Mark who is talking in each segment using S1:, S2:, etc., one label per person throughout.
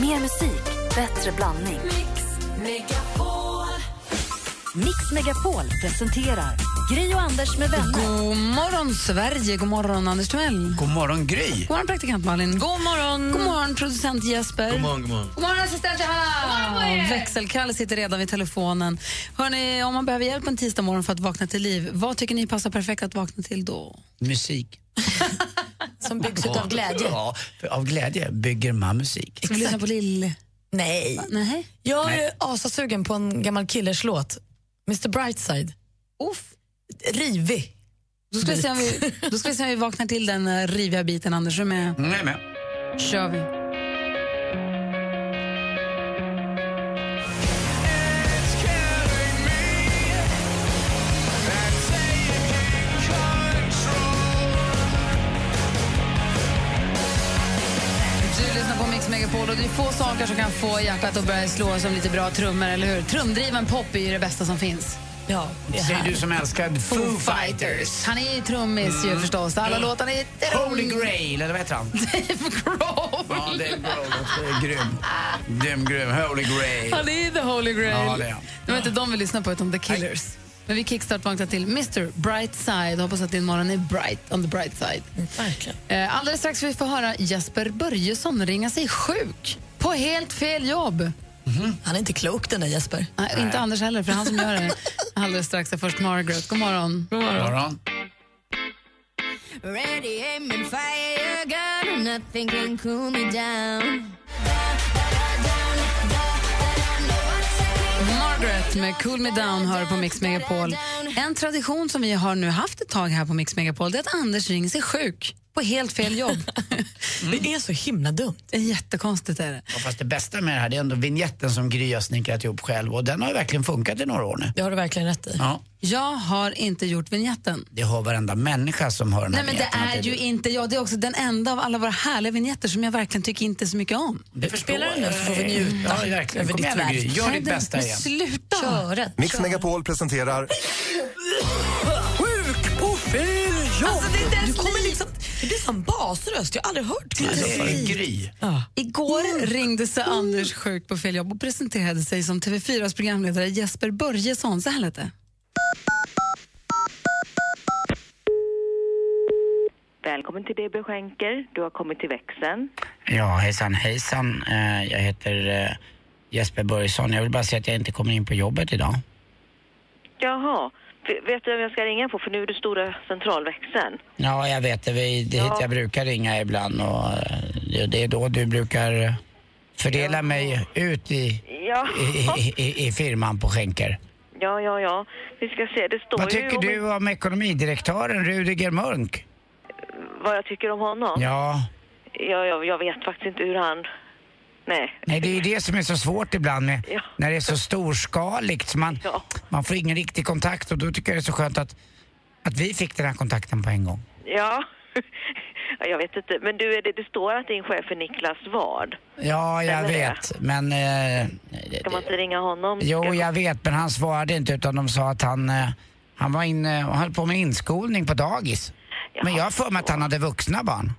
S1: Mer musik, bättre blandning.
S2: Mix Megapol.
S1: Mix Megapol presenterar Gry och Anders med vänner.
S3: God morgon, Sverige. God morgon, Anders Timell. God
S4: God morgon Gry!
S3: morgon, praktikant Malin. God,
S2: God morgon.
S3: God morgon, producent Jesper. God
S4: morgon, god morgon.
S3: God morgon, assistent Johanna. Växelkalle sitter redan vid telefonen. Hörrni, om man behöver hjälp en tisdag morgon för att vakna till liv, vad tycker ni passar perfekt att vakna till då?
S4: Musik.
S2: Som byggs ut av glädje.
S4: Ja, för av glädje bygger man musik.
S3: Ska vi lyssna på Lill?
S2: Nej.
S3: Nej.
S2: Jag är asasugen på en gammal killers låt. Mr Brightside.
S3: Uff.
S2: Rivig.
S3: Då ska, vi se om vi, då ska vi se om vi vaknar till den eh, riviga biten, Anders. Är du med?
S4: Mm, jag är med.
S3: kör vi. Du lyssnar på Mix Megapol och det är få saker som kan få hjärtat att börja slå som lite bra trummor, eller hur? Trumdriven pop är ju det bästa som finns.
S2: Ja, det är
S4: Säger
S2: här.
S4: du som älskar Foo Fighters. Mm.
S3: Han är ju trummis ju förstås. Alla låtarna är...
S4: Holy Grail, eller vad heter han?
S3: Dave Grohl.
S4: Ja, det är bra. Det är grym. Grym, grym. Holy Grail.
S3: Han är the holy grail.
S4: Ja, det är han.
S3: det var inte de vi lyssnade på, utan The Killers. Men vi kickstart-vaknar till Mr. Brightside. Hoppas att din morgon är bright on the bright side.
S2: Mm, Verkligen.
S3: Eh, alldeles strax får vi få höra Jesper Börjesson ringa sig sjuk på helt fel jobb.
S2: Mm-hmm. Han är inte klok den där Jesper.
S3: Nej, Inte Anders heller, för det är han som gör det. Alldeles strax är först Margaret. God morgon.
S4: God morgon.
S5: Ready, aim, and fire a gun, and nothing can cool me down.
S3: Margaret med Cool Me Down hör på Mix Megapol. En tradition som vi har nu haft ett tag här på Mix Megapol det är att Anders ringer sig sjuk på helt fel jobb.
S2: Det är så himla dumt.
S3: Det är Jättekonstigt är det.
S4: Ja, fast det bästa med det här det är ändå vignetten som Gry har snickrat ihop själv och den har ju verkligen funkat i några år nu.
S2: Det har du verkligen rätt i.
S4: Ja,
S3: Jag har inte gjort vignetten.
S4: det har varenda människa som hör den här
S3: Nej, men det
S4: vignetten
S3: är
S4: att
S3: ju inte jag. Det är också den enda av alla våra härliga vignetter som jag verkligen tycker inte så mycket om.
S4: Det förstår
S2: Spelar den nu
S4: jag.
S2: så får vi njuta
S4: Ja, verkligen.
S2: över
S4: Kom
S2: ditt
S4: igen nu Gry,
S2: verk.
S4: gör
S3: Nej,
S4: ditt
S3: den-
S4: bästa
S3: men
S4: igen.
S3: Sluta!
S2: Köret.
S6: Mix Megapol presenterar
S2: Sjuk på fel jobb! Alltså, det, är inte ens du kommer liksom, det blir som basröst, jag har aldrig hört
S4: Ja, Det
S2: det.
S4: är Gry.
S3: Igår
S2: Mm.
S3: ringde sig Anders sjuk på fel jobb och presenterade sig som TV4s programledare Jesper Börjesson. Så här lät det.
S7: Välkommen till DB Schenker. Du har kommit till växeln.
S8: Ja, hejsan hejsan. Eh, Jag heter eh, Jesper Börjesson. Jag vill bara säga att jag inte kommer in på jobbet idag.
S7: Jaha. V- Vet du vem jag ska ringa på? För nu är det stora centralväxeln.
S8: Ja, jag vet det. Vi- Det är hit jag brukar ringa ibland och eh, det- det är då du brukar eh, fördela mig ut i,
S7: Ja.
S8: i, i, i, i firman på skänker.
S7: Ja, ja, ja. Vi ska se. Det står
S8: Vad
S7: ju
S8: tycker
S7: om
S8: du om ekonomidirektören Rudiger Mörnk?
S7: vad jag tycker om honom.
S8: Ja,
S7: Ja, ja, jag vet faktiskt inte hur han... Nej.
S8: nej det är ju det som är så svårt ibland med,
S7: Ja.
S8: när det är så storskaligt. Så man,
S7: Ja.
S8: man får ingen riktig kontakt och då tycker jag det är så skönt att, att vi fick den här kontakten på en gång.
S7: Ja. Ja, Jag vet inte. Men du, är det, det står att din chef är Niklas Ward.
S8: Ja, jag
S7: Eller det.
S8: vet. Men... Eh,
S7: Ska man inte ringa honom?
S8: jo,
S7: Ska-
S8: jag vet, men han svarade inte utan de sa att han, eh, han var inne och höll på med inskolning på dagis. Men jag har för mig att han hade vuxna barn.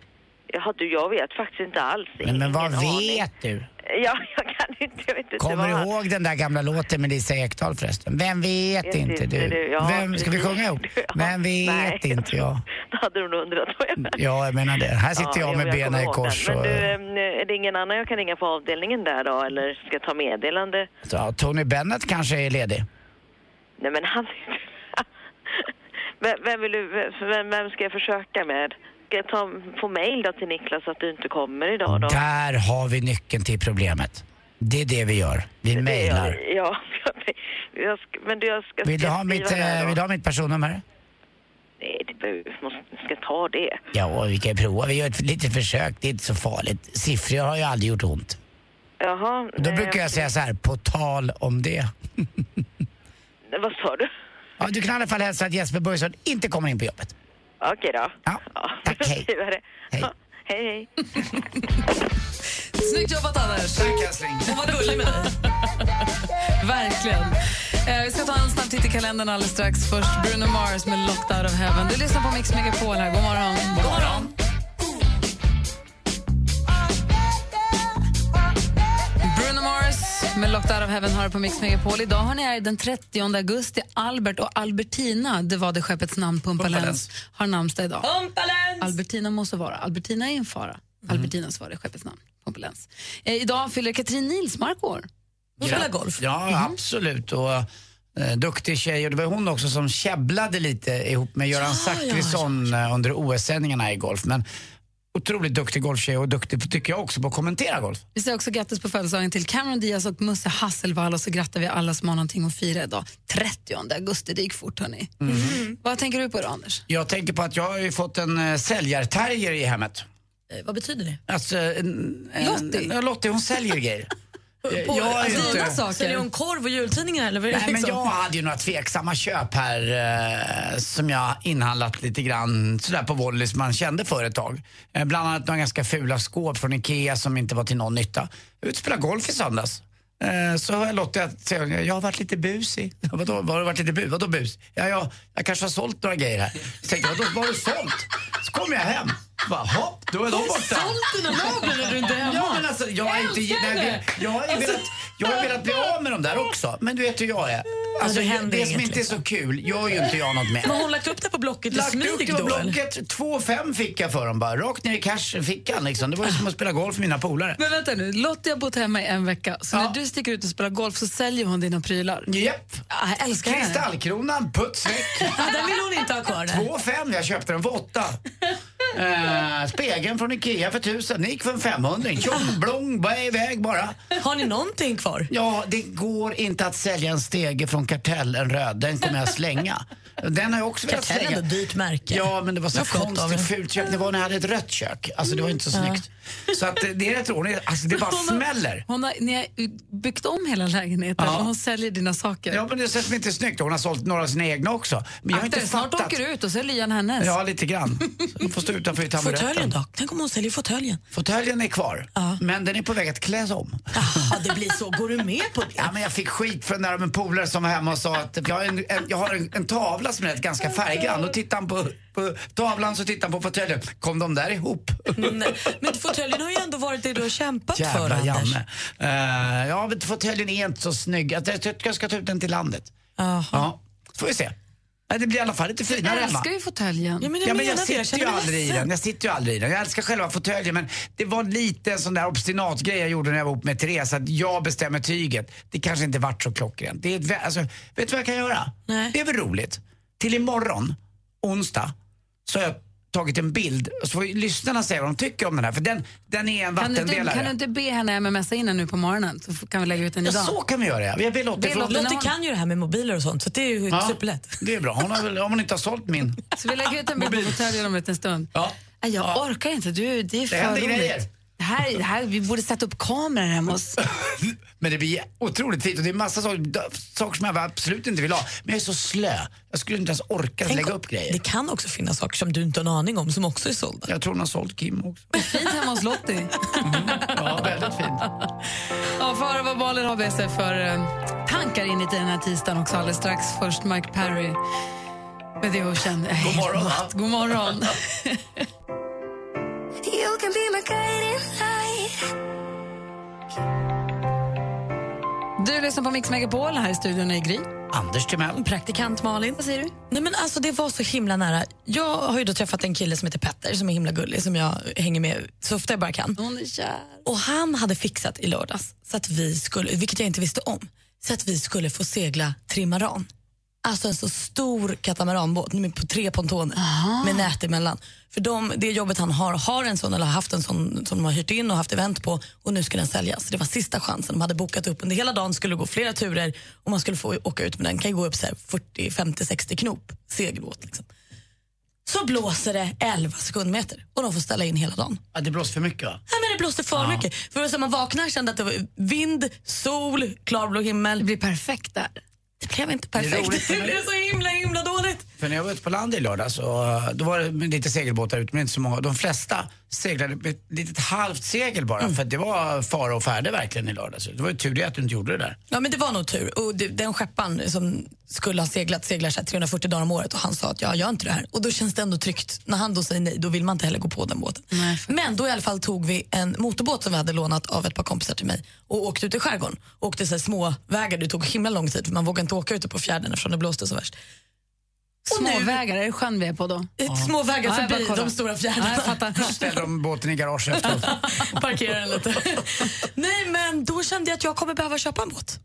S7: Jaha, du, jag vet faktiskt inte alls.
S8: Men, men vad
S7: Ingen aning.
S8: vet du?
S7: Ja, jag kan inte. Jag vet inte
S8: Kommer
S7: vad
S8: du
S7: han-
S8: ihåg den där gamla låten med Lisa Ekdahl förresten? Vem vet, inte du?
S7: Ja,
S8: Vem, ska vi
S7: precis.
S8: sjunga ihop?
S7: Ja.
S8: Vem vet
S7: Nej.
S8: inte jag?
S7: Då hade du nog undrat vad jag menar.
S8: Ja, jag menar det. Här sitter jag med benen i kors.
S7: Men
S8: Och,
S7: du, eh, är det ingen annan jag kan ringa på avdelningen där då? Eller ska jag ta meddelande?
S8: ja, Tony Bennett kanske är ledig.
S7: Nej men han... vem, vem, vill du, vem, vem ska jag försöka med? Ska jag ta, få mejl då till Niklas att du inte kommer idag då?
S8: Där har vi nyckeln till problemet. Det är det vi gör. Vi mejlar.
S7: Ja, ja jag, jag ska, men du jag ska...
S8: Vill du
S7: ska jag
S8: ha mitt,
S7: skriva här
S8: eh,
S7: då?
S8: vill du ha mitt personnummer?
S7: Nej, det behövs. Måste, ska jag ta det?
S8: Ja, och vi kan ju prova. Vi gör ett litet försök. Det är inte så farligt. Siffror har ju aldrig gjort ont.
S7: Jaha.
S8: Då
S7: nej,
S8: brukar jag säga så här, på tal om det.
S7: Vad sa du?
S8: Ja, du kan i alla fall hälsa att Jesper Börjesson inte kommer in på jobbet.
S7: Okej då.
S8: Ja, tack, hej.
S7: skriver det.
S8: Hej.
S7: Ja, Hej, hej.
S3: Snyggt jobbat, Anders! Och vad gullig med dig. Verkligen. Eh, vi ska ta en snabb titt i kalendern alldeles strax. Först Bruno Mars med Locked Out of Heaven. Du lyssnar på Mix Megapol här. God morgon. God morgon. med Locked Out of Heaven har på Mix Megapol. Idag har ni är den 30 augusti. Albert och Albertina, det var det skeppets namn, Pumpalens,
S8: Pumpalens.
S3: har namnsdag idag. Albertina måste vara. Albertina är en fara. Albertinas var det skeppets namn, Pumpalens. Eh, idag fyller Katrin Nilsmark år.
S2: Hon spelar golf. Mhm.
S8: Ja, absolut. Och, eh, duktig tjej. Och det var hon också som käbblade lite ihop med Göran Zachrisson eh, under OS-sändningarna i golf. Men otroligt duktig golftjej och duktig, tycker jag också, på att kommentera golf.
S3: Vi säger också grattis på födelsedagen till Cameron Diaz och Musse Hasselvall och så grattar vi alla som har någonting att fira idag. 30 augusti, det gick fort hörni.
S8: Mhm.
S3: Mm-hmm. Vad tänker du på idag Anders?
S8: Jag tänker på att jag har ju fått en eh, säljarterrier i hemmet.
S2: Eh, Vad betyder det?
S8: Alltså, en, en,
S3: Lottie?
S8: Ja, Lottie hon säljer grejer. Jag-
S2: På-
S8: jag är
S2: alltså,
S8: inte-
S2: dina saker. Säljer hon korv och jultidningar? Eller vad är det
S8: Nej, men
S2: liksom?
S8: jag hade ju några tveksamma köp här eh, som jag inhandlat lite grann sådär på volley som man kände för ett tag. Eh, bland annat några ganska fula skåp från Ikea som inte var till någon nytta. Jag utspelade golf i söndags. Eh, så har jag Lottie att säga, jag har varit lite busig. Vadå, har du varit lite bu? Vadå bus? Ja, jag, jag kanske har sålt några grejer här. Så tänkte jag, vadå, vad har du sålt? Så kom jag hem. Bara, hopp, då är de borta.
S2: dina naglar när du inte är
S8: Ja, men alltså, jag, har inte, nej, det- jag, har
S2: Alltså,
S8: ju velat, jag har velat bli av med dem där också, men du vet hur jag är. Alltså,
S2: det
S8: det,
S2: händer
S8: som
S2: inget, liksom.
S8: inte är så kul gör ju inte jag något med.
S2: Men har hon lagt upp det på Blocket i
S8: Lagt upp
S2: smyg
S8: det på
S2: då? eller?
S8: Blocket, 2,5 fick jag för dem bara. Rakt ner i cashfickan liksom. Det var ju som att spela golf med mina polare.
S3: Men vänta nu, Lottie har bott hemma i en vecka så
S8: Ja.
S3: när du sticker ut och spelar golf så säljer hon dina prylar.
S8: Japp.
S3: Ah, jag älskar henne.
S8: Kristallkronan, puts väck.
S2: Ja, den vill hon inte ha kvar. nej.
S8: 2,5, jag köpte den för 8. Eh, spegeln från Ikea för 1000, den gick för en 500. Tjong blong, bara iväg bara.
S2: Har ni någonting kvar?
S8: Ja, det går inte att sälja en stege från Kartell, en röd. Den kommer jag slänga. Den har jag också velat
S2: Kartell är
S8: slänga.
S2: ändå ett dyrt märke.
S8: Ja, men det var så
S2: Det var gott av er.
S8: konstigt fult kök. Det var när jag hade ett rött kök. Alltså det var inte så snyggt. Så att eh, det är rätt roligt. Alltså det bara smäller.
S3: Hon har, ni har byggt om hela lägenheten
S8: Ja.
S3: och hon säljer dina saker.
S8: Ja, men det är inte snyggt. Hon har sålt några av sina egna också. Men jag har
S3: Akta
S8: inte
S3: dig, snart
S8: fattat.
S3: åker du ut och säljer Lian hennes.
S8: Ja, lite grann. Hon får stå utanför i
S2: Fåtöljen
S8: taburetten.
S2: då? Tänk om hon säljer fåtöljen?
S8: Fåtöljen är kvar,
S2: Ja.
S8: men den är på väg att kläs om.
S2: Jaha, det blir så. Går du med på det?
S8: Ja, men jag fick skit för den där av en polare som var hemma och sa att jag har en, en, jag har en, en tavla som är rätt ganska färggrann. Då tittar han på, på tavlan så tittar han på fåtöljen. Kom de där ihop?
S2: Mm, Nej. Men fåtöljen har ju ändå varit det du har kämpat för,
S8: Jävla
S2: Anders.
S8: Janne. Uh, ja, men fåtöljen är inte så snygg. Jag tycker jag ska ta ut den till landet.
S2: Jaha.
S8: Ja, får vi se. Nej, Det blir i alla fall lite finare
S3: Jag
S8: hemma.
S3: älskar ju fåtöljen.
S2: Ja, men jag
S8: Ja, men
S2: menar
S8: jag
S2: det. Jag
S8: sitter ju
S2: känner mig
S8: aldrig i
S2: ledsen.
S8: den. Jag sitter ju aldrig i den. Jag älskar själva fåtöljen men det var lite en sån där obstinat grej jag gjorde när jag var ihop med Therese att jag bestämmer tyget. Det kanske inte vart så klockrent. Det är ett, vä- alltså, vet du vad jag kan göra?
S2: Nej.
S8: Det är väl roligt. Till imorgon, onsdag, så har jag tagit en bild och så får ju lyssnarna säga vad de tycker om den här för den, den är en
S3: Kan du, inte,
S8: vattendelare.
S3: kan du inte be henne mmsa in den nu på morgonen så f- kan vi lägga ut den
S8: Ja,
S3: idag?
S8: så kan vi göra ja. Jag ber Lottie
S3: Be
S8: få-
S3: Lottie-
S2: Lottie
S3: har-
S2: kan ju det här med mobiler och sånt, så det är ju
S8: Ja,
S2: superlätt.
S8: Det är bra. Hon har väl, om hon inte har sålt min.
S3: Så vi lägger ut en bild på fåtöljen om en liten stund.
S8: Ja.
S3: Nej, Jag orkar inte, du, det är för
S8: händer
S3: roligt.
S8: grejer.
S3: Det här, det här, vi borde sätta upp kameror hemma hos...
S8: Men det blir otroligt fint och det är massa saker, d- saker som jag absolut inte vill ha. Men jag är så slö. Jag skulle inte ens orka
S2: Tänk
S8: lägga
S2: om-
S8: upp grejer.
S2: Det kan också finnas saker som du inte har en aning om som också är sålda.
S8: Jag tror hon har sålt Kim också.
S3: Fint hemma hos Lottie.
S8: Ja, väldigt fint.
S3: Ja, för att höra vad Malin har med sig för eh, tankar in i den här tisdagen också alldeles strax. Först Mike Perry med det och kände...
S8: God morgon, va?
S3: God morgon.
S9: You can be my guiding light.
S3: Du lyssnar på Mix Megapol, här i studion är Gry.
S8: Anders Timell.
S2: Praktikant Malin. Vad säger du? Nej, men alltså, det var så himla nära. Jag har ju då träffat en kille som heter Petter som är himla gullig som jag hänger med så ofta jag bara kan.
S3: Hon är kär.
S2: Och han hade fixat i lördags, så att vi skulle, vilket jag inte visste om, så att vi skulle få segla trimaran. Alltså en så stor katamaranbåt med- på tre pontoner med nät emellan. För de, det jobbet han har, har en sån eller har haft en sån som de har hyrt in och haft event på och nu ska den säljas. Så det var sista chansen. De hade bokat upp under hela dagen, skulle gå flera turer och man skulle få åka ut med den. Kan ju gå upp så här 40, 50, 60 knop segelbåt. Liksom. Så blåser det 11 sekundmeter och de får ställa in hela dagen.
S8: Ja, det blåser för mycket va?
S2: Nej, men det blåste för mycket. För det var så här, man vaknade och kände att det var vind, sol, klarblå
S3: Det
S2: himmel.
S3: blir perfekt där.
S2: Det blev inte
S8: Det är
S2: perfekt.
S8: roligt.
S2: Det, blev så himla himla dåligt. Exakt.
S8: För när jag var ute på land i lördags, och då var det med lite segelbåtar ute, men inte så många. De flesta seglade med ett litet halvt segel bara, för att det var fara och färde verkligen i lördags. Det var ju tur det att du inte gjorde det där.
S2: Ja, men det var nog tur. Och det, den skepparen som skulle ha seglat seglar så här 340 dagar om året och han sa att jag gör inte det här. Och då känns det ändå tryggt. När han då säger nej, då vill man inte heller gå på den båten. men då i alla fall tog vi en motorbåt som vi hade lånat av ett par kompisar till mig och åkte ut i skärgården. Åkte så här små vägar, det tog himla lång tid för man vågade inte åka ute på fjärden eftersom det blåste så värst. Och nu-
S3: Småvägar, är det sjön vi är på då?
S2: Ett Små vägar
S3: Ja, jag bara
S2: förbi
S3: kollar.
S2: de stora
S3: Ja, jag
S2: fjärdarna.
S3: fattar.
S8: Ställde de båten i garaget efteråt.
S2: Parkera den lite. nej, men då kände jag att jag kommer behöva köpa en båt.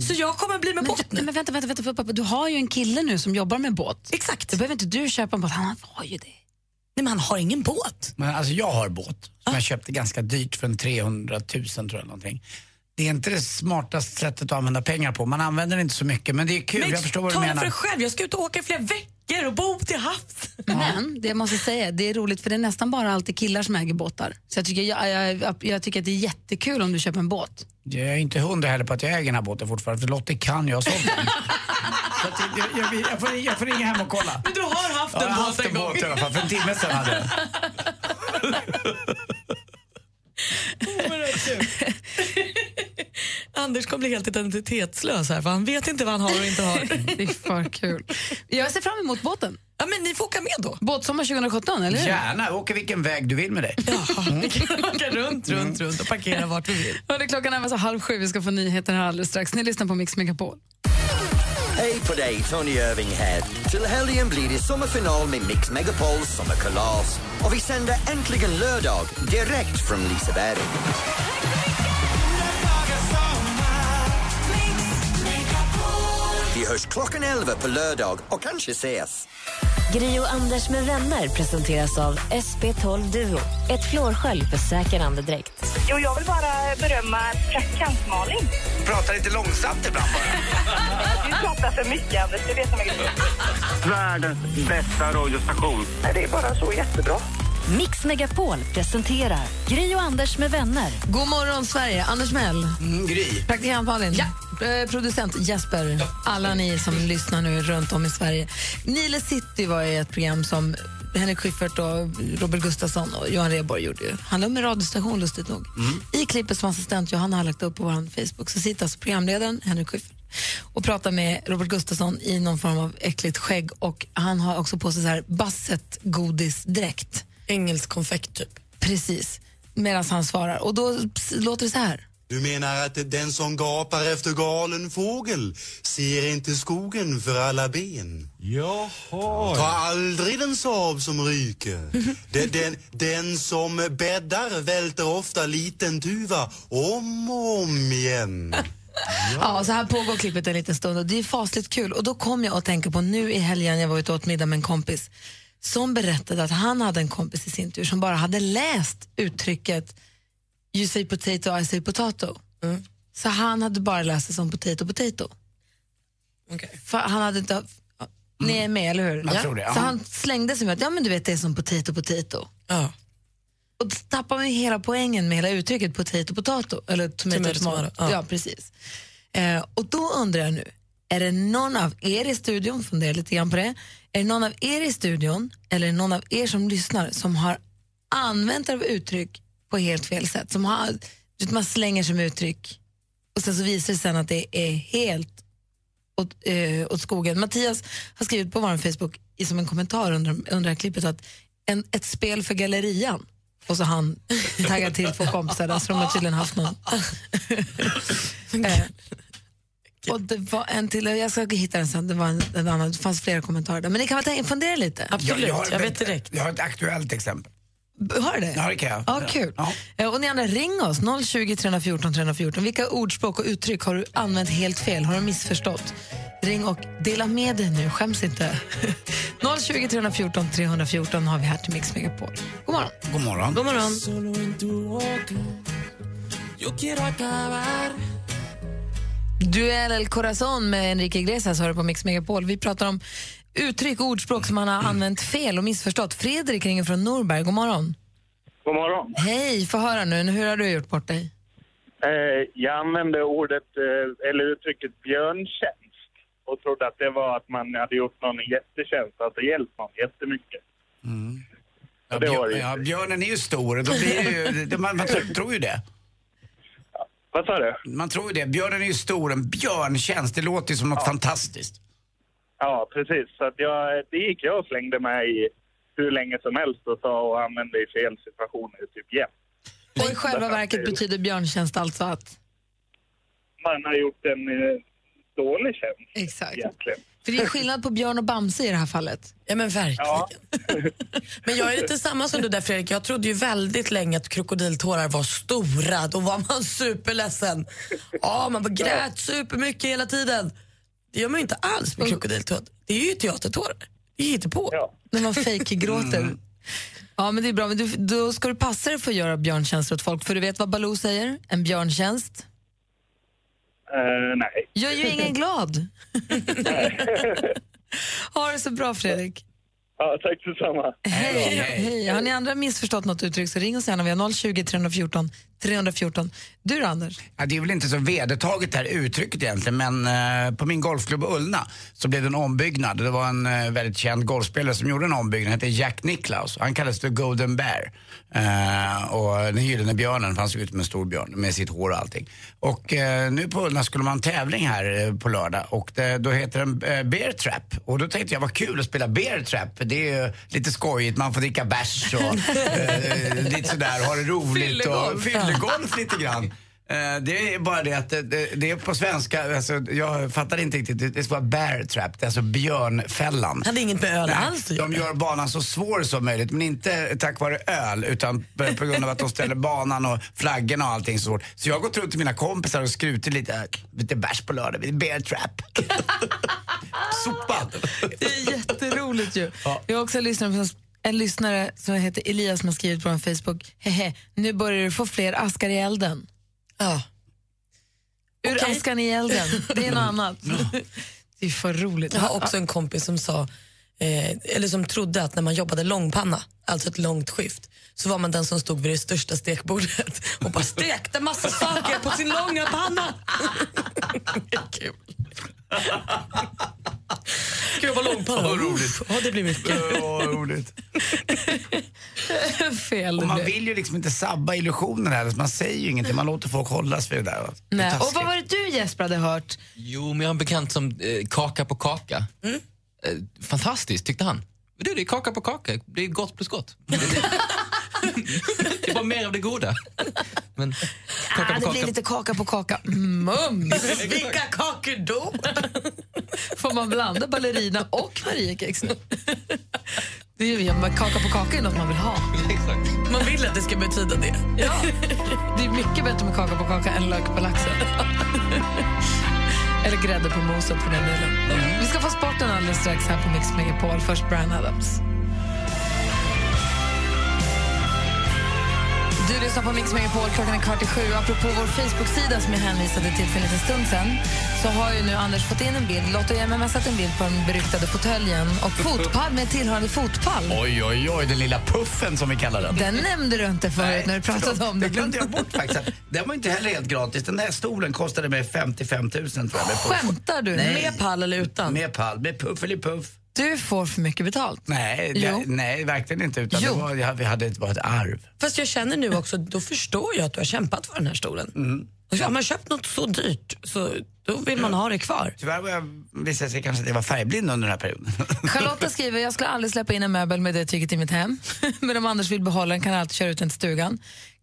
S2: Mm. Så jag kommer bli med
S3: Men,
S2: båt
S3: du,
S2: nu.
S3: men vänta, vänta, vänta, pappa, du har ju en kille nu som jobbar med båt.
S2: Exakt.
S3: Då behöver inte du köpa en båt, han har ju det.
S2: Nej, men han har ingen båt.
S8: Men alltså jag har båt
S2: Ah.
S8: som jag köpte ganska dyrt för en 300 000 tror jag någonting. Det är inte det smartaste sättet att använda pengar på. Man använder det inte så mycket men det är kul.
S2: Men
S8: jag förstår vad du
S2: tala för
S8: menar.
S2: dig själv, jag ska ut och åka i flera veckor och bo till havs.
S3: Men det jag måste säga, det är roligt för det är nästan bara alltid killar som äger båtar. Så jag tycker, jag, jag, jag, jag tycker att det är jättekul om du köper en båt.
S8: Jag är inte hundra heller på att jag äger den här båten fortfarande för Lottie kan ju ha sålt den. Så att jag, jag, jag, får, jag får ringa hem och kolla.
S2: Du har haft
S8: Ja, jag har haft en båt i alla fall. För en timme sedan hade jag den.
S2: Oh, Anders kommer bli helt identitetslös här för han vet inte vad han har och inte har.
S3: Det är för kul. Jag ser fram emot båten.
S2: ja, men ni får åka med då.
S3: Båtsommar 2017, eller hur?
S8: Gärna, åker vilken väg du vill med dig. Mm.
S2: Vi kan åka runt, runt, runt och parkera vart vi vill.
S3: Hörde, klockan är alltså halv sju, vi ska få nyheter här alldeles strax. Ni lyssnar på Mix Megapol.
S10: Hej på dig, Tony Irving här. Till helgen blir det sommarfinal med Mix Megapols sommarkalas. Och vi sänder äntligen lördag direkt från Liseberg. Vi hörs klockan 11 på lördag och kanske ses.
S1: Gri och Anders med vänner presenteras av SP12 Duo. Ett flårskölj för säker andedräkt.
S11: Jo, jag vill bara berömma praktikant Malin.
S8: Pratar lite långsamt ibland bara.
S11: Du pratar för mycket, Anders. Det vet jag mycket.
S12: Världens bästa radiostation.
S11: Nej, det är bara så jättebra.
S1: Mix Megapol presenterar Gri och Anders med vänner.
S3: God morgon, Sverige. Anders Mell.
S8: Mm, gry.
S3: Praktikant Malin. Eh, Producent Jesper. Alla ni som lyssnar nu runt om i Sverige. Nile City var ju ett program som Henrik Schyffert, och Robert Gustafsson och Johan Rheborg gjorde. Ju. Handlade om en radiostation, lustigt nog. I klippet som assistent Johanna har lagt upp på vår Facebook så sitter alltså programledaren Henrik Schyffert och pratar med Robert Gustafsson i någon form av äckligt skägg och han har också på sig så här Basset-godisdräkt.
S2: Engelsk konfekt typ.
S3: Precis, medan han svarar. Och då ps- låter det så här.
S12: Du menar att den som gapar efter galen fågel ser inte skogen för alla ben? Jaha. Ta aldrig den sab som ryker. Den, den, den som bäddar välter ofta liten tuva om och om igen.
S3: Ja, så här pågår klippet en liten stund och det är fasligt kul. Och då kom jag att tänka på nu i helgen, jag var ute och åt middag med en kompis som berättade att han hade en kompis i sin tur som bara hade läst uttrycket You say potato, I say potato.
S8: Mm.
S3: Så han hade bara läst det som potato, potato. För han hade inte... Ni är med, eller hur?
S8: Mm. Jag tror det, ja.
S3: Så han slängde sig med att ja, men du vet, det är som potato, potato.
S2: Ja.
S3: Och då tappar man ju hela poängen med hela uttrycket potato, potato. Eller tomato,
S2: Tomato,
S3: tomato.
S2: tomato,
S3: Ja.
S2: ja.
S3: precis. Eh, och då undrar jag nu, är det någon av er i studion, funderar lite grann på det, är det någon av er i studion eller någon av er som lyssnar som har använt er av uttryck på helt fel sätt? Som har, du vet, man slänger sig med uttryck och sen så visar det sen att det är helt åt, eh, åt skogen. Mattias har skrivit på vår Facebook i, som en kommentar under, under det här klippet att en, ett spel för gallerian. Och så har han taggat till två kompisar där, så de har tydligen haft någon. eh, och det var en till, jag ska hitta den sen, det, var en, en annan, det fanns flera kommentarer där. Men ni kan väl tänka- fundera lite?
S2: Absolut, jag,
S8: har-
S2: vet direkt.
S8: Jag har ett aktuellt exempel.
S3: Har du det?
S8: Ja, det kan jag.
S3: Ja, kul.
S8: Ja.
S3: Eh, Och ni andra, ring oss. 020 314 314. Vilka ordspråk och uttryck har du använt helt fel? Har du missförstått? Ring och dela med dig nu. Skäms inte. 020 314 314 har vi här till Mix Megapol. God morgon.
S8: God morgon.
S3: God morgon. Duell El Corazon med Enrique Iglesias hör du på Mix Megapol. Vi pratar om uttryck och ordspråk som man har använt fel och missförstått. Fredrik ringer från Norberg. God morgon.
S12: God morgon.
S3: Hej, få höra nu. Hur har du gjort bort dig?
S13: Eh,
S12: jag använde ordet, eller uttrycket björntjänst.
S13: och trodde att det var att man hade gjort någon en jättetjänst, alltså hjälpt någon jättemycket.
S8: Mm.
S13: Ja,
S8: Ja,
S13: det var det
S8: björ,
S13: ju.
S8: ja, björnen är ju stor, då blir det ju, det- man, man tr- tror ju det.
S13: Vad sa du?
S8: Man tror ju det. Björnen är ju stor, en björntjänst, det låter ju som något fantastiskt.
S13: Ja, precis. Så att jag, det gick jag och slängde mig i hur länge som helst och sa och använde i fel situationer typ jämt.
S3: Och i själva verket betyder björntjänst alltså att...
S13: Man har gjort en eh, dålig tjänst
S3: Exakt.
S13: egentligen.
S3: För det är skillnad på björn och Bamse i det här fallet.
S2: Ja men verkligen. Men jag är lite samma som du där Fredrik. Jag trodde ju väldigt länge att krokodiltårar var stora. Då var man superledsen. Ja, man bara grät supermycket hela tiden. Det gör man ju inte alls med krokodiltårar. Det är ju teatertårar. Det är ju på.
S3: När man fejkgråter. Ja, men det är bra. Men du, då ska du passa dig för att göra björntjänster åt folk, för du vet vad Baloo säger? En björntjänst
S13: Eh, nej.
S3: gör ju ingen glad. ha det så bra, Fredrik.
S13: Ja, tack detsamma.
S3: Hej. Hej. Har ni andra missförstått något uttryck så ring oss gärna. Vi har 020 314 314. Du då, Anders?
S8: Ja, det är väl inte så vedertaget det här uttrycket egentligen, men eh, på min golfklubb Ullna så blev det en ombyggnad. Det var en eh, väldigt känd golfspelare som gjorde en ombyggnad, han hette Jack Nicklaus. Han kallades för Golden Bear. Eh, och den gyllene björnen, för han såg ut som en stor björn med sitt hår och allting. Och eh, nu på Ullna skulle man ha en tävling här eh, på lördag och det, då heter den eh, Bear Trap. Och då tänkte jag, vad kul att spela Bear Trap. Det är ju lite skojigt, man får dricka bärs och eh, lite sådär, ha det roligt och
S14: Fyllegolf.
S8: fyllegolf lite grann. Eh, Det är bara det att det, det det är på svenska, alltså, jag fattar inte riktigt. Det- Det ska vara bear trap, det är alltså björnfällan.
S2: Hade inget med öl
S8: Nej,
S2: alls att
S8: De gör banan så svår som möjligt, men inte tack vare öl utan på- på grund av att de ställer banan och flaggorna och allting så svårt. Så jag har gått runt till mina kompisar och skrutit lite, äh, lite bärs på lördag, det är bear trap. Sopa!
S3: Det är jätteroligt ju. Vi har också en lyssnare, en lyssnare som heter Elias som har skrivit på vår Facebook. Hehe, nu börjar du få fler askar i elden.
S2: Ja.
S3: Ur
S2: Okej.
S3: askan i elden. Det är något annat. Mm. Det är för roligt.
S2: Jag har också en kompis som sa, eh, eller som trodde att när man jobbade långpanna, alltså ett långt skift, så var man den som stod vid det största stekbordet och bara stekte massa saker på sin långa panna. Kul. Gud vad långpanna. Vad roligt. Ja, det blir mycket.
S8: Vad roligt.
S3: Fel
S8: Och man
S3: det blev.
S8: vill ju liksom inte sabba illusionen här, man säger ju ingenting, man låter folk hållas vid det där. va? Det är
S3: Nej. Och
S8: taskigt.
S3: vad var det du Jesper hade hört?
S15: Jo, men jag har en bekant som eh, kaka på kaka.
S3: Mm.
S15: Eh, fantastiskt, tyckte han. Men Du, det är kaka på kaka. Det är gott plus gott. Det är- det är bara mer av det goda. Men kaka
S3: Ah,
S15: på
S3: det blir
S15: kaka.
S3: lite kaka på kaka. Mums!
S2: Vilka kakor då?
S3: Får man blanda ballerina och Marie Keksnö? Det är ju, men kaka på kaka är något man vill ha.
S2: Man vill att det ska betyda det.
S3: Ja. Det är mycket bättre med kaka på kaka än lök på laxen. Eller grädde på moset för den delen.
S8: Mm.
S3: Vi ska få sporten alldeles strax här på Mix Megapol. Först Brian Adams. Du lyssnar på Mix Megapol, klockan är kvart i sju. Apropå vår Facebook-sida som jag hänvisade till för en liten stund sen så har ju nu Anders fått in en bild, Lotto och jag har messat en bild på den beryktade fåtöljen och fotpall med tillhörande fotpall.
S8: Oj, oj, oj, den lilla puffen som vi kallar den.
S3: Den nämnde du inte förut när du pratade
S8: Förlåt,
S3: om
S8: det
S3: den.
S8: glömde jag bort faktiskt. Den var inte heller helt gratis. Den där stolen kostade mig 55 000 tror jag.
S3: Skämtar du? Med
S2: pall eller utan?
S8: Med pall, med puff eller puff.
S3: Du får för mycket betalt.
S8: Nej,
S3: Jo.
S8: det, nej verkligen inte. Utan det
S2: Jo.
S8: var, ja, vi hade ett, var ett arv.
S2: Fast jag känner nu också, då förstår jag att du har kämpat för den här stolen.
S8: Mm.
S2: Och så Har man köpt något så dyrt så då vill man ha det kvar.
S8: Tyvärr var jag, visade sig kanske att jag var färgblind under den här perioden.
S3: Charlotta skriver, jag skulle aldrig släppa in en möbel med det tyget i mitt hem. Men om Anders vill behålla den kan han alltid köra ut den till stugan.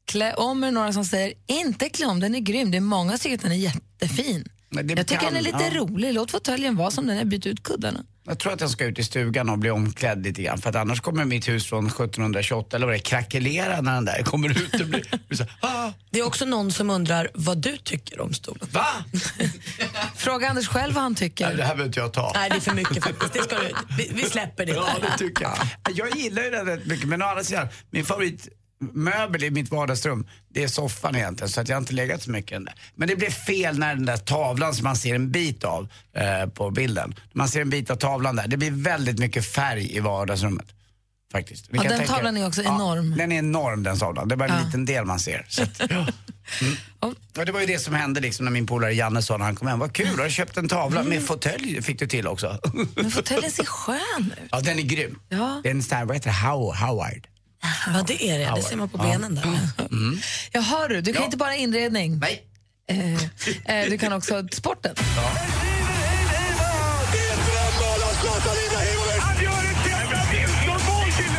S3: Klä om är några som säger, inte klä om, den är grym. Det är många som tycker att den är jättefin.
S8: Men det
S3: jag tycker
S8: kan-
S3: den är lite
S8: ja.
S3: rolig. Låt fåtöljen vara som den är, byt ut kuddarna.
S8: Jag tror att jag ska ut i stugan och bli omklädd lite grann. För att annars kommer mitt hus från 1728, eller vad det är, krackelera när den där kommer ut. Det blir,
S2: Det är också någon som undrar vad du tycker om stolen.
S8: Va?
S3: Fråga Anders själv vad han tycker.
S8: Nej, det här behöver inte jag ta.
S2: Nej, det är för mycket faktiskt. Det ska du, vi, vi släpper det.
S8: Ja, det tycker jag. Jag gillar ju den rätt mycket, men å andra sidan, min favoritmöbel i mitt vardagsrum, det är soffan egentligen, så att jag har inte legat så mycket i den där. Men det blev fel när den där tavlan som man ser en bit av eh, på bilden, man ser en bit av tavlan där, det blir väldigt mycket färg i vardagsrummet. Faktiskt. Vi
S3: Ja,
S8: kan
S3: den tavlan är också enorm.
S8: Den är enorm den tavlan, det är bara en liten del man ser. Så att,
S3: Och
S8: ja. Ja, Mm. det var ju det som hände liksom när min polare Janne sa när han kom hem. Vad kul, har du köpt en tavla
S3: Mm.
S8: med fåtölj? Fick du till också.
S3: Men fåtöljen ser skön ut.
S8: ja, den är grym.
S3: Ja.
S8: Det är en sån här, vad heter det, How- Howard.
S2: Ja, det är det. Det ser man på
S8: Ja.
S2: benen där.
S8: Mm.
S3: Jag hör du, du kan
S8: Ja.
S3: inte bara inredning. Eh,
S8: Nej.
S3: du kan också sporten.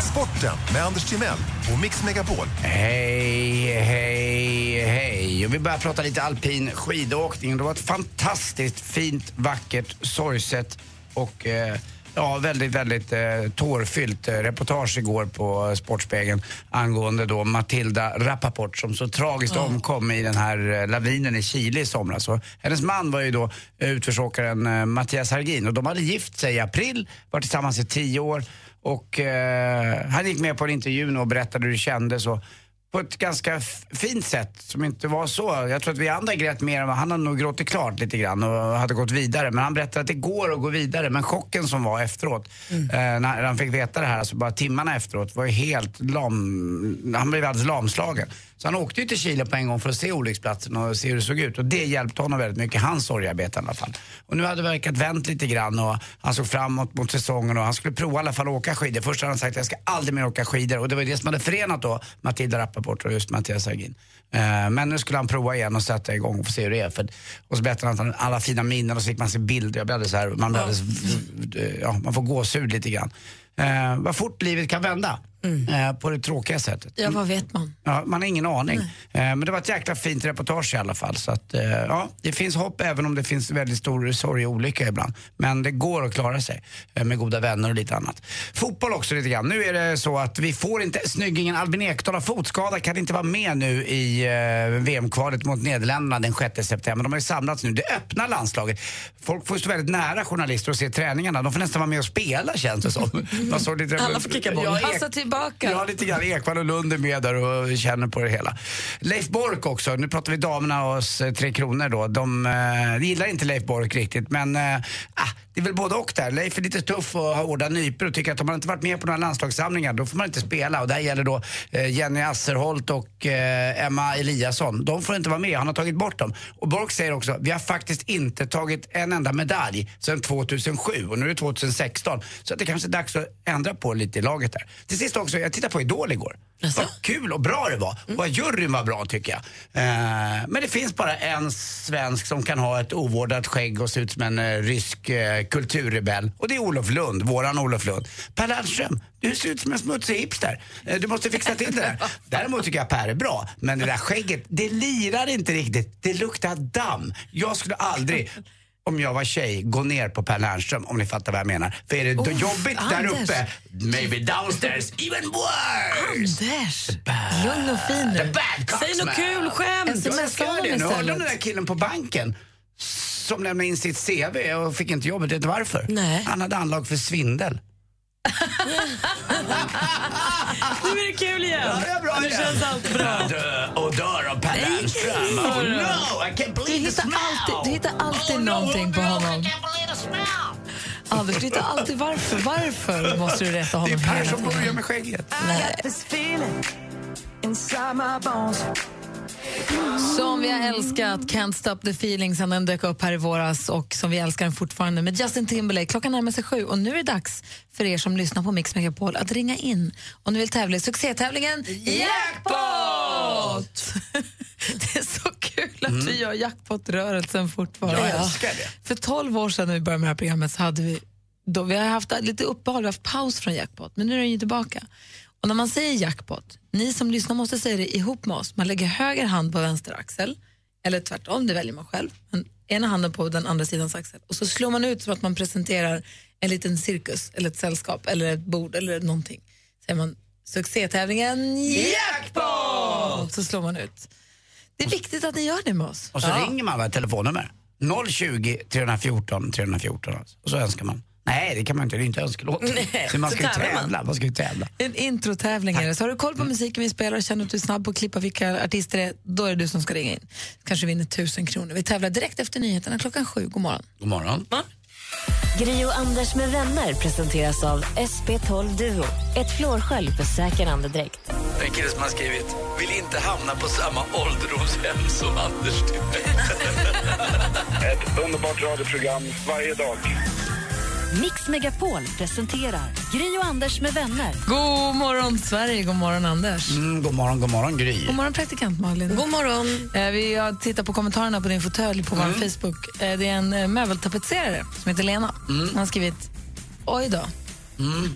S16: Sporten med Anders Timell och Mix Megapol.
S8: Hej, hej, hej. Och vi börjar prata lite alpin skidåkning. Det var ett fantastiskt fint, vackert, sorgset och eh, ja, väldigt, väldigt eh, tårfyllt eh, reportage igår på eh, Sportspegeln angående då Matilda Rappaport som så tragiskt omkom i den här eh, lavinen i Chile i somras. Och hennes man var ju då utförsåkaren eh, Mattias Hargin och de hade gift sig i april, varit tillsammans i tio år och eh, han gick med på en intervju nu och berättade hur det kändes. Och, på ett ganska f- fint sätt som inte var så. Jag tror att vi andra grät mer än vad han hade nog gråtit klart lite grann och hade gått vidare. Men han berättade att det går att gå vidare. Men chocken som var efteråt, eh, när han fick veta det här, alltså bara timmarna efteråt, var ju helt lam... Han blev alldeles lamslagen. Så han åkte ju till Chile på en gång för att se olycksplatsen och se hur det såg ut. Och det hjälpte honom väldigt mycket, hans sorgearbete i alla fall. Och nu hade det verkat vänt lite grann och han såg framåt mot säsongen och han skulle prova i alla fall att åka skidor. Först hade han sagt jag ska aldrig mer åka skidor och det var det som hade förenat då Matilda Rappaport och just Mattias Hagin. Eh, Men nu skulle han prova igen och sätta igång och få se hur det är. För, och så berättade han att han alla fina minnen och så fick man se bilder. Jag blev alldeles så här, man, blev alldeles, eh, ja, man får gåshud lite grann. Eh, vad fort livet kan vända eh, på det tråkiga sättet.
S3: Ja, vad vet man?
S8: Ja, man har ingen aning. Eh, men det var ett jäkla fint reportage i alla fall. Så att, eh, ja, det finns hopp även om det finns väldigt stor sorg och olycka ibland. Men det går att klara sig eh, med goda vänner och lite annat. Fotboll också lite grann. Nu är det så att vi får inte, snyggingen Albin Ekdal har fotskada, kan inte vara med nu i eh, VM-kvalet mot Nederländerna den 6 september. De har ju samlats nu, det öppna landslaget. Folk får stå väldigt nära journalister och se träningarna. De får nästan vara med och spela känns det som. Man såg lite-
S3: Alla får kicka boll.
S8: Ja, Ek-
S3: Passa tillbaka.
S8: Ja, lite grann. Ekwall och Lund är med där och känner på det hela. Leif Bork också. Nu pratar vi damerna och oss eh, Tre Kronor då. De eh, gillar inte Leif Bork riktigt, men eh, ah, det är väl både och där. Leif är lite tuff och har hårda nypor och tycker att om man inte varit med på några landslagssamlingar då får man inte spela. Och det här gäller då eh, Jenny Asserholt och eh, Emma Eliasson. De får inte vara med. Han har tagit bort dem. Och Bork säger också, vi har faktiskt inte tagit en enda medalj sedan 2007 och nu är det 2016. Så att det kanske är dags att ändra på lite i laget där. Till sist också, jag tittade på Idol igår. Vad kul och bra det var. Vad juryn var bra tycker jag. Eh, men det finns bara en svensk som kan ha ett ovårdat skägg och se ut som en eh, rysk eh, kulturrebell. Och det är Olof Lund, våran Olof Lund. Per Lernström, du ser ut som en smutsig hipster. Eh, du måste fixa till det där. Däremot tycker jag Per är bra. Men det där skägget, det lirar inte riktigt. Det luktar damm. Jag skulle aldrig om jag var tjej, gå ner på Per Lernström om ni fattar vad jag menar. För är det
S17: Oh,
S8: jobbigt där
S17: Anders.
S8: uppe, maybe downstairs, even worse!
S3: Anders! Lugn och fin nu. Säg något kul skämt. Smsa
S8: Smsa
S3: honom
S8: det. Nu hörde
S3: istället.
S8: om den där killen på banken som lämnade in sitt CV och fick inte jobbet. Vet du varför? Han hade anlag för svindel.
S2: Nu är det kul igen.
S8: Ja, det är bra
S2: nu
S8: igen.
S2: känns allt bra.
S8: Dö och dör av Per
S2: Nej.
S8: Lernström. Oh no, I can't
S3: Du
S8: believe
S3: hittar
S8: the smell! Oh,
S3: alltid, du hittar alltid någonting på honom. Anders, du hittar alltid varför. Varför måste du rätta
S8: Det
S3: honom
S8: är Per
S3: hela
S8: som börjar
S3: tiden?
S8: med skägget.
S3: Som vi har älskat Can't stop the feeling sen den dök upp här i våras och som vi älskar den fortfarande med Justin Timberlake. Klockan närmar sig sju och nu är det dags för er som lyssnar på Mix Megapol att ringa in om ni vill tävla i succétävlingen Jackpot! det är så kul att vi gör jackpot-rörelsen fortfarande.
S8: Mm. Jag älskar det.
S3: För 12 år sedan när vi började med det här programmet så hade vi, då, vi har haft lite uppehåll, vi har haft paus från jackpot, men nu är den ju tillbaka. Och när man säger jackpot, ni som lyssnar måste säga det ihop med oss. Man lägger höger hand på vänster axel, eller tvärtom, det väljer man själv. Men ena handen på den andra sidans axel. Och så slår man ut som att man presenterar en liten cirkus, eller ett sällskap, eller ett bord, eller någonting. Säger man succétävlingen jackpot! Så slår man ut. Det är viktigt att ni gör det med oss.
S8: Och så
S3: Ja.
S8: ringer man med ett telefonnummer. 020 314 314 alltså. Och så önskar man. Nej, det kan man inte. Det är inte önskelåt.
S3: Nej,
S8: Så man
S3: så
S8: ska ju
S3: tävlar man.
S8: tävla. Man ska ju tävla.
S3: En introtävling är det. Så har du koll på musiken vi spelar och känner att du är snabb på att klippa vilka artister det är, då är det du som ska ringa in. Kanske vinner tusen kronor. Vi tävlar direkt efter nyheterna klockan sju. God morgon.
S8: God morgon.
S1: Gri och Anders med vänner presenteras av SP12 Duo. Ett flårskölj för säker andedräkt.
S8: En kille som har skrivit Vill inte hamna på samma ålderdomshem som Anders
S13: Ett underbart radioprogram varje dag.
S1: Mix Megapol presenterar Gri och Anders med vänner.
S3: God morgon, Sverige. God morgon, Anders.
S8: Mm, god morgon, god morgon Gry.
S3: God morgon, praktikant Malin. God morgon. Eh, vi har tittat på kommentarerna på din fåtölj på vår Facebook. Eh, det är en eh, möbeltapetserare som heter Lena. Han har skrivit Oj då.
S8: Mm.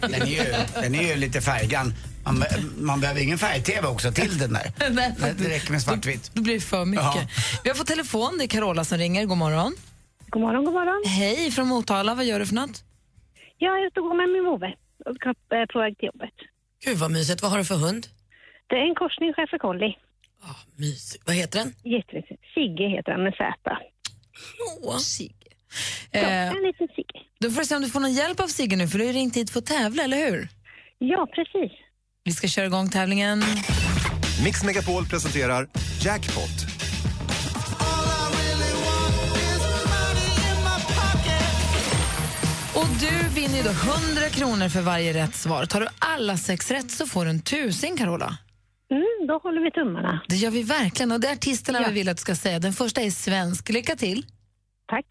S8: Den, är ju, den är ju lite färggrann. Man, be- man behöver ingen färg-tv också till den där.
S3: Nej,
S8: Det det räcker med svartvitt.
S3: Då blir det för mycket.
S8: Ja.
S3: Vi har fått telefon. Det är Carola som ringer. God morgon.
S17: God morgon, god morgon.
S3: Hej från Motala. Vad gör du för något?
S17: Ja, jag stod med min vovve och kapp- eh, på väg till jobbet.
S2: Gud vad mysigt. Vad har du för hund?
S17: Det är en korsning schäfer collie.
S2: Mysigt. Vad heter den?
S17: Jättemysigt. Sigge heter han med Z.
S3: Sigge.
S17: Ja,
S3: Eh,
S17: en liten Sigge.
S3: Då får vi se om du får någon hjälp av Sigge nu, för du har ju ringt hit för att tävla, eller hur?
S17: Ja, precis.
S3: Vi ska köra igång tävlingen.
S16: Mix Megapol presenterar Jackpot.
S3: Och du vinner ju då 100 kronor för varje rätt svar. Tar du alla sex rätt så får du en tusen, Carola.
S17: Mm, då håller vi tummarna.
S3: Det gör vi verkligen. Och det är artisterna vi vill att du ska säga. Den första är svensk. Lycka till.
S17: Tack.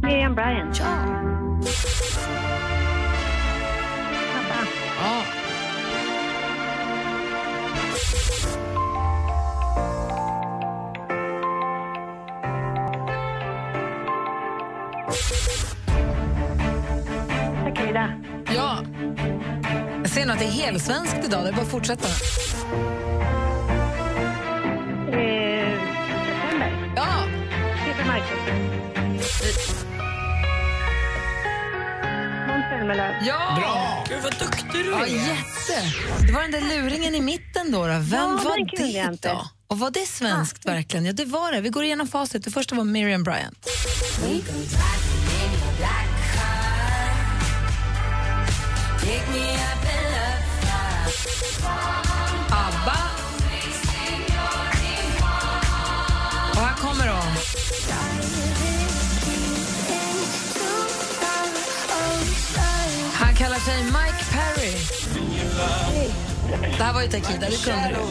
S17: Miriam Bryant.
S3: Ja. Ja.
S17: Takida.
S3: Ja. Jag ser nog att det är helsvenskt idag. Det är bara att fortsätta.
S17: Eh, September.
S3: Ja.
S17: Peter Marcus. Måns Zelmerlöw.
S3: Ja!
S17: Bra!
S2: Gud vad duktig du
S3: Ja, jätte. Det var den där luringen i mitten då. då. Vem
S17: Ja, den
S3: var
S17: kunde jag
S3: det
S17: inte.
S3: då? Och var det svenskt verkligen? Ja, det var det. Vi går igenom facit. Det första var Miriam Bryant. ABBA. Och här kommer hon. Han kallar sig Mike Perry. Det här var ju Takida, det kunde du.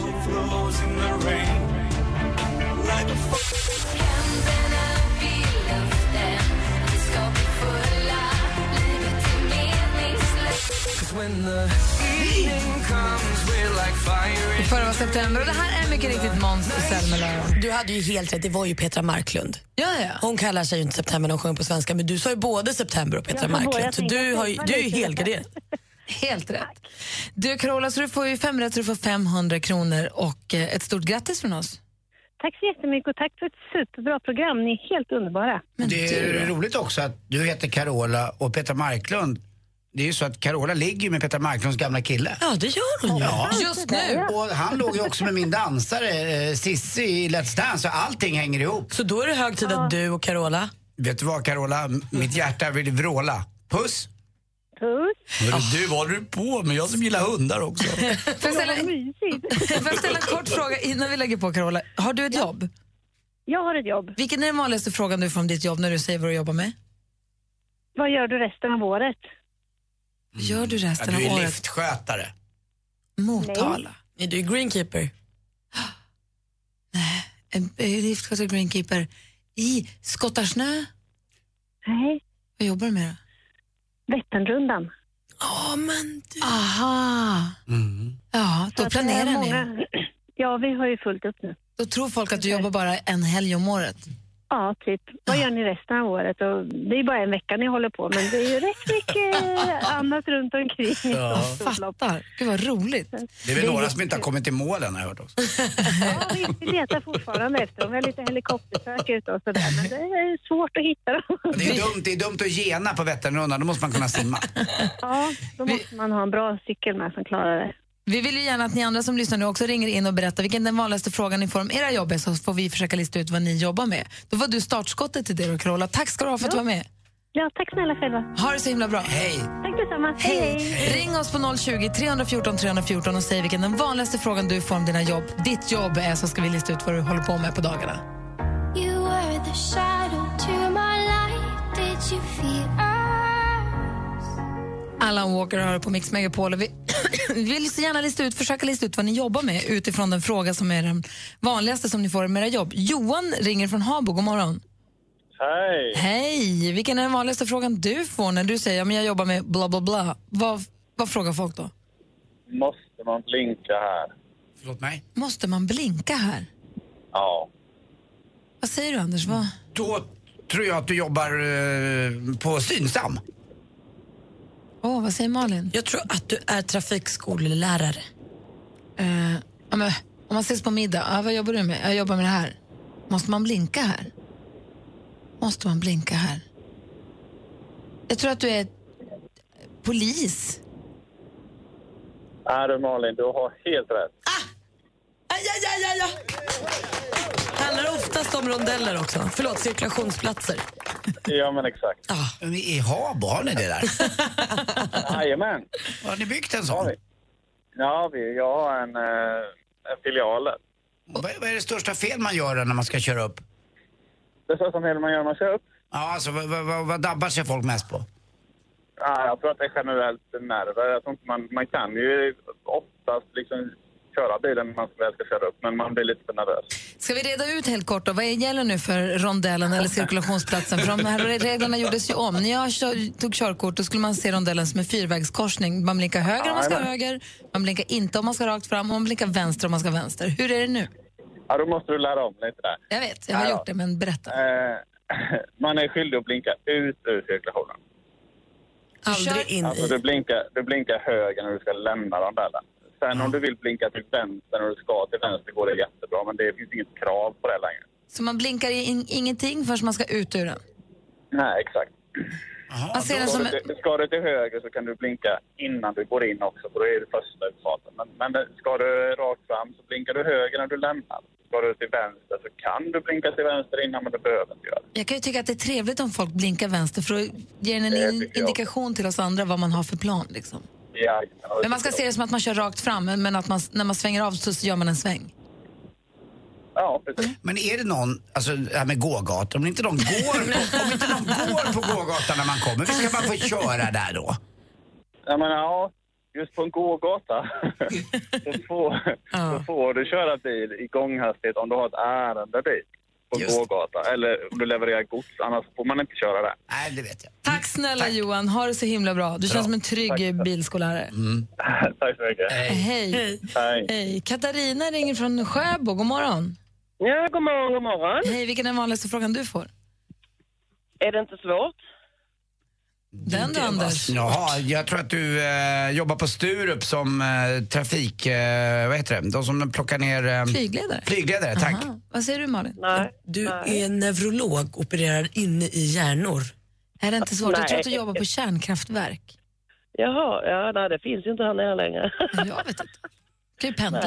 S3: I förra var september och det här är mycket riktigt Måns Zelmerlöw.
S2: Du hade ju helt rätt, det var ju Petra Marklund.
S3: Ja,
S2: Hon kallar sig ju inte September när hon sjunger på svenska, men du sa ju både September och Petra
S3: Ja, men båda
S2: Marklund. Så
S3: tänkte
S2: du,
S3: jag
S2: har ju,
S3: tänkte
S2: du är ju
S3: lite
S2: helgarderad.
S3: Helt rätt. Du Carola, så du får ju fem rätt så du får 500 kronor och eh, ett stort grattis från oss.
S17: Tack så jättemycket och tack för ett superbra program. Ni är helt underbara.
S8: det är roligt också att du heter Carola och Peter Marklund. Det är ju så att Carola ligger ju med Peter Marklunds gamla kille.
S2: Ja, det gör hon ju.
S8: Ja.
S3: Just nu.
S8: Och han låg ju också med min dansare eh, Sissi i Let's Dance så allting hänger ihop.
S2: Så då är det hög tid att du och Carola...
S8: Vet du vad Carola, M- mitt hjärta vill vråla. Puss!
S17: Puss!
S8: Hörru, du, vad håller du på med? Jag som gillar hundar också.
S3: Får jag ställa, får jag ställa en kort fråga innan vi lägger på Carola? Har du ett jobb?
S17: Jag har ett jobb.
S3: Vilken är den vanligaste frågan du får om ditt jobb när du säger vad du jobbar med?
S17: Vad gör du resten av året?
S3: Gör du
S8: Ja,
S3: resten
S8: du
S3: av
S8: är
S3: året?
S8: liftskötare.
S3: Motala.
S2: Nej, du är greenkeeper.
S3: En eh, liftskötare, greenkeeper. I Skottarsnö?
S17: Nej.
S3: Vad jobbar du med då?
S17: Vätternrundan.
S2: Ja, men du...
S3: Aha. Ja,
S17: Så
S3: då
S17: att det är
S3: planerar ni.
S17: många- Ja, vi har ju fullt upp nu.
S3: Då tror folk att du jobbar bara en helg om året.
S17: Ja, typ. Vad gör ni resten av året? Och det är ju bara en vecka ni håller på, men det är ju rätt mycket annat runt omkring.
S8: Ja.
S3: Fattar. Gud vad roligt.
S8: Det är väl några som inte har kommit i målen har jag hört också.
S17: Vi letar fortfarande efter dem. Vi har lite helikoptersök ute och sådär, men det är svårt att hitta dem.
S8: Det är dumt, det är dumt att gena på Vätternrundan, då måste man kunna simma.
S17: Ja, då måste man ha en bra cykel med som klarar det.
S3: Vi vill ju gärna att ni andra som lyssnar nu också ringer in och berättar vilken den vanligaste frågan ni får om era jobb är så får vi försöka lista ut vad ni jobbar med. Då var du startskottet till det då Carola. Tack ska du ha för att du var med.
S17: Ja, tack snälla själva.
S3: Ha det så himla bra.
S8: Hej.
S17: Tack detsamma.
S3: Hej! Ring oss på 020 314 314 och säg vilken den vanligaste frågan du får om dina jobb, ditt jobb är så ska vi lista ut vad du håller på med på dagarna.
S9: You were the shadow to my light. Did you feel
S3: Alan Walker har på Mix Megapol och vi vill så gärna lista ut, försöka lista ut vad ni jobbar med utifrån den fråga som är den vanligaste som ni får med era jobb. Johan ringer från Habo, god morgon.
S18: Hej!
S3: Hej! Vilken är den vanligaste frågan du får när du säger att jag jobbar med bla bla bla? Vad, vad frågar folk då?
S18: Måste man blinka här?
S8: Förlåt mig?
S3: Måste man blinka här?
S18: Ja.
S3: Vad säger du Anders? Vad?
S8: Då tror jag att du jobbar eh, på Synsam.
S3: Åh, vad säger Malin?
S2: Jag tror att du är trafikskolelärare.
S3: Eh, ja, men, om man ses på middag, ja, vad jobbar du med? Jag jobbar med det här. Måste man blinka här? Måste man blinka här? Jag tror att du är polis.
S18: Är du Malin, du har helt rätt.
S2: Aj, aj, aj, aj, aj. Handlar oftast om rondeller också. Förlåt, cirkulationsplatser.
S18: Ja, men exakt.
S8: I Habo, har ni det där?
S18: Jajamän.
S8: Har ni byggt en sån?
S18: Ja, vi, jag har en, eh, en filial där.
S8: Vad vad är det största fel man gör när man ska köra upp?
S18: Det största fel man gör när man kör upp?
S8: Ja, alltså vad, vad, vad, vad dabbar sig folk mest på?
S18: Ja, jag tror att det är generellt nerver. Jag tror inte man, man kan ju oftast liksom köra bilen när man väl ska köra upp, men man blir lite för nervös.
S3: Ska vi reda ut helt kort då, vad är- gäller nu för rondellen eller cirkulationsplatsen? För de här reglerna gjordes ju om. När jag kö- tog körkort då skulle man se rondellen som en fyrvägskorsning. Man blinkar höger om man ska
S18: Jajamän.
S3: höger, man blinkar inte om man ska rakt fram och man blinkar vänster om man ska vänster. Hur är det nu?
S18: Ja, då måste du lära om lite där.
S3: Jag vet, jag har
S18: Ja, ja.
S3: gjort det men berätta.
S18: Eh, man är skyldig att blinka ut ur cirkulationen.
S2: Aldrig in
S18: Alltså
S2: i.
S18: du blinkar, du blinkar höger när du ska lämna rondellen. Sen om du vill blinka till vänster när du ska till vänster går det jättebra, men det finns inget krav på det längre.
S3: Så man blinkar in, ingenting förrän man ska ut ur den?
S18: Nej, exakt.
S3: Man ser den
S18: ska,
S3: som
S18: du till, ska du till höger så kan du blinka innan du går in också, för då är det första utfarten. Men, men ska du rakt fram så blinkar du höger när du lämnar. Ska du till vänster så kan du blinka till vänster innan, men du behöver inte göra det.
S3: Jag kan ju tycka att det är trevligt om folk blinkar vänster för att ge en in- indikation till oss andra vad man har för plan. Liksom.
S18: Ja,
S3: Men man ska se det som att man kör rakt fram, men men att man, s- när man svänger av så så gör man en sväng.
S18: Ja, precis.
S8: Mm. Men är det någon, alltså det här med gågator, om inte de går, om inte de går på gågatan när man kommer, hur ska man få köra där då?
S18: Jag menar, ja, just på en gågata så, får, så får du köra bil i gånghastighet om du har ett ärende dit på en gågata eller om du levererar gods, annars får man inte köra där.
S8: Nej, det vet jag.
S3: Tack snälla Johan, ha det så himla bra. Du känns som en trygg eh, bilskollärare.
S18: Tack så mycket.
S3: Hej. Hej.
S18: Hej.
S3: Hej. Katarina ringer från Sjöbo, god morgon.
S19: Ja, god morgon, god morgon.
S3: Hej, vilken är den vanligaste frågan du får?
S19: Är det inte svårt?
S3: Den då Anders?
S8: Jaha, jag tror att du eh, jobbar på Sturup som eh, trafik... Eh, vad heter det? De som plockar ner...
S3: Ehm,
S8: Eh,
S3: Flygledare.
S8: Flygledare, tack.
S3: Vad säger du Malin?
S2: Du är neurolog, opererar inne i hjärnor.
S3: Är det inte svårt? Jag tror att du
S19: Nej.
S3: jobbar på kärnkraftverk.
S19: Jaha, ja, nej, det finns ju inte här nere längre.
S3: Jag vet inte. kan ju pendla.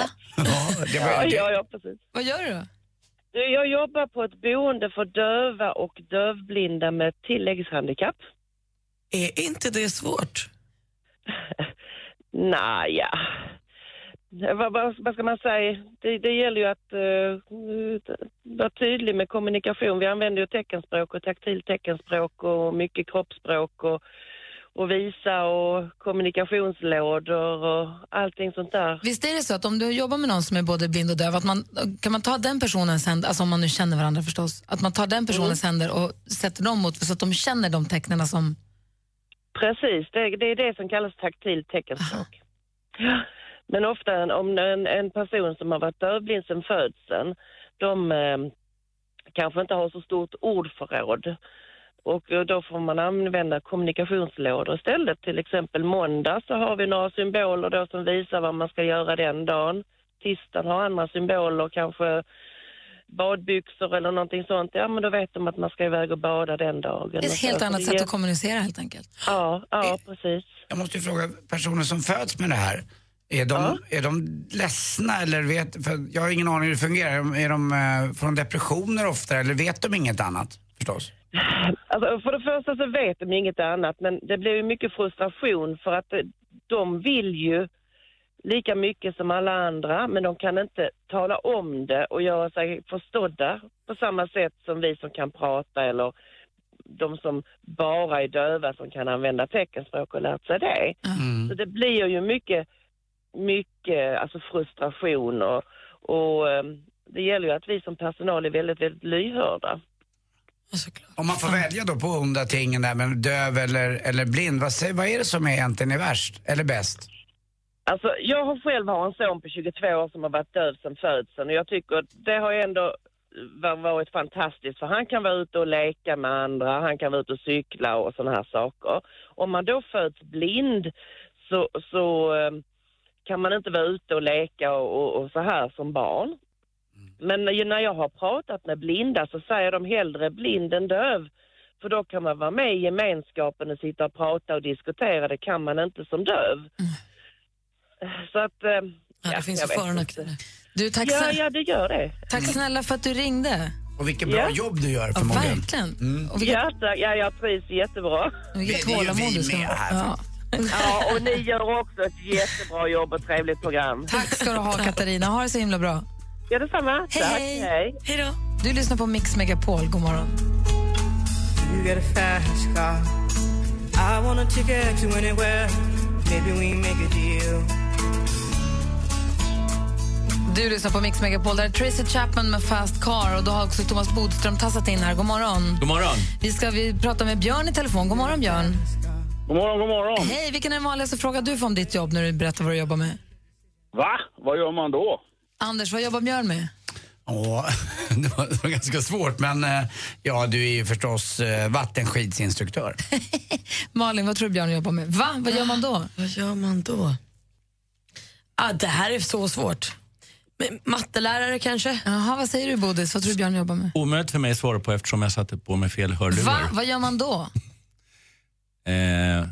S8: det
S19: var- Ja, ja, ja, precis.
S3: Vad gör du då?
S19: Du, Jag jobbar på ett boende för döva och dövblinda med tilläggshandikapp.
S2: Är inte det svårt?
S19: Nej, ja. Vad, vad, vad ska man säga? Det, det gäller ju att eh, vara tydlig med kommunikation. Vi använder ju teckenspråk och taktilt teckenspråk och mycket kroppsspråk och, och visa och kommunikationslådor och allting sånt där.
S3: Visst är det så att om du jobbar med någon som är både blind och döv, att man, kan man ta den personens händer, alltså om man nu känner varandra förstås, att man tar den personens
S19: Mm.
S3: händer och sätter dem mot så att de känner de tecknen som...
S19: Precis, det, det är det som kallas taktilt teckenspråk. Ja. Men ofta en- om en, en person som har varit dövblind sedan födseln, de eh, kanske inte har så stort ordförråd. Och eh, då får man använda kommunikationslådor istället. Till exempel måndag så har vi några symboler då som visar vad man ska göra den dagen. Tisdagen har andra symboler, kanske badbyxor eller någonting sånt. Ja, men då vet de att man ska iväg och bada den dagen.
S3: Det är
S19: Och
S3: ett
S19: så.
S3: helt
S19: Så
S3: annat
S19: det
S3: sätt
S19: ger-
S3: att kommunicera helt enkelt.
S19: Ja, ja precis.
S8: Eh, Jag måste ju fråga, personer som föds med det här, är de, är de ledsna eller vet... För jag har ingen aning hur det fungerar. Är de eh, från depressioner ofta eller vet de inget annat? Förstås.
S19: Alltså, för det första så vet de ju inget annat, men det blir ju mycket frustration för att eh, de vill ju lika mycket som alla andra, men de kan inte tala om det och göra sig förstådda på samma sätt som vi som kan prata eller de som bara är döva som kan använda teckenspråk och lärt sig det. Så det blir ju mycket, mycket alltså frustration och, och eh, det gäller ju att vi som personal är väldigt, väldigt lyhörda.
S8: Om man får välja då på onda tingen där med döv eller, eller blind, vad, säger, vad är det som är egentligen är värst eller bäst?
S19: Alltså, jag har själv har en son på 22 år som har varit döv sedan födseln och jag tycker att det har ändå va- varit fantastiskt för han kan vara ute och leka med andra, han kan vara ute och cykla och sådana här saker. Om man då föds blind så, så eh, kan man inte vara ute och leka och, och, och så här som barn. Men när- ju när jag har pratat med blinda så säger de hellre blind än döv. För då kan man vara med i gemenskapen och sitta och prata och diskutera. Det kan man inte som döv. Så att... eh, Ja, det
S2: finns ju för- och nackdelar.
S3: Du, tack
S19: Ja,
S3: snälla-
S19: ja, det gör det. Mm.
S3: Tack snälla för att du ringde.
S8: Och vilket bra
S19: Ja.
S8: jobb du gör
S3: Ja,
S8: förmodligen.
S3: verkligen.
S19: Och vilket... ja, tack. ja, jag trivs jättebra.
S3: Vilket Det är ju tålamod vi du ska med ha. här, Ja.
S19: ja, och ni gör också ett jättebra jobb och trevligt program.
S3: Tack ska du ha, Katarina. Ha det så himla bra.
S19: Ja, detsamma.
S3: Hej,
S19: Tack.
S3: hej.
S19: Hej.
S3: då. Du lyssnar på Mix Megapol. God morgon.
S20: You got a fast car. I want a ticket to anywhere. Maybe we make a deal.
S3: Du lyssnar på Mix Megapol. Där är Tracy Chapman med Fast Car. Och då har också Thomas Bodström tassat in här. God morgon.
S15: God morgon.
S3: Vi ska vi prata med Björn i telefon. God morgon, Björn.
S21: God morgon, god morgon.
S3: Hej, vilken är den vanligaste frågan du får om ditt jobb när du berättar vad du jobbar med?
S21: Va? Vad gör man då?
S3: Anders, vad jobbar Björn med?
S8: Åh, det var, det var ganska svårt men eh, ja, du är ju förstås eh, vattenskidsinstruktör.
S3: Malin, vad tror du Björn jobbar med? Va? Vad gör man då?
S2: Ah, Vad gör man då? Ah, det här är så svårt. Men, mattelärare kanske?
S3: Jaha, vad säger du Bodis? Vad tror du Björn jobbar med?
S4: Omöjligt för mig att svara på eftersom jag satte på mig fel hörlurar.
S3: Va? Vad gör man då?
S4: Eh,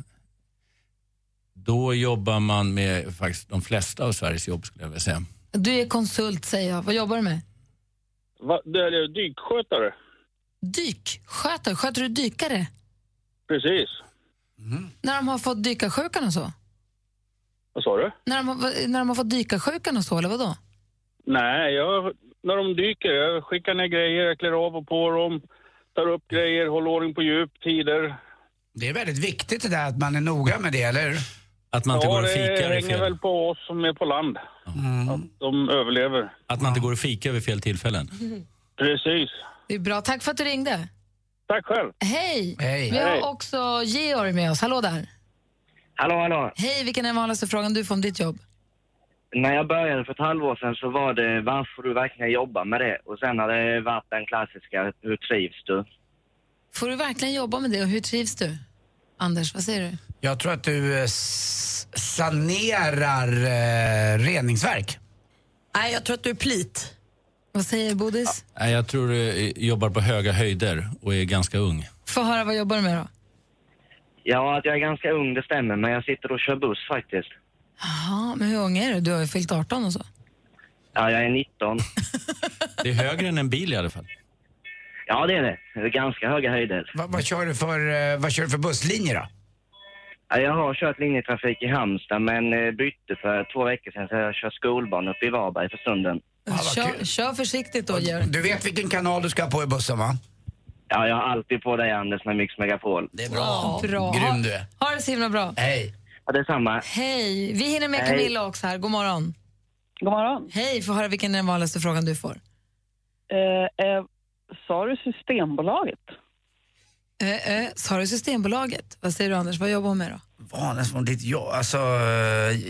S4: då jobbar man med faktiskt de flesta av Sveriges jobb skulle jag vilja säga.
S3: Du är konsult säger jag. Vad jobbar du med?
S21: Va, det är ju dykskötare.
S3: Dykskötare? Sköter du dykare?
S21: Precis.
S3: När de har fått dykarsjukan och så?
S21: Vad sa du?
S3: När de, har- när de har fått dykarsjukan och så, eller vadå?
S21: Nej, jag, när de dyker, jag skickar ner grejer, jag klär av och på dem, tar upp grejer, håller ordning på djup, tider.
S8: Det är väldigt viktigt det där att man är noga med det, eller hur?
S4: Att
S21: ja, det hänger väl på oss som är på land, att de överlever.
S4: Att man inte går och fikar vid fel tillfällen.
S21: Precis.
S3: Det är bra. Tack för att du ringde.
S21: Tack själv.
S3: Hej!
S4: Hej.
S3: Vi
S4: Hej.
S3: har också Georg med oss. Hallå där.
S5: Hallå, hallå.
S3: Hej, vilken är den vanligaste frågan du får om ditt jobb?
S5: När jag började för ett halvår sedan så var det varför du verkligen jobbar med det. Och sen har det varit den klassiska, hur trivs du?
S3: Får du verkligen jobba med det och hur trivs du? Anders, vad säger du?
S8: Jag tror att du eh, s- sanerar eh, reningsverk.
S2: Nej, jag tror att du är plit.
S3: Vad säger Bodis?
S4: Nej, jag tror du eh, jobbar på höga höjder
S5: Eh,
S4: och är ganska ung.
S3: Få höra, vad jobbar du med då?
S5: Ja, att jag är ganska ung det stämmer, men jag sitter och kör buss faktiskt.
S3: Jaha, men hur ung är du? Du har ju fyllt 18 och så.
S5: Ja, jag är 19.
S4: Det är högre än en bil i alla fall.
S5: Ja, det är det. Det är ganska höga höjder.
S8: Va, vad, kör du för, eh, vad kör du för busslinjer då?
S5: Ja, jag har kört linjetrafik i Halmstad, men eh, bytte för två veckor sedan så jag kör skolbarn uppe i Varberg för stunden.
S3: Kör, kör försiktigt då, Georg.
S8: Du vet vilken kanal du ska på i bussen va?
S5: Ja, jag har alltid på dig Anders med Mix Megapol. Det är
S3: bra. Ja, bra.
S5: Grym du är.
S3: Ha det så himla bra.
S8: Hej.
S5: Ja, detsamma.
S3: Hej! Vi hinner med
S5: Hej.
S3: Camilla också här. God morgon.
S6: God morgon.
S3: Hej! Få höra vilken är den vanligaste frågan du får.
S6: Eh, eh, sa du Systembolaget?
S3: Eh, eh, sa du Systembolaget? Vad säger du Anders? Vad jobbar hon med då?
S8: Vanligast från ditt jobb? Alltså, eh,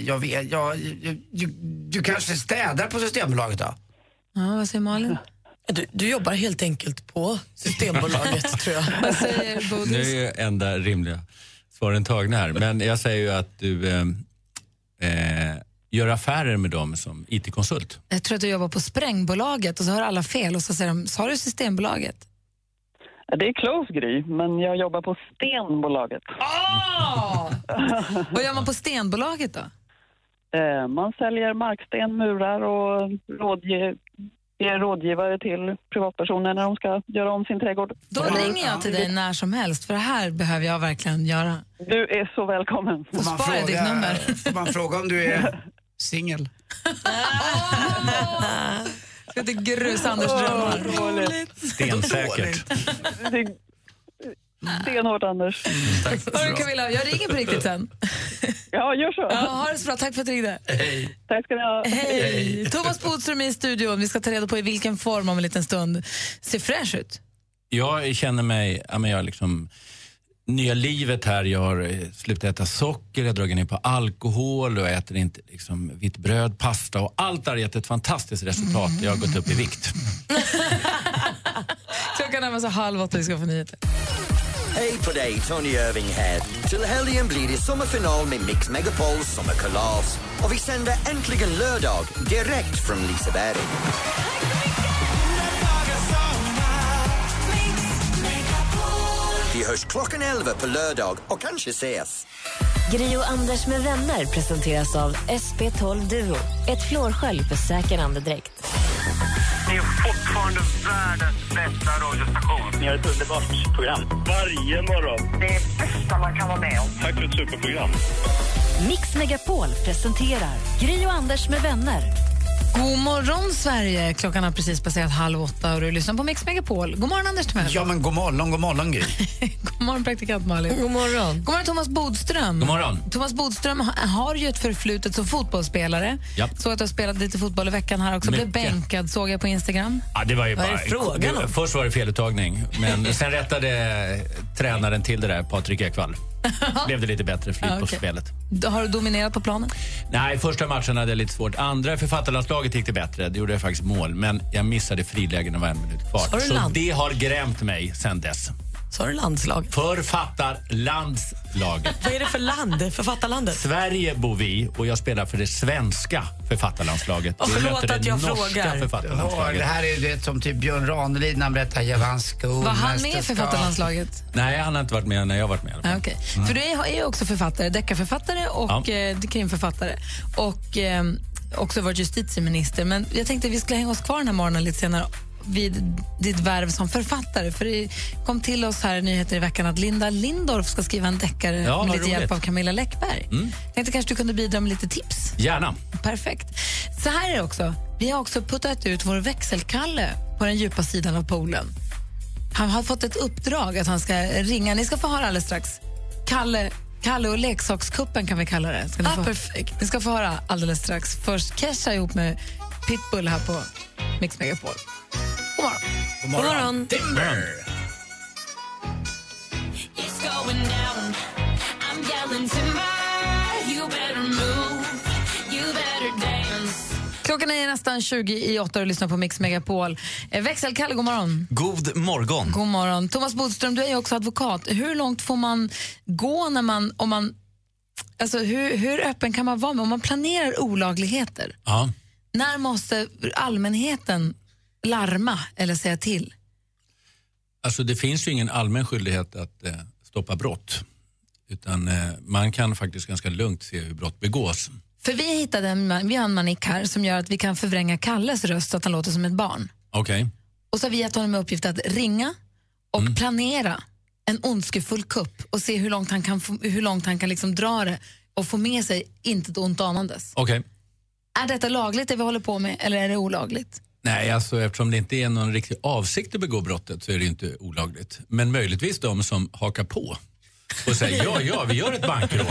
S8: jag vet, jag, jag, du, du kanske städar på Systembolaget då?
S3: Ja, vad säger Malin?
S2: Du, du jobbar helt enkelt på Systembolaget, tror jag.
S3: Vad säger
S4: Nu är ju enda rimliga svaren tagna här. Men jag säger ju att du eh, eh, gör affärer med dem som IT-konsult.
S3: Jag tror att du jobbar på Sprängbolaget och så hör alla fel och så säger de, sa du Systembolaget?
S6: Ja, Det är close Gry, men jag jobbar på Stenbolaget.
S3: Vad gör man på Stenbolaget då?
S6: Eh, man säljer marksten, murar och rådge... ger rådgivare till privatpersoner när de ska göra om sin trädgård.
S3: Då ringer jag till dig när som helst, för det här behöver jag verkligen göra.
S6: Du är så välkommen.
S3: Då sparar jag ditt nummer.
S8: Får man fråga om du är singel?
S3: Ska inte grusa Anders drömmar.
S4: Stensäkert.
S6: Stenhårt, Anders.
S3: Hörru Camilla, jag ringer på riktigt sen.
S6: Ja, gör så.
S3: Ja, ha det så bra. Tack för att du ringde.
S8: Hej.
S6: Tack ska ni ha.
S3: Hej. Thomas Bodström är i studion. Vi ska ta reda på i vilken form om en liten stund. Ser fräsch ut.
S4: Jag känner mig, ja, men jag liksom, nya livet här, jag har eh, slutat äta socker, jag har dragit ner på alkohol och jag äter inte liksom, vitt bröd, pasta och allt det här har gett ett fantastiskt resultat. Jag har gått upp i vikt.
S3: Klockan är alltså halv åtta, vi ska få nyheter.
S10: Hej på dig, Tony Irving här. Till helgen blir det sommarfinal med Mix Megapols sommarkalas. Och vi sänder äntligen lördag direkt från Liseberg. Vi hörs klockan 11 på lördag och kanske ses.
S1: Gri och Anders med vänner presenteras av SP12 Duo. Ett flårskölj för säker andedräkt.
S11: Ni är fortfarande världens bästa radiostation. Ni har ett underbart program. Varje morgon. Det bästa man kan vara med om. Tack för ett superprogram.
S1: Mix Megapol presenterar Gri och Anders med vänner.
S3: God morgon, Sverige. Klockan har precis passerat halv åtta och du lyssnar på Mix Megapol. God morgon, Anders Timell.
S8: Ja men god morgon, god morgon Gry.
S3: God morgon, praktikant Malin.
S8: God morgon.
S3: God morgon, Thomas Bodström.
S8: God morgon.
S3: Thomas Bodström ha- har ju ett förflutet som fotbollsspelare.
S4: Japp.
S3: Så att du har spelat lite fotboll i veckan här också. Blev
S4: Mycket.
S3: bänkad, såg jag på Instagram.
S4: Ja, det var ju
S3: Vad är
S4: bara,
S3: det frågan om?
S4: det- Först var det feluttagning, men sen rättade eh, tränaren till det där, Patrik Ekwall. Blev det lite bättre flyt
S3: Ja,
S4: på
S3: okej.
S4: spelet.
S3: D- Har du dominerat på planen?
S4: Nej, första matchen hade jag lite svårt. Andra författarlandslaget gick det bättre. Det gjorde jag faktiskt mål, men jag missade frilägen och var en minut
S2: Sa
S4: kvar.
S2: du
S4: Så
S2: land?
S4: det har grämt mig sen dess.
S2: Sa du landslag?
S4: Författarlandslaget.
S2: Vad är det för land? Författarlandet?
S4: Sverige bor vi och jag spelar för det svenska författarlandslaget.
S2: Och
S4: Vi
S2: förlåt
S4: möter
S2: att
S4: det
S2: jag
S4: norska
S2: frågar.
S8: Ja,
S4: Författarlandslaget.
S8: det här är ju det som typ Björn Ranelid när han berättar Jag vann skolmästerskap.
S3: Var han med i författarlandslaget?
S4: Nej, han har inte varit med när jag har varit med.
S3: Ja, okej. För du är är ju också författare, deckarförfattare och
S4: mm. Ja.
S3: eh, krimförfattare. Och eh, också varit justitieminister. Men jag tänkte vi skulle hänga oss kvar den här morgonen lite senare vid ditt värv som författare. För det kom till oss här i nyheter i veckan att Linda Lindorff ska skriva en deckare
S4: Ja, vad
S3: med lite
S4: roligt.
S3: hjälp av Camilla Läckberg.
S4: Mm.
S3: Tänkte kanske du kunde bidra med lite tips.
S4: Gärna.
S3: Perfekt. Så här är det också. Vi har också puttat ut vår växelkalle på den djupa sidan av poolen. Han har fått ett uppdrag att han ska ringa. Ni ska få höra alldeles strax. Kalle, Kalle och leksakskuppen kan vi kalla det. Ska ni, få, perfekt. ni ska få höra alldeles strax. Först Kesha ihop med Pitbull här på Mix Megapol. God morgon.
S8: God morgon. Timber.
S9: It's going down. I'm yelling timber. You better move. You better dance.
S3: Klockan är nästan 20 i åtta och du lyssnar på Mix Megapol. Eh, Växelkalle, god morgon.
S22: God morgon.
S3: God morgon. Thomas Bodström, du är ju också advokat. Hur långt får man gå när man... Om man alltså hur, hur öppen kan man vara med om man planerar olagligheter?
S4: Ja.
S3: När måste allmänheten larma eller säga till?
S4: Alltså det finns ju ingen allmän skyldighet att eh, stoppa brott. Utan eh, man kan faktiskt ganska lugnt se hur brott begås.
S3: För vi hittade en, man- vi har en manik här som gör att vi kan förvränga Kalles röst så att han låter som ett barn.
S4: Okej.
S3: Och så har vi gett honom i uppgift att ringa och planera en ondskefull kupp och se hur långt han kan, få, hur långt han kan liksom dra det och få med sig inte ett ont anandes.
S4: Okej.
S3: Är detta lagligt det vi håller på med eller är det olagligt?
S4: Nej, alltså eftersom det inte är någon riktig avsikt att begå brottet så är det ju inte olagligt. Men möjligtvis de som hakar på och säger ja, ja, vi gör ett bankrån.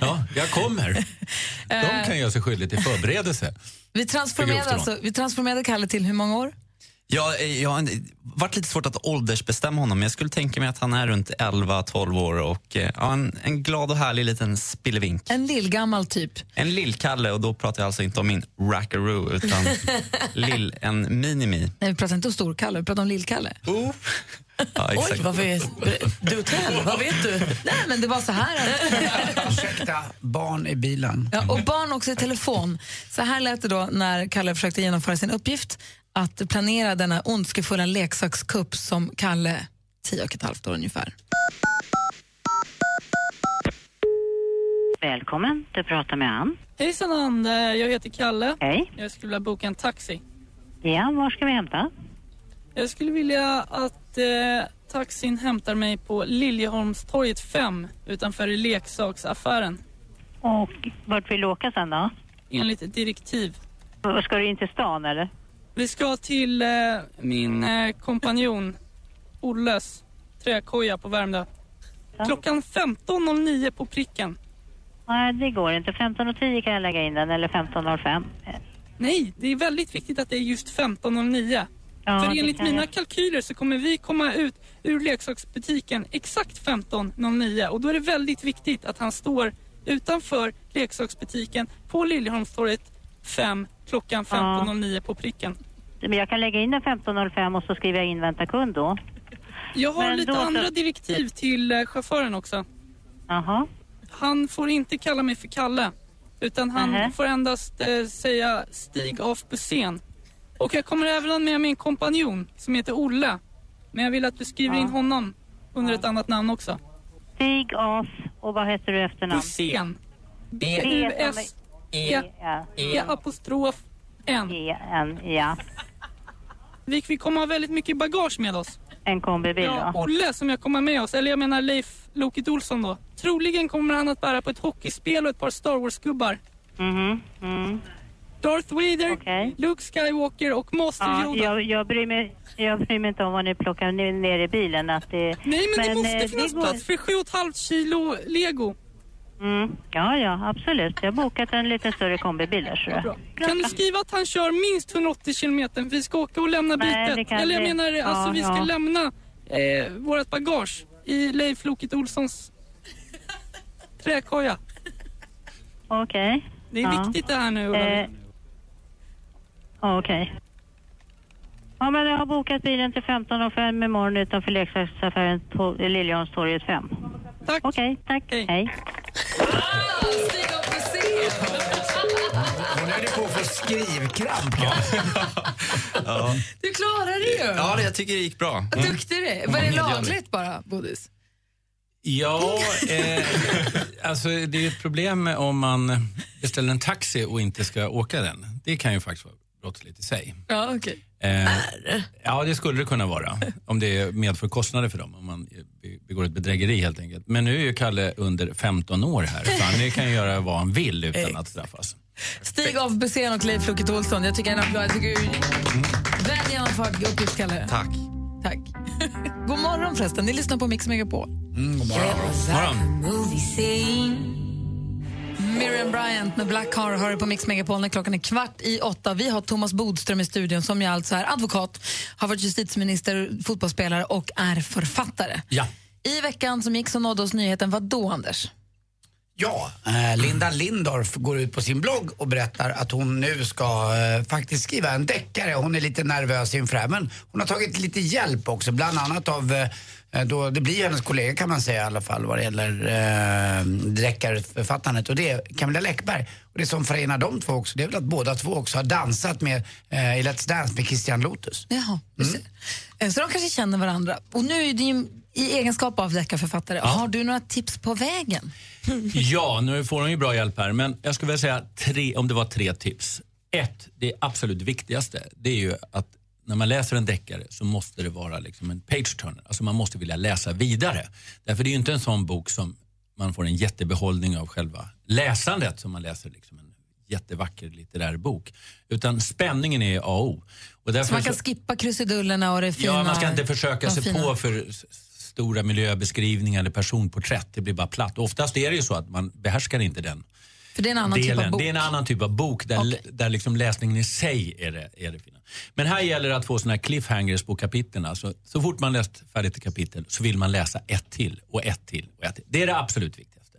S4: Ja, jag kommer. De kan göra sig skyldiga till förberedelse.
S3: Eh, Vi
S22: För
S3: transformerade,
S22: grovt rån.
S3: alltså, vi transformerade Kalle till hur många år?
S22: Jag, jag har varit lite svårt att åldersbestämma honom, men jag skulle tänka mig att han är runt 11-12 år och eh, ja, en, en glad och härlig liten spillevink.
S3: En lillgammal typ.
S22: En lillkalle, och då pratar jag alltså inte om min rackaroo utan lill, en minimi.
S3: Nej, vi pratar inte om Storkalle, vi pratar om Lillkalle.
S22: Ja, exakt.
S3: du hotell? Vad vet du? Nej, men det var så här.
S8: Ursäkta, barn i bilen.
S3: Ja, och barn också i telefon. Så här lät det då när Kalle försökte genomföra sin uppgift att planera denna ondskefulla leksakskupp som Kalle, tio och ett halvt år ungefär.
S23: Välkommen, du pratar med Ann.
S24: Hejsan Ann, Eh, jag heter Kalle.
S23: Hej.
S24: Jag skulle vilja boka en taxi.
S12: Ja, var ska vi hämta?
S23: Jag skulle vilja att eh, taxin hämtar mig på Liljeholmstorget 5 utanför leksaksaffären
S12: Och vart vill du åka sen då?
S23: enligt ett direktiv.
S12: Och Ska du in till stan eller?
S23: Vi ska till eh, min eh, kompanjon Olles träkoja på Värmdö. Klockan 15.09 på pricken.
S12: Nej, det går inte. 15.10 kan jag lägga in den, eller 15.05.
S23: Nej, det är väldigt viktigt att det är just 15.09.
S12: Ja,
S23: För
S12: det
S23: enligt
S12: kan
S23: mina
S12: jag.
S23: kalkyler så kommer vi komma ut ur leksaksbutiken exakt 15.09 och då är det väldigt viktigt att han står utanför leksaksbutiken på Liljeholmstorget 5 klockan 15.09 på pricken.
S12: Men jag kan lägga in den 15.05 och så skriver jag in vänta kund då.
S23: Jag har
S12: Men
S23: lite
S12: då så-
S23: andra direktiv till eh, chauffören också.
S12: Jaha.
S23: Han får inte kalla mig för Kalle utan han
S12: Nähä.
S23: får endast eh, säga Stig av bussen. Och jag kommer även ha med min kompanjon som heter Olle. Men jag vill att du skriver in honom under ett annat namn också.
S12: Stig As och vad heter du efternamn?
S23: Bussén.
S12: E-
S23: B-U-S-E apostrof N.
S12: E-N, E ja.
S23: Vi, vi kommer ha väldigt mycket bagage med oss.
S12: En kombibil
S23: Ja,
S12: då.
S23: Olle som jag kommer med oss, eller jag menar Leif Loket Olsson då. Troligen kommer han att bära på ett hockeyspel och ett par Star Wars-gubbar.
S12: Mhm, mm.
S23: Darth Vader, Luke Skywalker och Master
S12: Ja,
S23: Yoda.
S12: jag, jag, bryr mig, jag bryr mig inte om vad ni plockar ner- ner i bilen. Att det,
S23: Nej, men, det måste
S12: eh,
S23: finnas
S12: går-
S23: plats för 7,5 kilo lego.
S12: Mm, ja, ja, absolut. Jag har bokat en lite större kombibil där, ser du.
S23: Kan du skriva att han kör minst 180 kilometer? Vi ska åka och lämna
S12: Nej, det
S23: bytet.
S12: kan
S23: Eller jag
S12: vi-
S23: menar,
S12: ja,
S23: alltså vi ska
S12: ja.
S23: lämna eh, vårt bagage i Leif Loket Olssons träkoja.
S12: Okej.
S23: Det är
S12: Ja.
S23: viktigt det här nu,
S12: Eh,
S23: Ulla-Britt.
S12: Okej. Ja, men jag har bokat bilen till 15.05 imorgon utanför leksaksaffären to- Liljeholmstorget 5.
S23: Tack.
S12: Okej, tack. Hej.
S8: Hon höll ju på att få skrivkramp.
S22: Ja.
S3: Du klarar det ju!
S22: ja, det- jag tycker det gick bra. Mm.
S3: Vad Duktig du är. Var det lagligt bara, Bodis?
S4: Ja, eh, alltså det är ju ett problem om man beställer en taxi och inte ska åka den. Det kan ju faktiskt vara brottsligt i sig.
S3: Ja, okej.
S4: Eh, ja, det skulle det kunna vara. Om det medför kostnader för dem. Om man eh, be- begår ett bedrägeri helt enkelt. Men nu är ju Kalle under 15 år här. Så han kan ju göra vad han vill utan att straffas.
S3: Stig af Bussén och Leif Loket Olsson. Jag tycker en applåd. Jag tycker väl genomförd uppgift, Kalle.
S22: Tack.
S3: Tack. God morgon förresten. Ni lyssnar på Mix Megapol.
S22: Mm, God
S3: Miriam Bryant med Black Car hör på Mix Megapol när klockan är kvart i åtta. Vi har Thomas Bodström i studion som ju alltså är advokat, har varit justitieminister, fotbollsspelare och är författare.
S8: Ja.
S3: I veckan som gick så nådde oss nyheten, vad då Anders?
S8: Ja, eh, Linda Lindorff går ut på sin blogg och berättar att hon nu ska eh, faktiskt skriva en deckare. Hon är lite nervös inför det här, men hon har tagit lite hjälp också, bland annat av eh, då, det blir hennes kollega kan man säga i alla fall vad det gäller eh, deckarförfattandet och det är Camilla Läckberg. Och det som förenar de två också det är väl att båda två också har dansat med, eh, i Let's Dance med Christian Lotus.
S3: Jaha, mm. Eh, Så de kanske känner varandra. Och nu är du ju i egenskap av deckarförfattare. Har du några tips på vägen?
S4: Ja, nu får hon ju bra hjälp här. Men jag skulle vilja säga tre, om det var tre tips. Ett, det absolut viktigaste, det är ju att när man läser en deckare så måste det vara liksom en page-turner. Alltså man måste vilja läsa vidare. Därför det är ju inte en sån bok som man får en jättebehållning av själva läsandet som man läser liksom en jättevacker litterär bok. Utan spänningen är A och O. Och därför
S3: Så man kan
S4: så-
S3: skippa krusidullerna och det fina?
S4: Ja, man ska inte försöka
S3: de
S4: sig
S3: fina-
S4: på för s- stora miljöbeskrivningar eller personporträtt. Det blir bara platt. Oftast är det ju så att man behärskar inte den
S3: För det är en annan
S4: delen.
S3: typ av bok.
S4: Det är en annan typ av bok där, där liksom läsningen i sig är det, är det fina. Men här gäller det att få såna här cliffhangers på kapitlen. Alltså, så fort man läst färdigt ett kapitel så vill man läsa ett till och ett till och ett till. Det är det absolut viktigaste.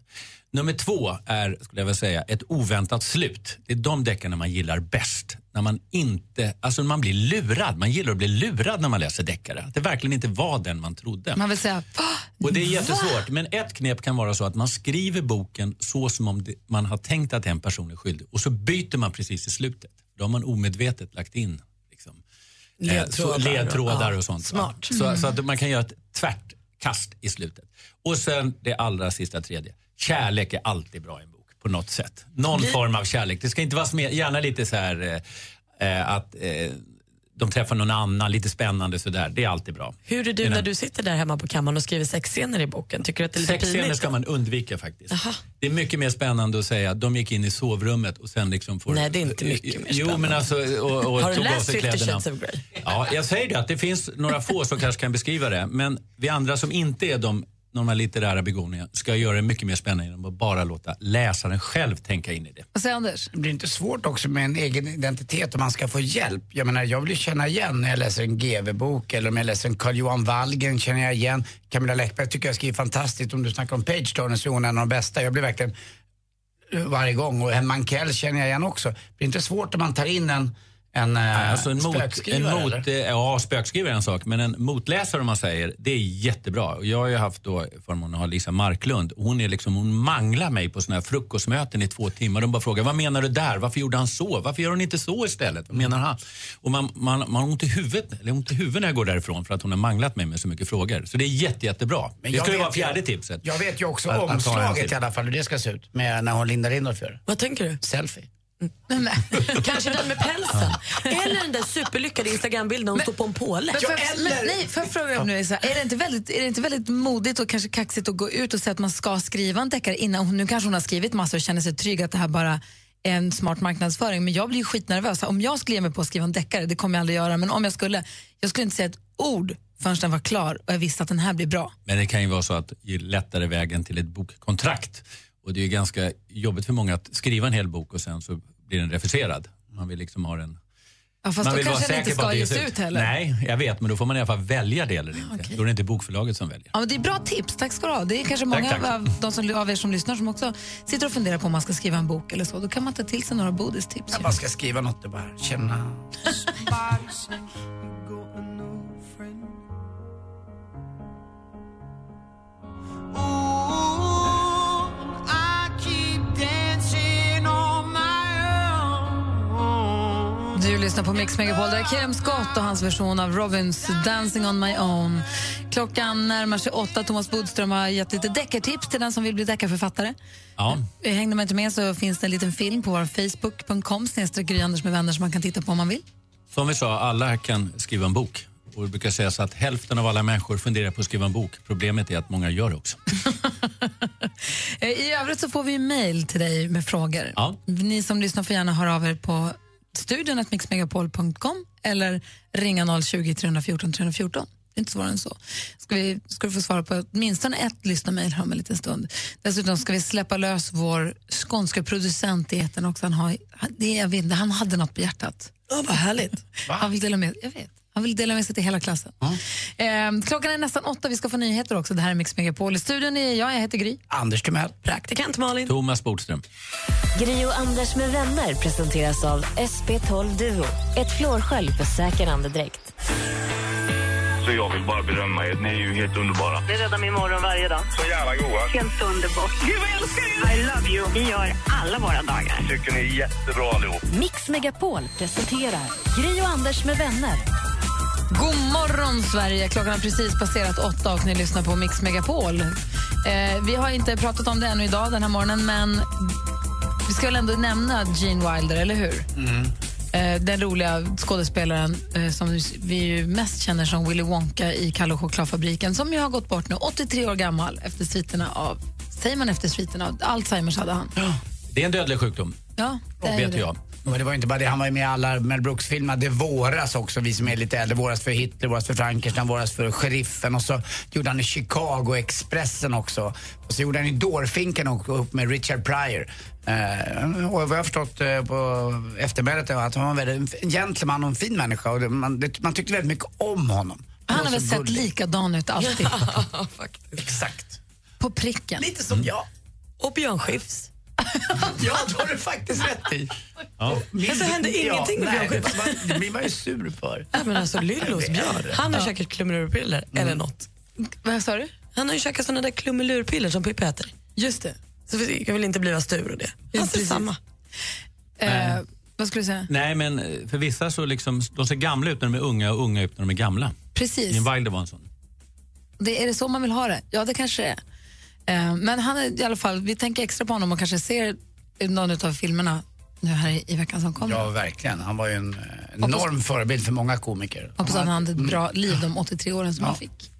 S4: Nummer två är, skulle jag vilja säga, ett oväntat slut. Det är de deckarna man gillar bäst. När man inte, alltså man blir lurad. Man gillar att bli lurad när man läser deckare. Att det verkligen inte var den man trodde.
S3: Man vill säga, "Va?
S4: Och det är jättesvårt, men ett knep kan vara så att man skriver boken så som om det, man har tänkt att en person är skyldig och så byter man precis i slutet. Då har man omedvetet lagt in liksom, eh, så-
S22: Ledtrådar och-
S4: ledtrådar
S22: ja,
S4: och sånt. va?
S22: smart.
S4: Så,
S22: Mm.
S4: så att man kan göra ett tvärtkast i slutet. Och sen det allra sista tredje. Kärlek är alltid bra i en bok på något sätt. Någon
S22: Det-
S4: form av kärlek. Det ska inte vara smed, gärna lite så här eh, eh, att eh, de träffar någon annan, lite spännande sådär. Det är alltid bra.
S2: Hur är
S4: Det
S2: du när du sitter där hemma på kammaren och skriver sexscener i boken? Tycker du att det är lite
S4: Sexscener
S2: pinigt?
S4: ska man undvika faktiskt.
S2: Jaha.
S4: Det är mycket mer spännande att säga de gick in i sovrummet och sen liksom får...
S2: Nej, det är inte mycket mer
S4: Jo, men
S2: spännande.
S4: alltså... Och, och
S2: Har du
S4: tog av
S2: läst
S4: sig
S2: 50
S4: kläderna.
S2: Shades of Grey?
S4: Ja, jag säger det att det finns några få som kanske kan beskriva det. Men vi andra som inte är de normala litterära begåvningarna ska göra det mycket mer spännande genom att bara låta läsaren själv tänka in i det.
S3: Vad säger Anders?
S8: Det blir inte svårt också med en egen identitet om man ska få hjälp. Jag menar, jag vill ju känna igen när jag läser en GV-bok eller om jag läser en Carl-Johan Wallgren känner jag igen. Camilla Läckberg tycker jag skriver fantastiskt. Om du snackar om Page Turner så är hon en av de bästa. Jag blir verkligen eh, varje gång och en Mankell känner jag igen också. Det blir inte svårt om man tar in en, en
S4: Nej,
S8: eh,
S4: Alltså en mot, en
S8: spökskrivare eller?
S4: mot, eh, ja, spökskrivare är en sak, men en motläsare om man säger, det är jättebra. Och Jag har ju haft då förmånen att ha Lisa Marklund. Hon, är liksom, hon manglar mig på såna här frukostmöten i två timmar. De bara frågar, vad menar du där? Varför gjorde han så? Varför gör hon inte så istället? Vad menar han? Och man, man, man har ont i huvudet, eller ont i huvudet när jag går därifrån för att hon har manglat mig med så mycket frågor. Så det är jätte, jättebra.
S8: Men
S4: det
S8: jag
S4: skulle
S8: vet
S4: vara fjärde
S8: ju-
S4: tipset.
S8: Jag vet ju också
S4: Att- att ta en
S8: omslaget
S4: till.
S8: i alla fall hur det ska se ut med när hon lindar in för.
S2: Vad tänker du?
S8: Selfie.
S2: Kanske den med pälsen. Eller den där superlyckade Instagrambilden när hon står på en påle.
S3: Men för, men, nej, för jag fråga om nu, är, så här, är, det inte väldigt, är det inte väldigt modigt och kanske kaxigt att gå ut och säga att man ska skriva en deckare innan? hon- Nu kanske hon har skrivit massor och känner sig trygg att det här bara är en smart marknadsföring, men jag blir ju skitnervös. Om jag skulle ge mig på att skriva en deckare, det kommer jag aldrig göra, men om jag skulle, jag skulle inte säga ett ord förrän den var klar och jag visste att den här blir bra.
S4: Men det kan ju vara så att ju lättare vägen till ett bokkontrakt. Och det är ju ganska jobbigt för många att skriva en hel bok och sen så blir den refuserad. Man vill liksom ha den...
S3: Ja, fast
S4: man
S3: då
S4: vill
S3: kanske den inte
S4: på
S3: ska
S4: att det
S3: ges
S4: ges
S3: ut heller. Ah,
S4: Nej, jag vet, men då får man i alla fall välja det eller inte. Då är det inte bokförlaget som väljer.
S3: Ja, men det är bra tips, tack ska du ha. Det är kanske
S4: Tack,
S3: många
S4: tack.
S3: Av, de som, av er som lyssnar som också sitter och funderar på om man ska skriva en bok eller så. Då kan man ta till sig några Bodis tips.
S8: Jag bara ska skriva något och bara känna...
S3: Du lyssnar på Mix Megapol. Där är Kerem Scott och hans version av Robins Dancing on my own. Klockan närmar sig åtta. Thomas Bodström har gett lite deckartips till den som vill bli deckarförfattare. Eh,
S4: Ja.
S3: Hängde man inte med så finns det en liten film på vår facebook.com snedstreck Gry Anders med vänner som man kan titta på om man vill.
S4: Som vi sa, alla kan skriva en bok. Och det brukar sägas att hälften av alla människor funderar på att skriva en bok. Problemet är att många gör det också.
S3: Eh, I övrigt så får vi ju mejl till dig med frågor.
S4: Ja.
S3: Ni som lyssnar får gärna höra av er på studion mixmegapol.com eller ringa 020 314 314. Det är inte svårare än så. Ska, vi, ska du få svara på åtminstone ett lyssnarmejl här om en liten stund. Dessutom ska vi släppa lös vår skånska producent i etern också. Han, har, han, det, jag vet, inte, han hade något på hjärtat.
S2: Oh, vad härligt.
S3: Han vill dela med, jag vet. Han vill dela med sig till hela klassen. Eh, klockan är nästan åtta, vi ska få nyheter också. Det här är Mix Megapol. I studion är jag, jag heter Gry.
S8: Anders Timell.
S2: Praktikant Malin.
S4: Thomas Bodström.
S1: Gri och Anders med vänner presenteras av SP12 Duo. Ett flårskölj för säker andedräkt.
S11: Så jag vill bara berömma er. Ni är ju helt underbara.
S9: Ni räddar min morgon varje dag.
S11: Så jävla goa.
S9: Helt underbart. Gud, vad jag älskar er! I love you. Vi gör alla våra dagar.
S11: Tycker ni är jättebra allihop.
S1: Mix Megapol presenterar Gri och Anders med vänner.
S3: God morgon, Sverige! Klockan har precis passerat åtta och ni lyssnar på Mix Megapol. Eh, vi har inte pratat om det ännu idag den här morgonen, men vi ska väl ändå nämna Gene Wilder, eller hur?
S14: Mm.
S3: Eh, den roliga skådespelaren eh, som vi ju mest känner som Willy Wonka i Kalle och chokladfabriken som ju har gått bort nu, 83 år gammal, efter sviterna av... Säger man efter sviterna av? Alzheimers hade han.
S4: Det är en dödlig sjukdom.
S3: Ja, det
S8: Och
S3: är ju det.
S8: Men det var ju inte bara det, han var ju med i alla Mel Brooks-filmer. Det våras också, vi som är lite äldre. Våras för Hitler, våras för Frankenstein, våras för Sheriffen. Och så gjorde han i Chicago Expressen också. Och så gjorde han i Dårfinken och upp med Richard Pryor. Eh, och vad jag har förstått eh, på eftermälet är att han var en väldigt en gentleman och en fin människa. Och det, man, det, man tyckte väldigt mycket om honom.
S3: Han har
S8: var
S3: väl
S8: så
S3: sett
S8: gullig.
S3: likadan ut alltid.
S8: Exakt.
S3: På pricken.
S8: Lite
S4: Mm.
S8: som jag.
S2: Och Björn Skifs.
S8: ja, det har du faktiskt rätt i.
S2: Men så Alltså, hände ingenting med
S8: nej,
S2: Björn
S8: det- man- Det blir man ju sur för.
S2: Nej, men alltså, Lyllos Björn. Han har
S8: Ja.
S2: käkat klummelurpiller
S11: Mm.
S2: eller något.
S3: Vad sa du?
S2: Han har ju käkat såna där klummelurpiller som Pippi äter. Just det. Så vi kan väl inte bliva stur och det. Han ser samma.
S3: Eh, vad skulle du säga?
S4: Nej, men eh, för vissa så liksom, de ser gamla ut när de är unga och unga ut när de är gamla.
S3: Precis.
S4: Gene Wilder var en sån.
S3: Det, är det så man vill ha det? Ja, det kanske det är. Eh, men han är i alla fall, vi tänker extra på honom och kanske ser någon av filmerna nu här i veckan som kommer.
S8: Ja, verkligen. Han var ju en eh, enorm förebild för många komiker.
S3: Hoppas att han hade
S8: Mm.
S3: ett bra liv de 83 åren som han fick.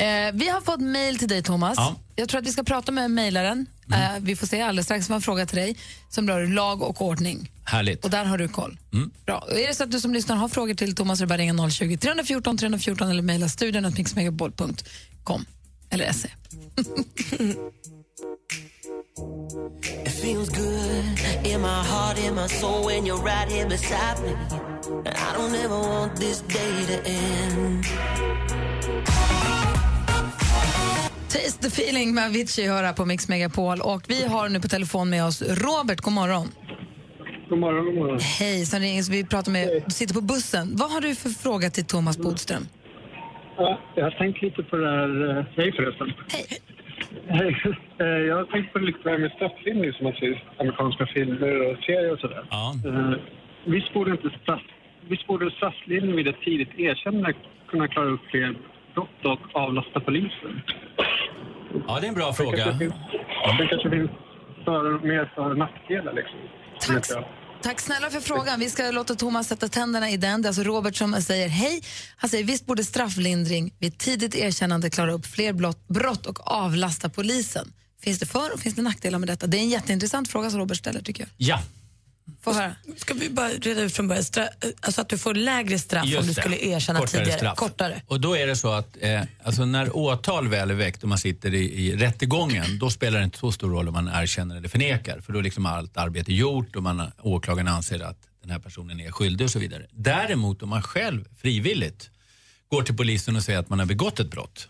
S3: Eh, vi har fått mejl till dig, Thomas.
S8: Ja. Mm.
S3: Jag tror att vi ska prata med mejlaren. Eh, vi får se alldeles strax. Vi har en fråga till dig som rör lag och ordning.
S4: Härligt.
S3: Och där har du koll.
S4: Mm.
S3: Bra. Och Är det så att du som lyssnar har frågor till Thomas så är det bara att ringa 020 314 314 eller mejla studion att mixmegapol.com eller se.
S9: It feels good in my heart, in my soul when you're right here beside me. I don't ever want this day to end.
S3: Taste the feeling med Avicii hör här på Mix Megapol och vi har nu på telefon med oss Robert, god morgon.
S14: God morgon, god morgon.
S3: Hej, som ringer, så vi pratar med, du sitter på bussen. Vad har du för fråga till Thomas Bodström?
S14: Ja, jag har tänkt lite på det här... eh, Hej förresten.
S3: Hej.
S14: Hej. Eh, Jag har tänkt på lite det här med strafflindring som man ser i amerikanska filmer och serier och sådär.
S4: Ja.
S14: Eh, Visst borde inte straff... Visst borde strafflindring vid ett tidigt erkännande kunna klara upp fler brott och avlasta polisen?
S4: Ja, det är en bra fråga.
S14: Det kanske finns för, mer för och nackdelar liksom. Vet jag.
S3: Tack snälla för frågan. Vi ska låta Thomas sätta tänderna i den. Det är alltså Robert som säger hej. Han säger visst borde strafflindring vid ett tidigt erkännande klara upp fler blott- brott och avlasta polisen. Finns det för och finns det nackdelar med detta? Det är en jätteintressant fråga som Robert ställer tycker jag.
S4: Ja.
S3: Få höra.
S2: Ska vi bara reda ut från början, Stra- alltså att du får lägre straff om du
S4: det.
S2: skulle erkänna tidigare. Kortare.
S4: Och då är det så att eh, alltså när åtal väl är väckt och man sitter i, i rättegången, då spelar det inte så stor roll om man erkänner eller förnekar. För då är liksom allt arbete gjort och man, åklagaren anser att den här personen är skyldig och så vidare. Däremot om man själv frivilligt går till polisen och säger att man har begått ett brott,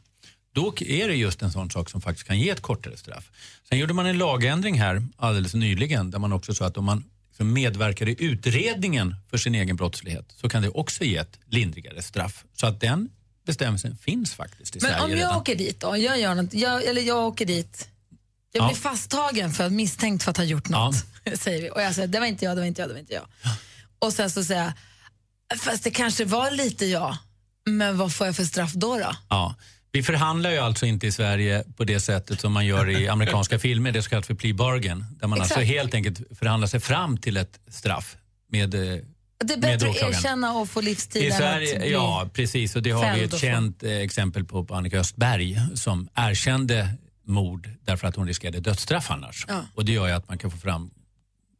S4: då är det just en sån sak som faktiskt kan ge ett kortare straff. Sen gjorde man en lagändring här alldeles nyligen där man också sa att om man liksom medverkar i utredningen för sin egen brottslighet så kan det också ge ett lindrigare straff. Så att den bestämmelsen finns faktiskt i
S3: Men
S4: Sverige
S3: om jag
S4: redan.
S3: åker dit då? Jag gör något, jag, eller jag åker dit. Jag
S4: Ja.
S3: blir fasttagen för misstänkt för att ha gjort något. Säger vi. Och jag säger det var inte jag, det var inte jag, det var inte jag. Och sen så säger jag, fast det kanske var lite jag. Men vad får jag för straff då? då?
S4: Ja. Vi förhandlar ju alltså inte i Sverige på det sättet som man gör i amerikanska filmer, det så kallat för plea bargain. Där man
S3: Exakt.
S4: alltså helt enkelt förhandlar sig fram till ett straff med eh,
S3: Det är
S4: med
S3: bättre att
S4: åklagaren.
S3: erkänna och få livstid
S4: I
S3: än att
S4: Sverige,
S3: bli...
S4: ja precis. Och det har vi
S3: fälld
S4: ett
S3: och få-
S4: känt eh, exempel på, på Annika Östberg som erkände mord därför att hon riskerade dödsstraff annars.
S3: Ja.
S4: Och det gör ju att man kan få fram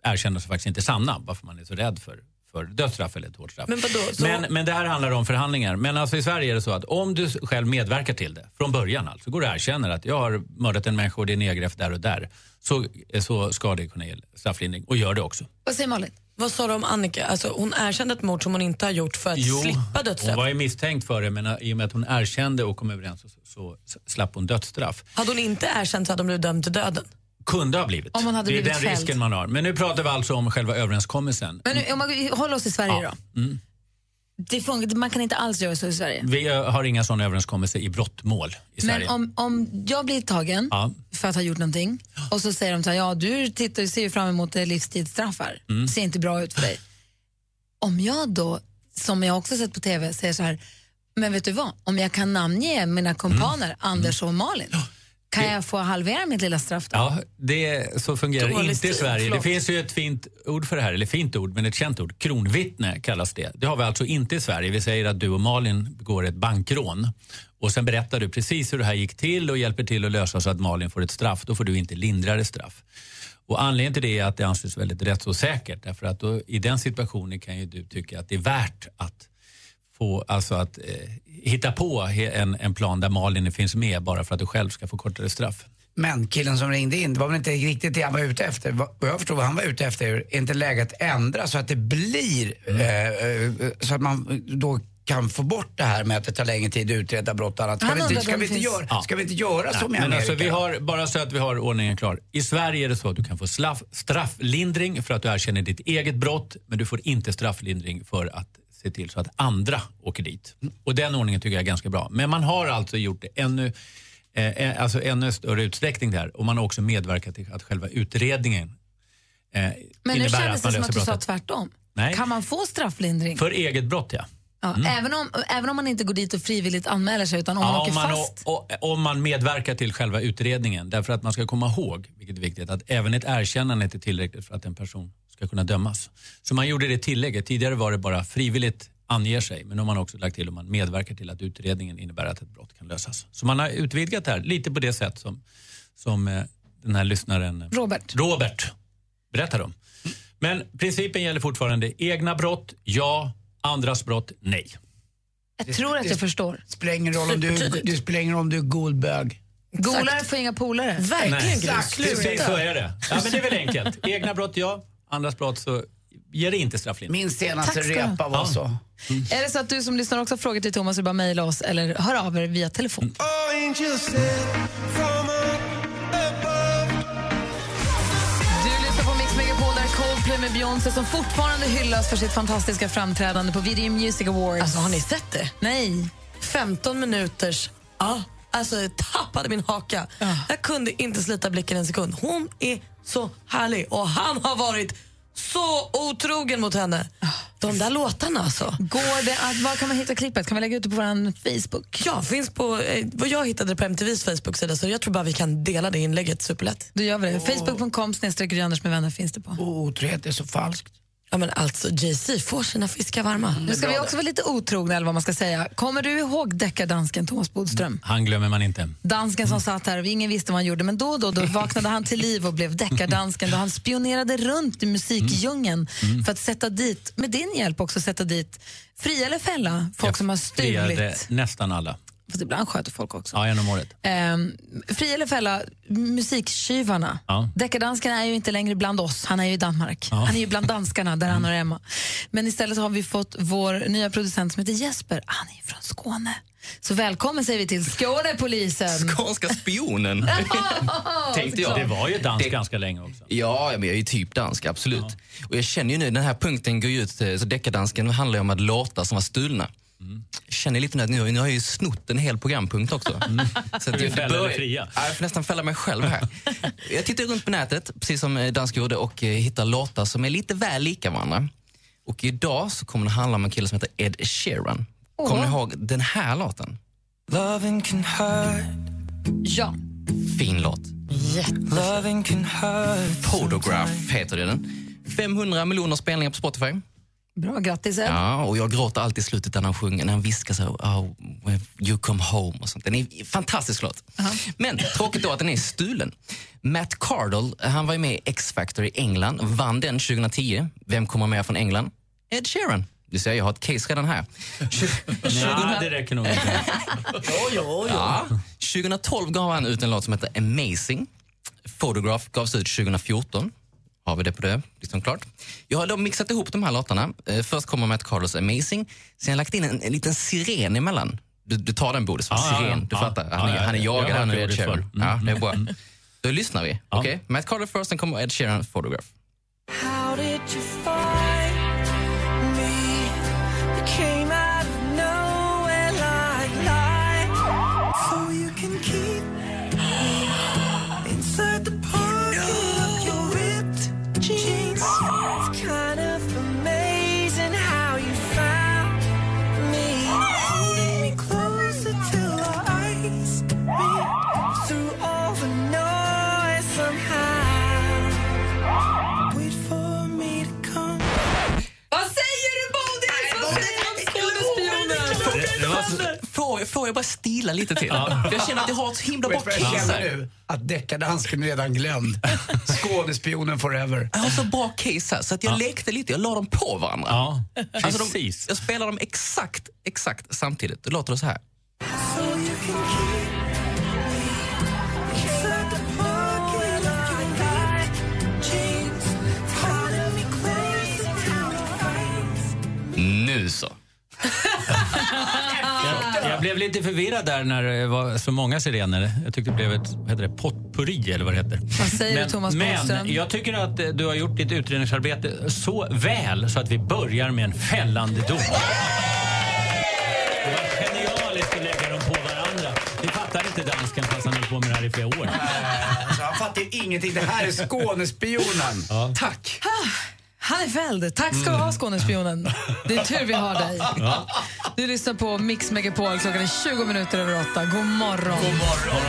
S4: erkännanden som faktiskt inte är sanna, varför man är så rädd för, för dödsstraff eller ett hårt straff.
S2: Men vadå, så-
S4: men, men det här handlar om förhandlingar. Men alltså i Sverige är det så att om du själv medverkar till det, från början alltså, går du och erkänner att jag har mördat en människa och det är nedgrävt där och där, så, så ska det kunna ge strafflindring och gör det också.
S3: Vad säger Malin?
S2: Vad sa du om Annika? Alltså, hon erkände ett mord som hon inte har gjort för att slippa
S4: Hon
S2: dödsstraff.
S4: var ju misstänkt för det, men eh, i och med att hon erkände och kom överens så, så s- slapp hon dödsstraff.
S2: Hade hon inte erkänt så hade hon blivit dömd till döden.
S4: Kunde ha blivit.
S2: Om hon hade
S4: det är
S2: blivit
S4: den
S2: fälld.
S4: risken man har. Men nu pratar vi alltså om själva överenskommelsen.
S3: Men nu, om man håller oss i Sverige då.
S4: Mm.
S3: Det är frågan, man kan inte alls göra så i Sverige.
S4: Vi eh, har inga sådana överenskommelser i brottmål i
S3: Men
S4: Sverige.
S3: om, om jag blir tagen
S4: Ja.
S3: för att ha gjort någonting och så säger de så här, ja du tittar, ser ju fram emot eh, livstidsstraff här.
S9: Mm.
S3: Det ser inte bra ut för dig. Om jag då, som jag också sett på TV, säger så här, men vet du vad, om jag kan namnge mina
S4: Mm.
S3: kompaner Anders och Malin, kan jag få halvera mitt lilla straff då?
S4: Ja, det, så fungerar det
S3: Dålig
S4: inte i
S3: stil,
S4: Sverige.
S3: förlåt.
S4: Det finns ju ett fint ord för det här, eller fint ord, men ett känt ord. Kronvittne kallas det. Det har vi alltså inte i Sverige. Vi säger att du och Malin begår ett bankrån och sen berättar du precis hur det här gick till och hjälper till att lösa så att Malin får ett straff. Då får du inte lindrare straff. Och anledningen till det är att det anses väldigt rättsosäkert därför att då, i den situationen kan ju du tycka att det är värt att få, alltså att eh, hitta på he- en, en plan där Malin finns med bara för att du själv ska få kortare straff.
S8: Men killen som ringde in, det var väl inte riktigt det han var ute efter. Vad vad jag förstod vad han var ute efter är inte läget att ändra så att det blir,
S4: Mm.
S8: eh, eh, så att man då kan få bort det här med att det tar längre tid att utreda brott och annat. Ska,
S4: Han
S8: vi inte,
S4: undrade
S8: ska,
S4: om
S8: vi,
S4: det
S8: inte
S4: finns-
S8: göra,
S4: Ja.
S8: ska vi inte göra
S4: Nej,
S8: som i
S4: men
S8: Amerika?
S4: alltså, vi har, Bara så att vi har ordningen klar. I Sverige är det så att du kan få slaff, strafflindring för att du erkänner ditt eget brott men du får inte strafflindring för att se till så att andra åker dit. Och Den ordningen tycker jag är ganska bra. Men man har alltså gjort det ännu eh, eh, alltså ännu större utsträckning där och man har också medverkat till att själva utredningen eh,
S3: Men nu
S4: innebär
S3: kändes
S4: att man
S3: det som
S4: löser
S3: att du sa
S4: brottet.
S3: tvärtom.
S4: Nej.
S3: Kan man få strafflindring?
S4: För eget brott, ja.
S3: Ja, även, om, även om man inte går dit och frivilligt anmäler sig utan om man
S4: Ja,
S3: åker
S4: om, man,
S3: fast.
S4: och, och, om man medverkar till själva utredningen. Därför att man ska komma ihåg, vilket är viktigt, att även ett erkännande inte är tillräckligt för att en person ska kunna dömas. Så man gjorde det tillägget. Tidigare var det bara frivilligt anger sig, men nu har man också lagt till om man medverkar till att utredningen innebär att ett brott kan lösas. Så man har utvidgat det här lite på det sätt som, som eh, den här lyssnaren eh,
S3: Robert.
S4: Robert berättar om. Men principen gäller fortfarande. Egna brott, ja. Andras brott, nej.
S3: Jag tror att jag förstår.
S8: Spelar ingen roll om du,
S3: Supertydligt.
S8: det spelar ingen roll om du är golbög.
S3: Golare får inga polare.
S4: Nej. Exakt, precis så är det. Ja, men det är väl enkelt. Egna brott, ja. Andras brott så ger det inte strafflindring.
S8: Min senaste
S3: Tack ska du ha.
S8: repa var så.
S3: Är det så att du som lyssnar också har frågor till Thomas så är det bara att mejla oss eller hör av er via telefon.
S8: Mm. Oh,
S3: Du lyssnar på Mix Megapol där Coldplay med Beyoncé som fortfarande hyllas för sitt fantastiska framträdande på Video Music Awards.
S2: Alltså, har ni sett det?
S3: Nej.
S2: 15 minuters... Ja. Alltså, jag tappade min haka. Jag kunde inte slita blicken en sekund. Hon är så härlig och han har varit så otrogen mot henne. De där låtarna alltså.
S3: Går det att, var kan man hitta klippet? Kan vi lägga ut det på vår Facebook?
S2: Ja, finns på, eh, vad jag hittade det på MTVs Facebook-sida så jag tror bara vi kan dela det inlägget superlätt.
S3: Då gör vi det. Facebook.com snedstreck Gry Anders med vänner finns det på.
S8: Otrohet är så falskt.
S2: Ja men alltså Jay-Z får sina fiskar varma.
S3: Nu ska vi också vara lite otrogna eller vad man ska säga. Kommer du ihåg deckardansken Thomas Bodström?
S4: Han glömmer man inte.
S3: Dansken som satt här och ingen visste vad han gjorde men då och då, då vaknade han till liv och blev deckardansken då han spionerade runt i musikdjungeln
S4: Mm.
S3: för att sätta dit, med din hjälp också, sätta dit fria eller fälla folk som har
S4: Friade
S3: stulit.
S4: nästan alla.
S3: Fast ibland sköter folk också.
S4: Ja, genom året.
S3: Ehm, fria eller fälla, musiktjuvarna.
S4: Ja.
S3: Deckardansken är ju inte längre bland oss, han är ju i Danmark.
S4: Ja. Mm.
S3: Han är ju bland danskarna, där han hör hemma. Men istället har vi fått vår nya producent som heter Jesper, han är ju från Skåne. Så välkommen säger vi till Skånepolisen.
S15: Skånska spionen. tänkte jag.
S4: Det var ju dans ganska länge också.
S15: Ja, ja, men jag är ju typ dansk, absolut. Och jag känner ju nu, den här punkten går ju ut, eh, så deckardansken handlar ju om att låtar som var stulna.
S4: Mm.
S15: Jag känner lite nu att nu, nu har jag ju snott en hel programpunkt också.
S4: Mm.
S15: Så
S4: Ska vi fälla eller fria?
S15: Ja, jag får nästan fälla mig själv här. jag tittar runt på nätet, precis som eh, dansk gjorde, och eh, hittar låtar som är lite väl lika varandra. Och idag så kommer det handla om en kille som heter Ed Sheeran. Kommer ni ihåg den här låten?
S13: Loving can hurt.
S3: Ja.
S15: Fin låt.
S13: Loving can hurt.
S15: Photograph heter den. 500 miljoner spelningar på Spotify.
S3: Bra, grattis Ed.
S15: Ja, och jag gråter alltid i slutet när han sjunger, när han viskar så här, oh, when you come home och sånt. Den är fantastisk låt. Men tråkigt då att den är stulen. Matt Cardle, han var ju med i X-Factor i England, vann den 2010. Vem kommer med från England? Ed Sheeran. Du ser, jag har ett case redan här.
S4: Nej, det räcker nog inte.
S15: Ja. 2012 gav han ut en låt som heter Amazing. Photograph gavs ut 2014. Har vi det på det? Liksom klart. Jag har då mixat ihop de här låtarna. Eh, Först kommer Matt Carlos Amazing. Sen har jag lagt in en, en liten siren emellan. Du, du tar den Bodis,
S4: Ja, ja, ja.
S15: siren. Du
S4: Ja.
S15: fattar. Han,
S4: Ja,
S15: är,
S4: ja,
S15: han är
S4: ja. Jag
S15: jagad
S4: har
S15: här nu,
S4: hört
S15: Ed
S4: ordet
S15: Sheeran.
S4: förr.
S15: Ja, det är bra.
S4: Mm.
S15: Då lyssnar vi. Okej, Matt Carlos först, sen kommer Ed Sheeran Photograph.
S13: How did you find me? You came out of nowhere like light. So you can keep me inside the pocket of your ripped jeans. It's kind of amazing how you found me. Holding me closer till our eyes meet. Through all the noise somehow. Wait for me to come.
S3: Vad säger du Bodil? Vad säger du om Skånespionen?
S15: Det- det var så- Får, jag- får jag bara stila lite till? För Jag känner att jag har ett så himla bra case
S8: Känner
S15: här.
S8: du att deckardansken är redan glömd? Skådespionen forever.
S15: Jag har så bra case här, så att jag lekte lite. Jag la dem på varandra.
S4: Ja,
S15: alltså de, jag spelar dem exakt, exakt samtidigt. Då låter det så här.
S13: So you can keep me inside the pocket of your right jeans. Calling me crazy till your eyes.
S15: Nu så.
S4: Jag, jag blev lite förvirrad där när det var så många sirener. Jag tyckte det blev ett vad heter det, potpurri eller vad det heter.
S3: Vad säger du, Thomas Bodström?
S4: men jag tycker att eh, du har gjort ditt utredningsarbete så väl så att vi börjar med en fällande dom. Det var genialiskt att lägga dem på varandra. Det fattar inte dansken fast han höll på med det här i flera år.
S8: Alltså, han fattar ingenting. Det här är Skånespionen.
S15: Tack.
S3: Han är fälld. Ah, Tack ska
S4: Mm.
S3: du ha, Skånespionen. Det är tur vi har dig. Du lyssnar på Mix Megapol. Klockan är 20 minuter över åtta. God morgon. God morgon.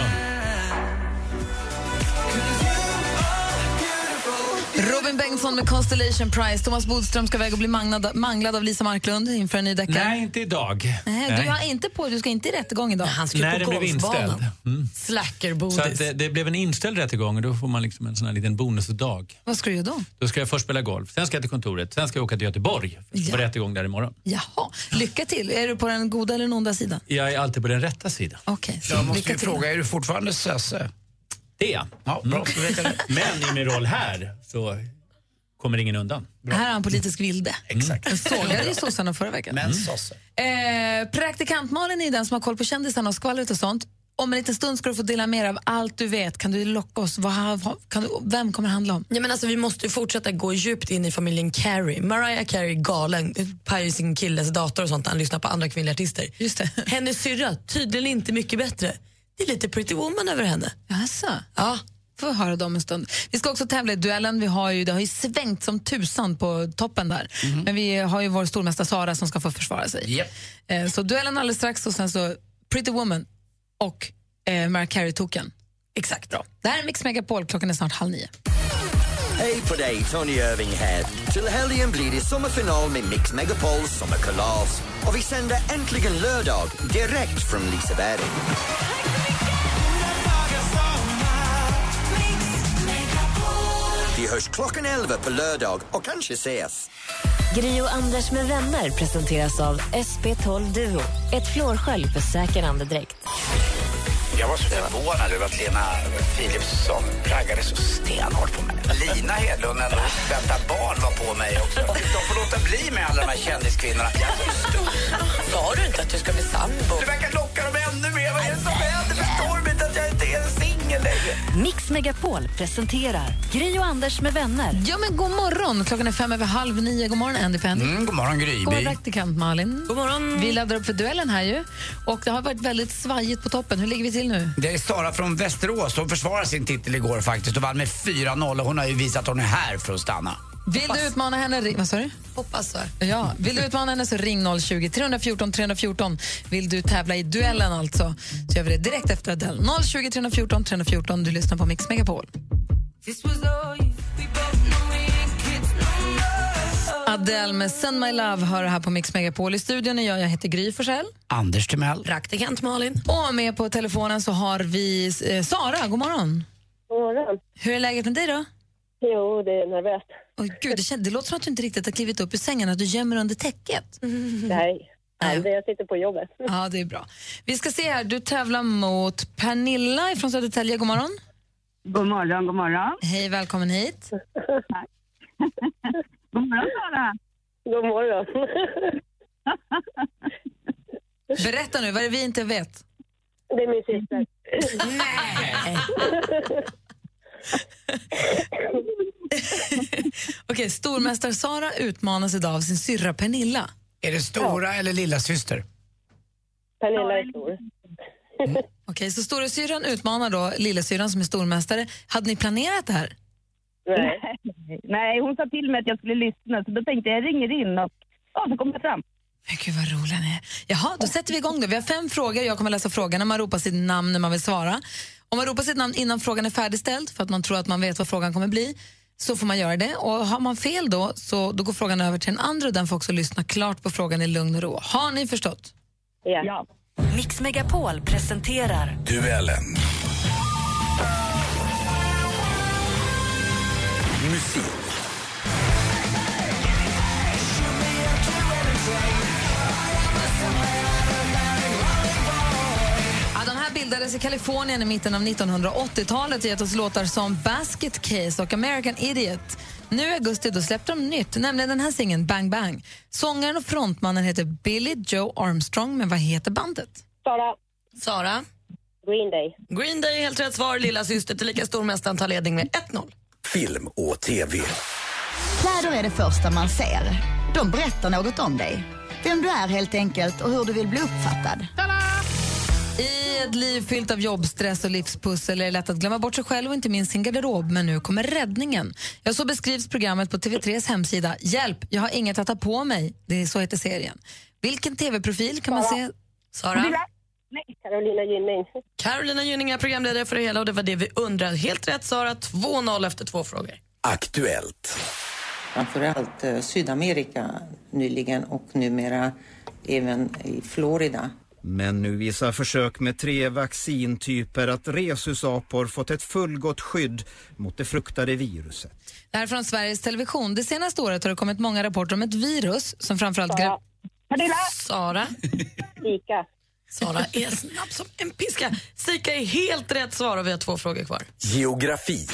S13: Beautiful,
S3: Robin Bengtsson med Constellation Prize. Thomas Bodström ska väga och bli manglad, manglad av Lisa Marklund inför en ny deckare.
S4: Nej, inte idag.
S3: Nej, Du, har inte på, du ska inte i rättegång idag. Han
S2: Nej,
S4: Nej, den blev inställd. Mm. Så att
S2: Slackerbodis.
S4: det, det blev en inställd rättegång och då får man liksom en sån här liten bonusdag.
S3: Vad ska du göra då?
S4: Då ska jag först spela golf, sen ska jag till kontoret, sen ska jag åka till Göteborg
S3: Ja.
S4: på rättegång där imorgon.
S3: Jaha. Lycka till. Är du på den goda eller den onda sidan?
S4: Jag är alltid på den rätta sidan.
S3: Okej. så
S8: Jag måste
S3: lycka
S8: ju
S3: till.
S8: fråga, är du fortfarande sösse?
S4: Det är jag. Mm.
S8: Ja, bra. då vet jag det.
S4: Men i min roll här så kommer ingen undan.
S3: Här är han politisk vilde.
S4: Exakt.
S3: Jag sågade ju sossarna förra veckan.
S8: Men sosse.
S3: Eh, praktikant-Malin är den som har koll på kändisarna och skvallret och sånt. Om en liten stund ska du få dela med dig av allt du vet. Kan du locka oss? Vad, vad, kan du, vem kommer det handla om?
S2: Ja, men alltså, vi måste ju fortsätta gå djupt in i familjen Carey. Mariah Carey är galen, pajar sin killes dator och sånt när han lyssnar på andra kvinnliga artister.
S3: Just det.
S2: Hennes syrra, tydligen inte mycket bättre. Det är lite pretty woman över henne.
S3: Jaså?
S2: Ja.
S3: Får vi höra dem en stund. Vi ska också tävla i duellen. Vi har ju, det har ju svängt som tusan på toppen där.
S2: Mhm.
S3: Men vi har ju vår stormästare Sara som ska få försvara sig. Eh, så duellen alldeles strax och sen så Pretty Woman och eh, Mariah Carey-token.
S2: Exakt. Bra.
S3: Det här är Mix Megapol, klockan är snart halv nio.
S10: Hej på dig, Tony Irving här. Till helgen blir det sommarfinal med Mix Megapols sommarkalas. Och vi sänder äntligen lördag direkt från Liseberg. Vi hörs klockan 11 på lördag och kanske ses.
S1: Gri och Anders med vänner presenteras av SP12 Duo. Ett flårskölj för säker andedräkt.
S8: Jag var så förvånad över att Lena Philipsson raggade så stenhårt på mig. Lina Hedlund, en vänta barn, var på mig också. De får låta bli med alla de här kändiskvinnorna.
S2: Sa du inte att du ska bli sambo?
S8: Du verkar locka dem ännu mer. Vad är det som händer? Förstår de inte att jag inte är en singel längre?
S1: Mix Megapol presenterar Gri och Anders med vänner.
S3: Ja, men god morgon! Klockan är fem över halv nio. God morgon, Andy Penn.
S8: Mm, god morgon, Gry.
S3: God morgon, praktikant Malin. God morgon. Vi laddar upp för duellen här ju. Och det har varit väldigt svajigt på toppen. Hur ligger vi till nu?
S8: Det är Sara från Västerås. Hon försvarade sin titel igår faktiskt och vann med 4-0 och hon har ju visat att hon är här för att stanna.
S3: Vill du utmana henne... ring- Vad sa du?
S2: Hoppas så.
S3: Ja, vill du utmana henne så ring 020 314 314. Vill du tävla i duellen alltså så gör vi det direkt efter Adele. 020 314 314. Du lyssnar på Mix Megapol. Adele med Send My Love hör här på Mix Megapol. I studion är jag, jag heter Gry Forssell.
S8: Anders Timell.
S2: Praktikant Malin.
S3: Och med på telefonen så har vi eh, Sara. God morgon.
S16: God morgon.
S3: Hur är läget med dig då?
S16: Jo, det är nervöst.
S3: Oj, Gud, det, kän- det låter som att du inte riktigt har klivit upp ur sängen, att du gömmer under täcket.
S16: Nej, aldrig. Jag sitter på jobbet.
S3: Ja, det är bra. Vi ska se här, du tävlar mot Pernilla från Södertälje. God morgon.
S17: God morgon, god morgon.
S3: Hej, välkommen hit.
S17: God morgon, Sara.
S16: God morgon.
S3: Berätta nu, vad är det vi inte vet?
S16: Det är min syster.
S3: Okej, stormästare Sara utmanas idag av sin syrra Pernilla.
S8: Är det stora eller lilla syster?
S16: Pernilla är stor.
S3: Mm. Okej, så storasyrran utmanar då lillasyrran som är stormästare. Hade ni planerat det här?
S16: Nej.
S17: Nej, hon sa till mig att jag skulle lyssna så då tänkte jag jag ringer in och ja, så kommer jag fram.
S3: Men gud vad rolig han är. Jaha, då sätter vi igång då. Vi har fem frågor. Jag kommer läsa frågorna. Man ropar sitt namn när man vill svara. Om man ropar sitt namn innan frågan är färdigställd för att man tror att man vet vad frågan kommer bli så får man göra det. Och har man fel då, så då går frågan över till en andra och den får också lyssna klart på frågan i lugn och ro. Har ni förstått?
S16: Ja.
S1: Mix Megapol presenterar
S8: Duellen.
S10: Musik.
S3: Ja, de här bildades i Kalifornien i mitten av 1980-talet och gett oss låtar som Basket Case och American Idiot. Nu i augusti då släppte de nytt, nämligen den här singeln Bang Bang. Sångaren och frontmannen heter Billy Joe Armstrong, men vad heter bandet?
S16: Sara.
S2: Sara.
S16: Green Day.
S2: Green Day är helt rätt svar. Lilla syster tillika stormästaren tar ledning med 1-0.
S10: Film och TV.
S24: Kläder är det första man ser. De berättar något om dig. Vem du är helt enkelt och hur du vill bli uppfattad.
S3: I ett liv fyllt av jobbstress och livspussel är det lätt att glömma bort sig själv och inte minst sin garderob, men nu kommer räddningen. Ja, så beskrivs programmet på TV3s hemsida. Hjälp, jag har inget att ta på mig. Det är så heter serien. Vilken TV-profil kan man se?
S2: Sara.
S16: Carolina Gynning.
S2: Carolina Gynning är programledare för det hela och det var det vi undrar. Helt rätt Sara, 2-0 efter två frågor.
S18: Aktuellt.
S19: Framförallt eh, Sydamerika nyligen och numera även i Florida.
S20: Men nu visar försök med tre vaccintyper att rhesusapor fått ett fullgott skydd mot det fruktade viruset.
S3: Det här är från Sveriges Television. Det senaste året har det kommit många rapporter om ett virus som framförallt... Sara. Sara.
S16: Lika.
S2: Sara är snabb som en piska. Sika är helt rätt svar och vi har två frågor kvar.
S18: Geografi.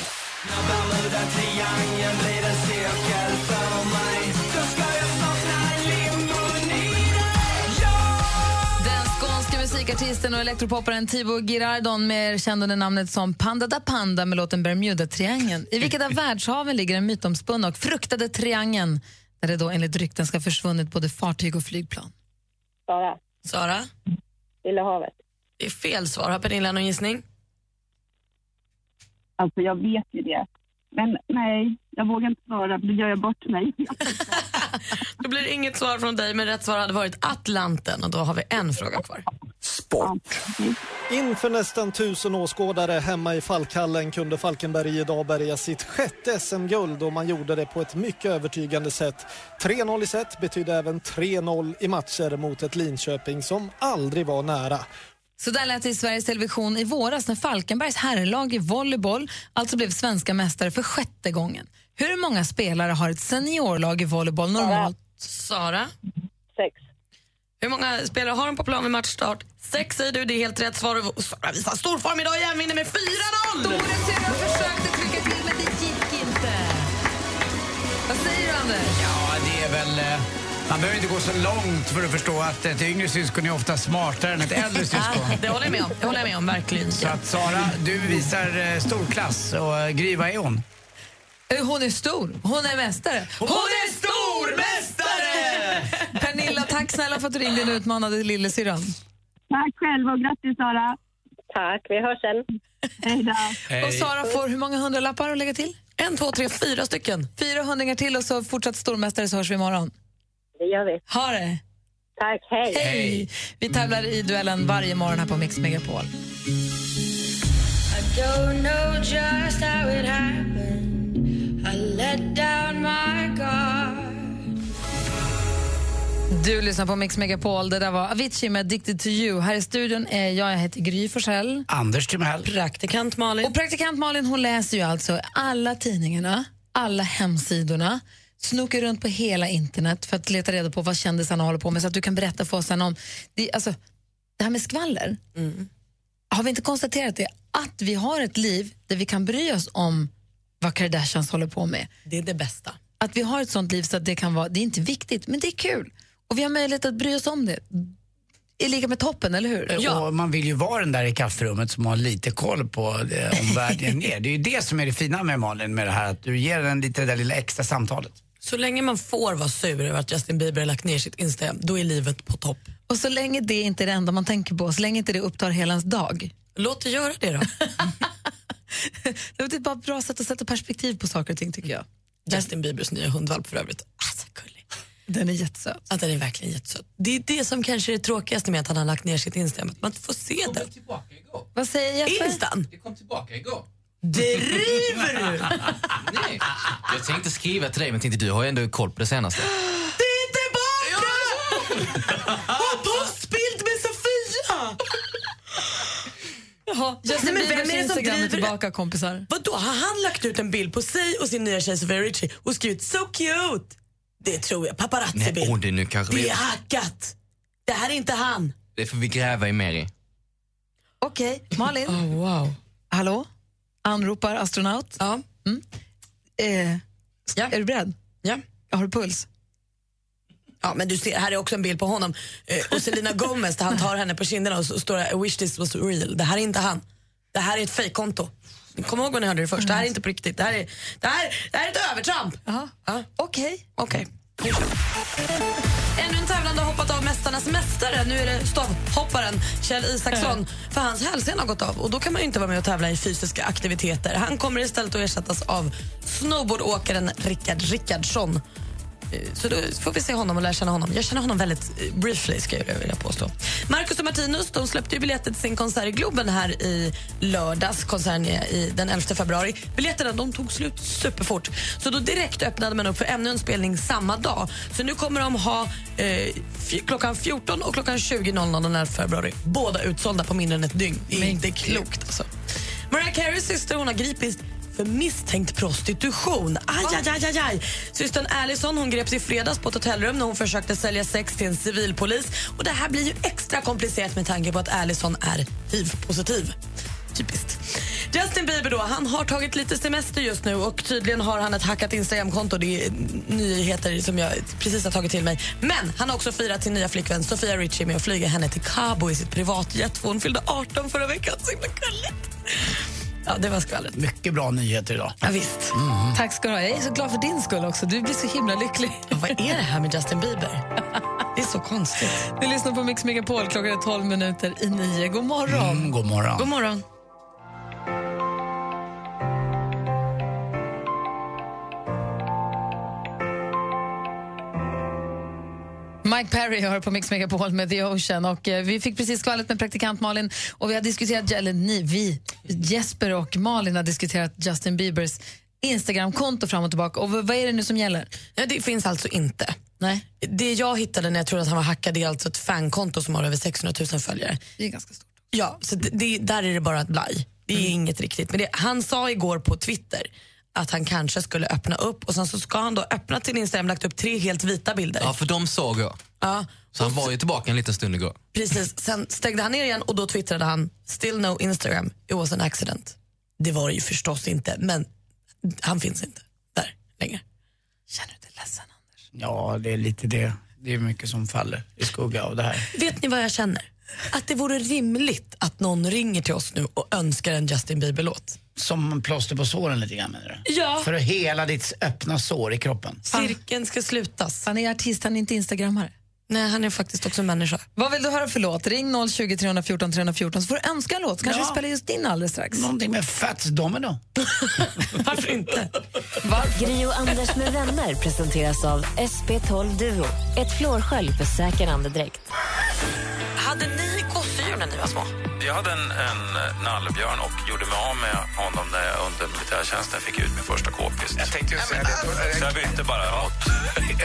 S3: Den skånska musikartisten och elektropopparen Tibo Girardon mer känd under namnet som Panda da Panda med låten Bermuda-triangeln. I vilket av världshaven ligger den mytomspunna och fruktade triangeln där det då enligt rykten ska ha försvunnit både fartyg och flygplan?
S16: Sara.
S2: Sara?
S16: Lilla havet.
S2: Det är fel svar. Har Pernilla någon gissning?
S17: Alltså jag vet ju det. Men nej, jag vågar inte svara för då gör jag bort mig.
S2: Då blir det inget svar från dig, men rätt svar hade varit Atlanten och då har vi en fråga kvar.
S18: Sport.
S25: Inför nästan tusen åskådare hemma i Falkhallen kunde Falkenberg idag bärga sitt sjätte SM-guld och man gjorde det på ett mycket övertygande sätt. 3-0 i set betydde även 3-0 i matcher mot ett Linköping som aldrig var nära.
S3: Så där lät det i Sveriges Television i våras när Falkenbergs herrlag i volleyboll alltså blev svenska mästare för sjätte gången. Hur många spelare har ett seniorlag i volleyboll normalt?
S2: Sara?
S16: Sex.
S2: Hur många spelare har de på plan vid matchstart? Sex säger du, det är helt rätt svar. Och Sara visar stor form idag igen, vinner med 4-0!
S3: Vad säger du, Anders?
S8: Ja, det är väl... eh, Man behöver inte gå så långt för att förstå att ett yngre syskon är ofta smartare än ett äldre syskon.
S2: Det håller jag med om, det håller jag med om verkligen.
S8: Så att Sara, du visar eh, stor klass och eh, Gry, vad är hon?
S3: Eh, Hon är stor, hon är mästare. Hon är stormästare! Pernilla, tack snälla för att du ringde och utmanade lillasyrran.
S17: Tack själv och grattis Sara.
S16: Tack, vi hörs sen.
S17: Hej då.
S3: Och Sara får hur många hundralappar att lägga till?
S2: En, två, tre, fyra stycken.
S3: Fyra hundringar till och så fortsatt stormästare så hörs vi imorgon.
S16: Det gör vi.
S3: Ha det!
S16: Tack, hej.
S3: Hej! Vi tävlar i duellen varje morgon här på Mix Megapol.
S13: I don't know just how it happened. I let down my guard.
S3: Du lyssnar på Mix Megapol. Det där var Avicii med Addicted to you. Här i studion är jag, jag heter Gry Forssell.
S8: Anders Timell.
S2: Praktikant Malin.
S3: Och praktikant Malin hon läser ju alltså alla tidningarna, alla hemsidorna, snokar runt på hela internet för att leta reda på vad kändisarna håller på med så att du kan berätta för oss sen om... Det, alltså, det här med skvaller, har vi inte konstaterat det? Att vi har ett liv där vi kan bry oss om vad Kardashians håller på med.
S2: Det är det bästa.
S3: Att vi har ett sånt liv så att det kan vara, det är inte viktigt, men det är kul. Och vi har möjlighet att bry oss om det. Är lika med toppen, eller hur?
S8: Eh, Och man vill ju vara den där i kafferummet som har lite koll på eh, omvärlden är. Det är ju det som är det fina med Malin, med det här att du ger den lite det där lilla extra samtalet.
S2: Så länge man får vara sur över att Justin Bieber har lagt ner sitt Instagram, då är livet på topp.
S3: Och så länge det inte är det enda man tänker på, så länge inte det upptar hela ens dag.
S2: Låt det göra det då.
S3: det är bara ett bra sätt att sätta perspektiv på saker och ting tycker jag.
S2: Justin Biebers nya hundvalp för övrigt. Alltså gullig.
S3: Den är jättesöt.
S2: Ja, den är verkligen jättesöt. Det är det som kanske är det tråkigaste med att han har lagt ner sitt Instagram, att man inte får se den.
S3: Vad säger Jesper?
S2: Instan?
S15: Jag kom tillbaka igår.
S2: Driver du?
S15: Nej. Jag tänkte skriva till dig, men tänkte du har ju ändå koll på det senaste.
S2: Det är tillbaka! Och postbild med Sofia! Jaha,
S3: Justin
S2: Nej, men
S3: Biebers
S2: vem är det som
S3: Instagram är
S2: driver det?
S3: tillbaka kompisar.
S2: Vadå, har han lagt ut en bild på sig och sin nya tjej Sofia Richie och skrivit so cute? Det tror jag.
S15: Nej,
S2: Paparazzi-bild.
S15: åh, det, nu kanske
S2: Det
S15: vi,
S2: är hackat. Det här är inte han.
S15: det får vi gräva i mer i.
S3: Okej, Malin.
S2: Oh, wow.
S3: Hallå? Anropar astronaut.
S2: Ja.
S3: Mm. Eh, Är du beredd?
S2: Ja.
S3: Har du puls?
S2: Ja, men du ser, här är också en bild på honom eh, och Selena Gomez där han tar henne på kinderna och så står det I wish this was real. Det här är inte han. Det här är ett fejkkonto. Kom ihåg vad ni hörde det först. Det här är inte på riktigt. Det här är, det här, det här är ett övertramp.
S3: Mm. Ja. Okej.
S2: Okej. Ännu en tävlande har hoppat av Mästarnas mästare. Nu är det stavhopparen Kjell
S3: Eh.
S2: Isaksson. För hans hälsen har gått av och då kan man ju inte vara med och tävla i fysiska aktiviteter. Han kommer istället att ersättas av snowboardåkaren Rickard Rickardsson. Eh, Så då får vi se honom och lära känna honom. Jag känner honom väldigt eh, briefly, ska jag vilja påstå. Marcus och Martinus de släppte ju biljetter till sin konsert i Globen här i lördags. Konserten är i den 11 februari. Biljetterna de tog slut superfort, så då direkt öppnade man upp för ännu en spelning samma dag. Så nu kommer de ha eh, fj- klockan 14 och klockan 20.00 den 11 februari. Båda utsålda på mindre än ett dygn. Det är inte klokt. Alltså. Mariah Careys syster hon har gripits för misstänkt prostitution. Aj, aj, aj, aj, aj. Systern Allison hon greps i fredags på ett hotellrum när hon försökte sälja sex till en civilpolis. Och Det här blir ju extra komplicerat med tanke på att Allison är hiv-positiv. Typiskt. Justin Bieber då, han har tagit lite semester just nu och tydligen har han ett hackat Instagramkonto. Det är nyheter som jag precis har tagit till mig. Men han har också firat sin nya flickvän Sofia Richie med att flyga henne till Cabo i sitt privatjet. Hon fyllde 18 förra veckan. Så himla gulligt. Ja, det var skvallret.
S8: Mycket bra nyheter idag. Mm.
S2: Ja, visst.
S3: Tack ska du ha. Jag är så glad för din skull också. Du blir så himla lycklig.
S2: Vad är det här med Justin Bieber? Det är så konstigt.
S3: Du lyssnar på Mix Megapol. Klockan är 12 minuter i nio. God morgon.
S8: Mm, god morgon.
S3: God morgon. Mike Perry hör på Mix Megapol med The Ocean. Och eh, vi fick precis skvallret med praktikant Malin och vi har diskuterat, eller ni, vi, Jesper och Malin har diskuterat Justin Biebers Instagramkonto fram och tillbaka. Och v- vad är det nu som gäller?
S2: Ja, det finns alltså inte.
S3: Nej.
S2: Det jag hittade när jag trodde att han var hackad är alltså ett fankonto som har över 600 000 följare.
S3: Det är ganska stort. Mm.
S2: Ja, så det, det, där är det bara ett blaj. Det är inget riktigt. Men det, han sa igår på Twitter att han kanske skulle öppna upp och sen så ska han då öppna till Instagram lagt upp tre helt vita bilder.
S15: Ja, för de såg jag.
S2: Ja,
S15: Så han var ju tillbaka en liten stund igår.
S2: precis. Sen stängde han ner igen och då twittrade han “Still no Instagram, it was an accident”. Det var det ju förstås inte, men han finns inte där längre.
S8: Ja, det är lite det. Det är mycket som faller i skugga av det här.
S2: Vet ni vad jag känner? Att det vore rimligt att någon ringer till oss nu och önskar en Justin Bieber-låt.
S8: Som plåster på såren lite grann menar du?
S2: Ja.
S8: För att hela ditt öppna sår i kroppen.
S2: Cirkeln ska slutas.
S3: Han är artist, han är inte instagrammare.
S2: Nej, han är faktiskt också människa.
S3: Vad vill du höra för låt? Ring 020 314 314 så får du önska en låt. Kanske vi spelar just din alldeles strax.
S8: Någonting med Fats Domino.
S2: Varför inte?
S1: Gri och Anders med vänner presenteras av SP12 Duo. Ett flårskölj för säker andedräkt.
S2: Hade ni gosedjur när ni var små?
S21: Jag hade en, en eh, nallebjörn och gjorde mig av med honom när jag under militärtjänsten fick ut min första k-pist. Jag tänkte säga det. Så jag bytte bara mot...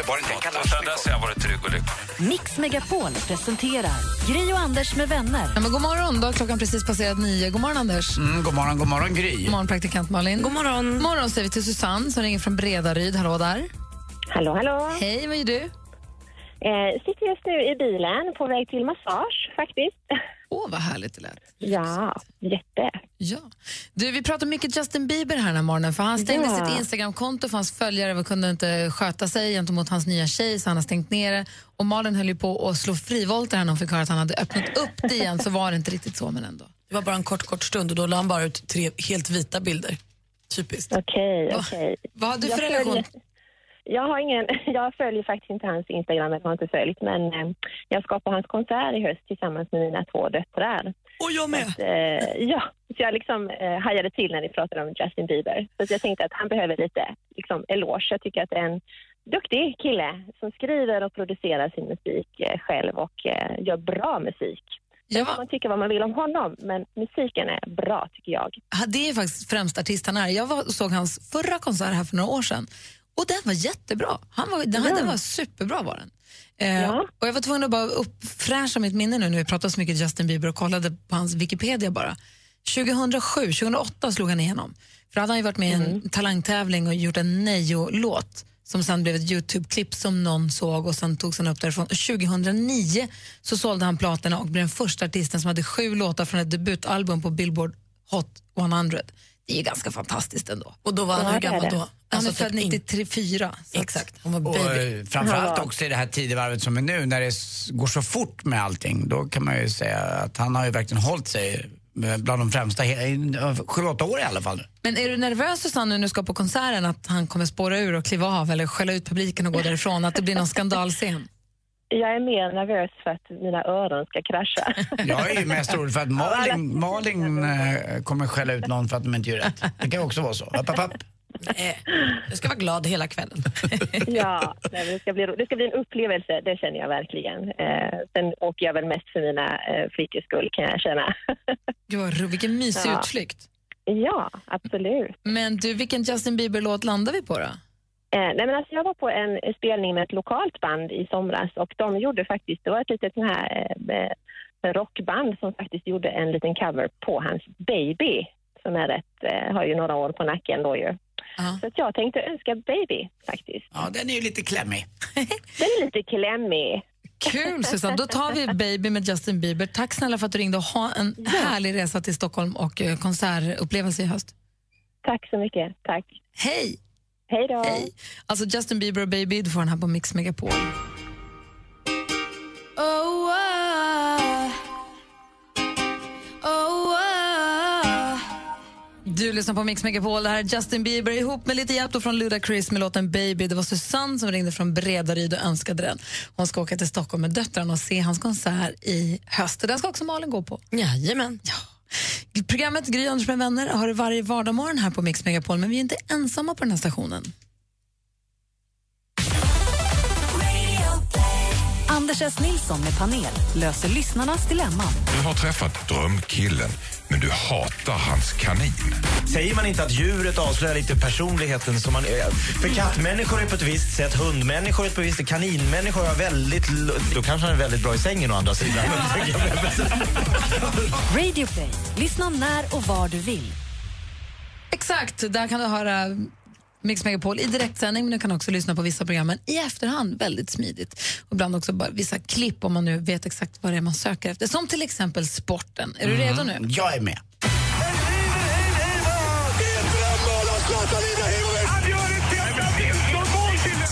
S21: Var det inte en Sen dess har jag varit trygg och lycklig.
S1: Mix Megapol presenterar Gri och Anders med vänner.
S3: Ja, men god morgon, då har klockan precis passerat nio. God morgon, Anders.
S8: Mm, god morgon, god morgon Gry.
S3: God morgon, praktikant Malin.
S2: God morgon.
S3: morgon säger vi till Susanne som ringer från Bredaryd. Hallå där.
S16: Hallå, hallå.
S3: Hej, vad gör du?
S16: Eh, sitter just nu i bilen på väg till massage faktiskt.
S3: Åh, vad härligt det lät.
S16: Ja, jätte.
S3: Ja. Du, vi pratar mycket Justin Bieber här den här morgonen. För han stängde
S16: Ja.
S3: sitt Instagramkonto för hans följare var- kunde inte sköta sig gentemot hans nya tjej så han har stängt ner det. Och Malin höll ju på att slå frivolter här när hon fick höra att han hade öppnat upp det igen så var det inte riktigt så men ändå.
S2: Det var bara en kort, kort stund och då la han bara ut tre helt vita bilder. Typiskt.
S16: Okej,
S2: Va-
S16: okej.
S2: vad har du för
S16: Jag
S2: relation?
S16: följer- Jag, har ingen, jag följer faktiskt inte hans Instagram, eller har inte följt, men eh, jag ska på hans konsert i höst tillsammans med mina två döttrar.
S2: Och jag med!
S16: Att, eh, ja, så jag liksom eh, hajade till när ni pratade om Justin Bieber. Så att jag tänkte att han behöver lite liksom, eloge. Jag tycker att det är en duktig kille som skriver och producerar sin musik eh, själv och eh, gör bra musik. Sen kan man tycka vad man vill om honom, men musiken är bra tycker jag.
S3: Ja, Det är faktiskt främst artist han är. Jag var, såg hans förra konsert här för några år sedan och den var jättebra. Han var, den,
S16: Ja.
S3: den var superbra var den. Eh, och jag var tvungen att bara uppfräscha mitt minne nu när vi pratade så mycket Justin Bieber och kollade på hans Wikipedia bara. 2007, 2008 slog han igenom. För då hade han ju varit med i en talangtävling och gjort en Nejo-låt som sen blev ett Youtube-klipp som någon såg och sen togs han upp därifrån. Och 2009 så sålde han platina och blev den första artisten som hade sju låtar från ett debutalbum på Billboard Hot 100. Det är ju ganska fantastiskt ändå.
S2: Och då var han
S3: Ja,
S2: hur
S3: det är
S2: gammal
S3: det.
S2: då? Alltså, typ
S3: Han är född 93, 4.
S2: Exakt, han var
S8: Och
S2: baby.
S8: eh, framförallt också i det här tidevarvet som är nu när det s- går så fort med allting. Då kan man ju säga att han har ju verkligen hållit sig eh, bland de främsta, he- eh, sju, åtta år i alla fall.
S3: Men är du nervös Susanne nu när du ska på konserten att han kommer spåra ur och kliva av eller skälla ut publiken och gå därifrån? Att det blir någon skandalscen?
S16: Jag är mer nervös för att mina öron ska krascha.
S8: Jag är ju mest orolig för att Malin, Malin eh, kommer skälla ut någon för att de inte gör rätt. Det kan ju också vara så. Upp, upp, upp.
S2: Nej, jag ska vara glad hela kvällen.
S16: Ja, nej, men det, ska bli, ro- det ska bli en upplevelse, det känner jag verkligen. Eh, sen åker jag väl mest för mina eh, flickors skull kan jag känna.
S3: Gud, vad ro- vilken mysig
S16: Ja.
S3: utflykt.
S16: Ja, absolut.
S3: Men du, vilken Justin Bieber-låt landar vi på då?
S16: Eh, nej men alltså jag var på en spelning med ett lokalt band i somras och de gjorde faktiskt, det var ett litet sån här eh, rockband som faktiskt gjorde en liten cover på hans Baby som är rätt, eh, har ju några år på nacken då ju. Så att jag tänkte önska Baby faktiskt.
S8: Ja, den är ju lite klämmig.
S16: Den är lite klämmig.
S3: Kul Susanne, då tar vi Baby med Justin Bieber. Tack snälla för att du ringde och ha en härlig resa till Stockholm och eh, konsertupplevelse i höst.
S16: Tack så mycket, tack.
S3: Hej!
S16: Hej då!
S3: Alltså Justin Bieber och Baby, du får den här på Mix Megapol.
S13: Oh, ah. oh, ah.
S3: Du lyssnar på Mix Megapol, det här är Justin Bieber ihop med lite hjälp då från Ludacris med låten Baby. Det var Susanne som ringde från Bredaryd och önskade den. Hon ska åka till Stockholm med döttrarna och se hans konsert i höst. Den ska också Malin gå på.
S2: Jajamän.
S3: Ja. Programmet Gry Anders med vänner har du varje vardagsmorgon här på Mix Megapol men vi är inte ensamma på den här stationen.
S1: Anders S. Nilsson med panel löser lyssnarnas dilemman.
S12: Du har träffat drömkillen, men du hatar hans kanin.
S5: Säger man inte att djuret avslöjar lite personligheten som man är? För kattmänniskor är på ett visst sätt, hundmänniskor är på ett visst sätt, kaninmänniskor har väldigt... l- Då kanske han är väldigt bra i sängen å andra sidan.
S1: Radio Play. Lyssna när och var du vill.
S3: Exakt, där kan du höra Mix Megapol i direktsändning men du kan också lyssna på vissa programmen i efterhand väldigt smidigt. Och ibland också bara vissa klipp om man nu vet exakt vad det är man söker efter. Som till exempel sporten. Är du
S8: Mm.
S3: redo nu?
S8: Jag är med.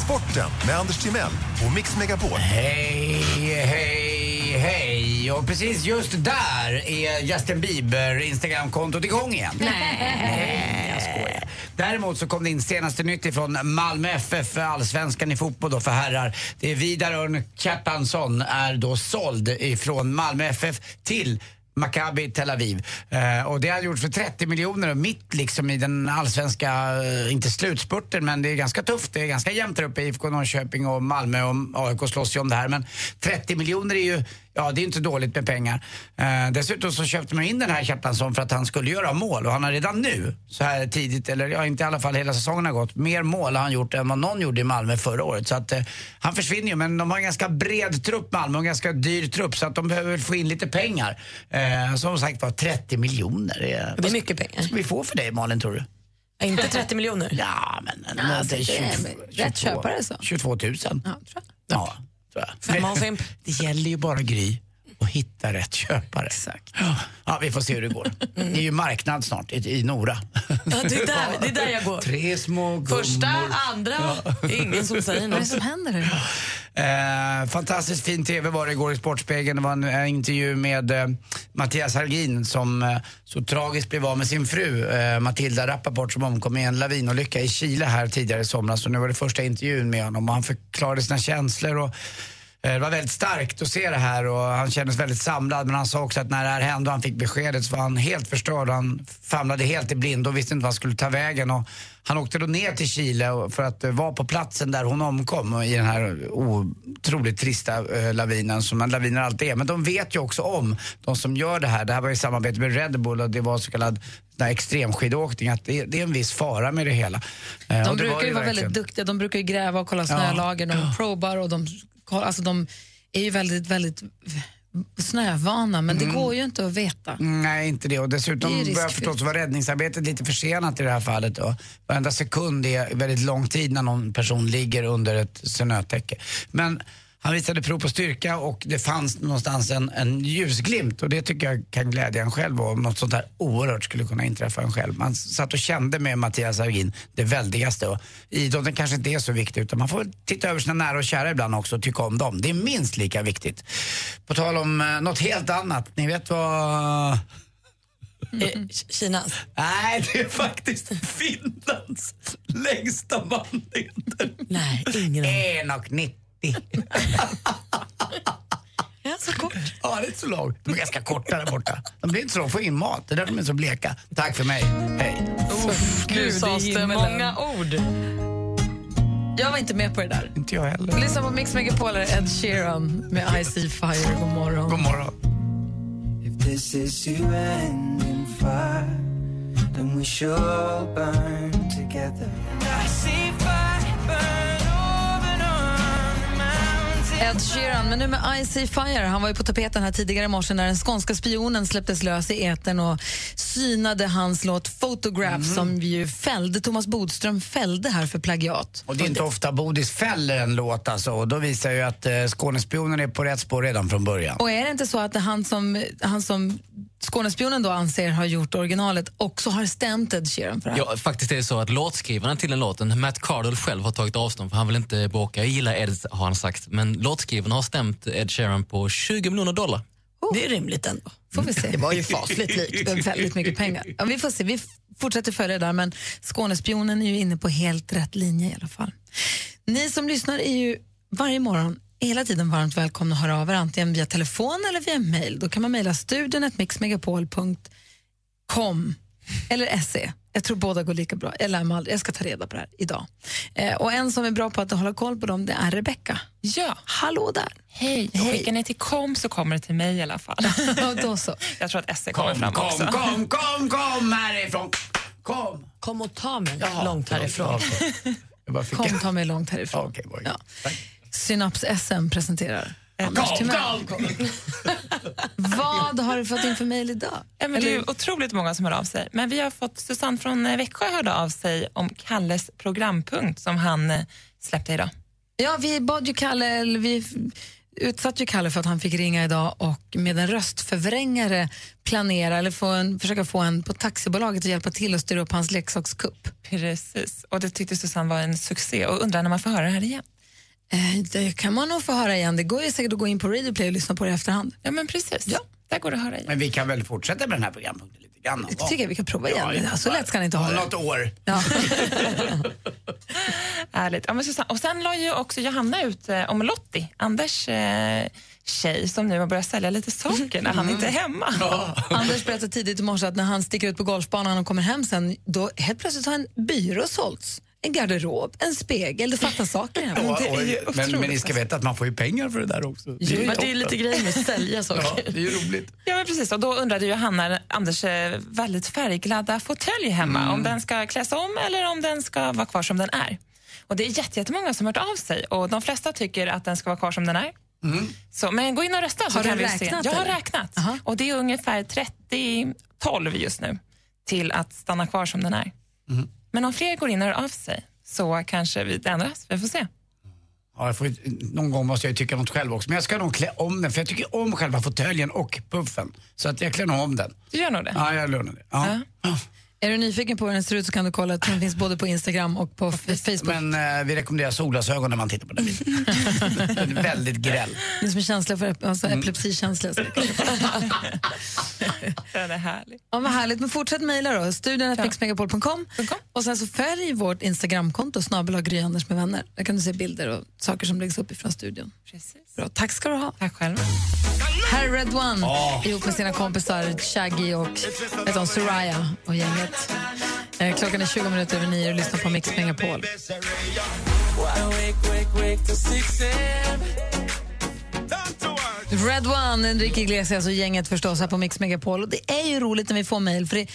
S6: Sporten med Anders Timell och Mix Megapol.
S8: Hej, hej, hej. Och precis just där är Justin Bieber Instagramkontot igång igen. Nej, jag skojar. Däremot så kom det in senaste nytt ifrån Malmö FF, för allsvenskan i fotboll då för herrar. Det är Vidar Örn Kjartansson är då såld ifrån Malmö FF till Maccabi Tel Aviv. Eh, och det har gjorts för 30 miljoner och mitt liksom i den allsvenska, eh, inte slutspurten men det är ganska tufft. Det är ganska jämnt där uppe. IFK Norrköping och Malmö och AIK slåss ju om det här. Men 30 miljoner är ju, ja det är inte dåligt med pengar. Eh, dessutom så köpte man in den här Kjartansson för att han skulle göra mål och han har redan nu, så här tidigt, eller ja inte i alla fall hela säsongen har gått, mer mål har han gjort än vad någon gjorde i Malmö förra året. Så att eh, han försvinner ju men de har en ganska bred trupp Malmö och en ganska dyr trupp så att de behöver väl få in lite pengar. Eh, som sagt var 30 miljoner. är-
S2: Det är mycket pengar.
S8: Vad ska vi få för dig Malin tror du?
S2: Inte 30 miljoner.
S8: Ja, men...
S2: Ja,
S8: det är
S2: Ah, så det är
S8: 22
S2: rätt köpare, alltså. så.
S8: 22 000. Ja, tror jag.
S2: Femma och fem.
S8: Det gäller ju bara Gry att hitta rätt köpare. Exakt. Ja, vi får se hur det går. Det är ju marknad snart i, i Nora.
S2: Mm. Ja, det, är där, det är där jag går.
S8: Tre små gummor.
S2: Första, andra, det är ingen som säger något.
S3: Vad är det som händer?
S8: Eh, fantastiskt fin TV var det igår i Sportspegeln. Det var en eh, intervju med eh, Mattias Hargin som eh, så tragiskt blev av med sin fru eh, Matilda Rappaport som omkom i en lavinolycka i Chile här tidigare i somras. Och nu var det första intervjun med honom och han förklarade sina känslor. Och eh, det var väldigt starkt att se det här och han kändes väldigt samlad men han sa också att när det här hände och han fick beskedet så var han helt förstörd. Han famlade helt i blindo och visste inte vad han skulle ta vägen. Och han åkte då ner till Chile och- för att eh, vara på platsen där hon omkom och i den här otroligt trista eh, lavinen som en laviner alltid är. Men de vet ju också om, de som gör det här, det här var i samarbete med Red Bull och det var så kallad sån här extremskidåkning, att det, det är en viss fara med det hela. Eh, och det
S3: De brukar
S8: var
S3: ju vara
S8: verkligen.
S3: väldigt duktiga. De brukar ju gräva och kolla
S8: Ja.
S3: snölager. De probar och de, koll- alltså de är ju väldigt, väldigt snövana. Men det
S8: Mm.
S3: går ju inte att veta.
S8: Nej, inte det. Och dessutom
S3: Det är
S8: vad jag
S3: riskfyllt.
S8: förstått så var räddningsarbetet lite försenat i det här fallet. Då. Varenda sekund är väldigt lång tid när någon person ligger under ett snötäcke. Men han visade prov på styrka och det fanns någonstans en, en ljusglimt och det tycker jag kan glädja en själv om något sånt här oerhört skulle kunna inträffa en själv. Man satt och kände med Mattias Hargin det väldigaste och idrotten kanske inte är så viktig utan man får väl titta över sina nära och kära ibland också och tycka om dem. Det är minst lika viktigt. På tal om eh, något helt annat, ni vet vad
S2: Eh, Kinas?
S8: Nej, det är faktiskt Finlands längsta mandeltid.
S2: Nej, ingen
S8: aning. 1,90.
S22: alltså
S2: Ja, så kort.
S8: Ja, varit så lång. De är ganska korta där borta. De blir inte så långa, får in mat. Det är därför de är så bleka. Tack för mig. Hej.
S22: Nu sades det många ord.
S3: Jag var inte med på det där.
S8: Inte jag heller.
S3: Lyssna på Mix Megapolare Ed Sheeran med I See Fire. God morgon.
S8: God morgon.
S13: If this is you ending fire, then we should all burn together. I see fire burn over and on
S3: Ed Sheeran, men nu med I See Fire. Han var ju på tapeten här tidigare i morse när den skånska spionen släpptes lös i etern och synade hans låt Photograph
S8: Mhm.
S3: som ju fällde, Thomas Bodström fällde här för plagiat.
S8: Och det är inte ofta Bodis fäller en låt alltså. Och då visar ju att eh, Skånespionen är på rätt spår redan från början.
S3: Och är det inte så att han som, han som Skånespionen då anser har gjort originalet också har stämt Ed Sheeran för det här?
S15: Ja, faktiskt är det så att låtskrivaren till den låten, Matt Cardle själv har tagit avstånd för han vill inte bråka. Jag gillar Ed, har han sagt. Men låtskrivaren har stämt Ed Sheeran på 20 miljoner dollar.
S2: Det är rimligt ändå.
S3: Får vi se. Det var ju fasligt likt. Det är väldigt mycket pengar. Ja, vi får se. Vi f- fortsätter följa det där, men Skånespionen är ju inne på helt rätt linje i alla fall. Ni som lyssnar är ju varje morgon hela tiden varmt välkomna att höra av er antingen via telefon eller via mail. Då kan man mejla studion mixmegapol.com eller se. Jag tror båda går lika bra. Jag lär mig aldrig. Jag ska ta reda på det här idag. Eh, och en som är bra på att hålla koll på dem, det är Rebecka.
S22: Ja.
S3: Hallå där.
S22: Hej. Och Skickar ni till kom så kommer det till mig i alla fall.
S3: då så.
S22: Jag tror att SE kommer
S8: Kom,
S22: fram också.
S8: kom, kom, kom, kom härifrån. Kom.
S2: Kom och ta mig
S8: Jaha,
S2: långt
S8: förlåt,
S2: härifrån.
S3: Kom, ta mig långt härifrån. ja. Synaps-SM presenterar Anders
S22: kom,
S3: Timell. Vad har du fått in för mejl idag?
S22: Ja, men det är ju
S3: Eller-
S22: otroligt många som hör av sig. Men vi har fått Susanne från eh, Växjö hörde av sig om Kalles programpunkt som han eh, släppte idag.
S3: Ja, vi bad ju Kalle, eller vi utsatte ju Kalle för att han fick ringa idag och med en röstförvrängare planera eller få en, försöka få en på taxibolaget att hjälpa till att styra upp hans leksakskupp.
S22: Precis. Och det tyckte Susanne var en succé och undrar när man får höra det här igen.
S3: Eh, det kan man nog få höra igen. Det går ju säkert att gå in på Radio Play och lyssna på det i efterhand.
S22: Ja, men precis. Ja. Där går det att höra igen.
S8: Men vi kan väl fortsätta med den här programpunkten lite grann? någon gång?
S3: tycker jag vi kan prova igen.
S8: Ja, ja.
S3: så lätt ska ni inte ha det.
S8: Något år.
S22: Ärligt. Ja, men Susanne. Och sen la ju också Johanna ut eh, om Lottie, Anders eh, tjej som nu har börjat sälja lite saker när han inte är hemma.
S3: Mm. Anders berättade tidigt i morse att när han sticker ut på golfbanan och kommer hem sen, då helt plötsligt har en byrå sålts. En garderob, en spegel, det fattas saker hemma.
S8: Och, och, men, men ni ska veta att man får ju pengar för det där också.
S22: Jo, men det är
S8: toppen.
S22: lite grejer med att sälja saker.
S8: Ja, det är ju roligt.
S22: Ja, men precis. Och då undrade ju Hanna, Anders eh, väldigt färgglada fåtölj hemma,
S3: Mm.
S22: om den ska kläs om eller om den ska vara kvar som den är. Och det är jätte- jättemånga som har hört av sig och de flesta tycker att den ska vara kvar som den är. Så, men gå in och rösta så
S3: Mm. Har du
S22: kan vi
S3: räknat,
S22: se. Jag har
S3: eller?
S22: räknat. Och det är ungefär 30-12 just nu till att stanna kvar som den är.
S3: Mm.
S22: Men om fler går in och hör av sig så kanske vi det ändras. Vi får se.
S8: Ja, jag får, ju- någon gång måste jag ju tycka något själv också. Men jag ska nog klä om den, för jag tycker om själva fåtöljen och puffen. Så att jag klär nog om den.
S22: Du gör nog det.
S8: Ja, jag lugnar det. Ja.
S3: Är du nyfiken på hur den ser ut så kan du kolla att den finns både på Instagram och på F- Facebook.
S8: Men eh, vi rekommenderar solglasögon när man tittar på den bilden. Den är väldigt gräll.
S3: Ni som är känsliga för ep- alltså epilepsikänsliga. så-
S22: Den är härlig.
S3: Ja, vad härligt. Men fortsätt mejla då. Studion mixmegapol.com. Och sen så följ vårt Instagramkonto, snabel Gry Anders med vänner. Där kan du se bilder och saker som läggs upp ifrån studion.
S22: Precis.
S3: Bra, tack ska du ha.
S22: Tack själv.
S3: Här är Red One
S22: Ja.
S3: ihop med sina kompisar Shaggy och vet hon, Soraya och gänget. Eh, Klockan är 20 minuter över nio och lyssnar på Mix Megapol. Red One, Enrique Iglesias och gänget förstås här på Mix Megapol. Och det är ju roligt när vi får mejl. för det-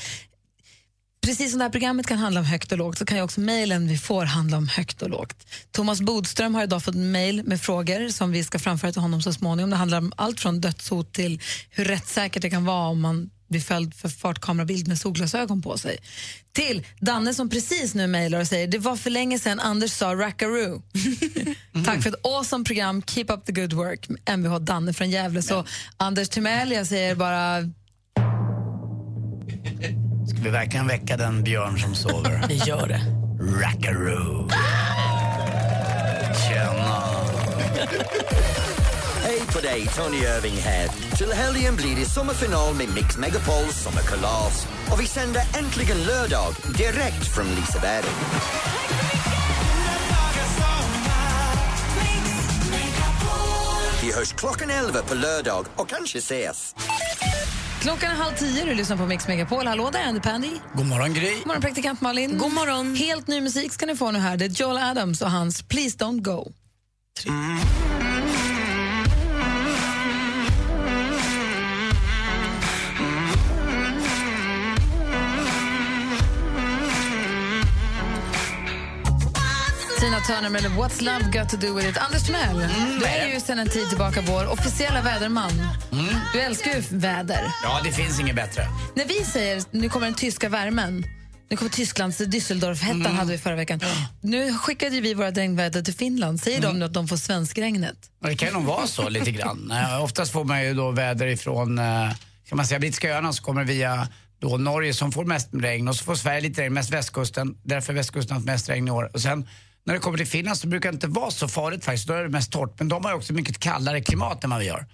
S3: Precis som det här programmet kan handla om högt och lågt så kan ju också mejlen vi får handla om högt och lågt. Thomas Bodström har idag fått mejl med frågor som vi ska framföra till honom så småningom. Det handlar om allt från dödshot till hur rättssäkert det kan vara om man blir följd för fartkamerabild med solglasögon på sig. Till Danne som precis nu mejlar och säger det var för länge sedan Anders sa rackaroo. Tack för ett awesome program. Keep up the good work. Mvh Danne från Gävle. Så Anders Timell, jag säger bara
S8: Ska vi verkligen väcka den björn som sover?
S2: Vi gör det.
S8: Rackaroo. Tjena.
S10: Hej på dig, Tony Irving här. Till helgen blir det sommarfinal med Mix Megapols sommarkalas. Och vi sänder äntligen lördag direkt från Liseberg. Vi hörs klockan 11 på lördag och kanske ses.
S3: Klockan är halv tio, du lyssnar på Mix Megapol. Hallå där, Andy Pandy.
S8: God morgon Gry.
S3: God morgon, praktikant Malin. God morgon. Helt ny musik ska ni få nu här. Det är Joel Adams och hans Please Don't Go. Tina Turner med What's Love Got To Do With It. Anders Timell, du är ju sedan en tid tillbaka vår officiella väderman. Du älskar ju väder.
S8: Mm. Ja, det finns inget bättre.
S3: När vi säger nu kommer den tyska värmen, nu kommer Tysklands Düsseldorf-hettan
S8: Mm.
S3: hade vi förra veckan. Nu skickade ju vi våra regnväder till Finland. Säger
S8: Mm.
S3: de nu att de får svenskregnet?
S8: Ja, Det kan ju nog vara så lite grann. Eh, Oftast får man ju då väder ifrån, eh, kan man säga, brittiska öarna som kommer via då Norge som får mest regn och så får Sverige lite regn, mest västkusten. Därför har västkusten haft mest regn i år. Och sen när det kommer till Finland så brukar det inte vara så farligt faktiskt. Då är det mest torrt. Men de har ju också mycket kallare klimat än vad vi har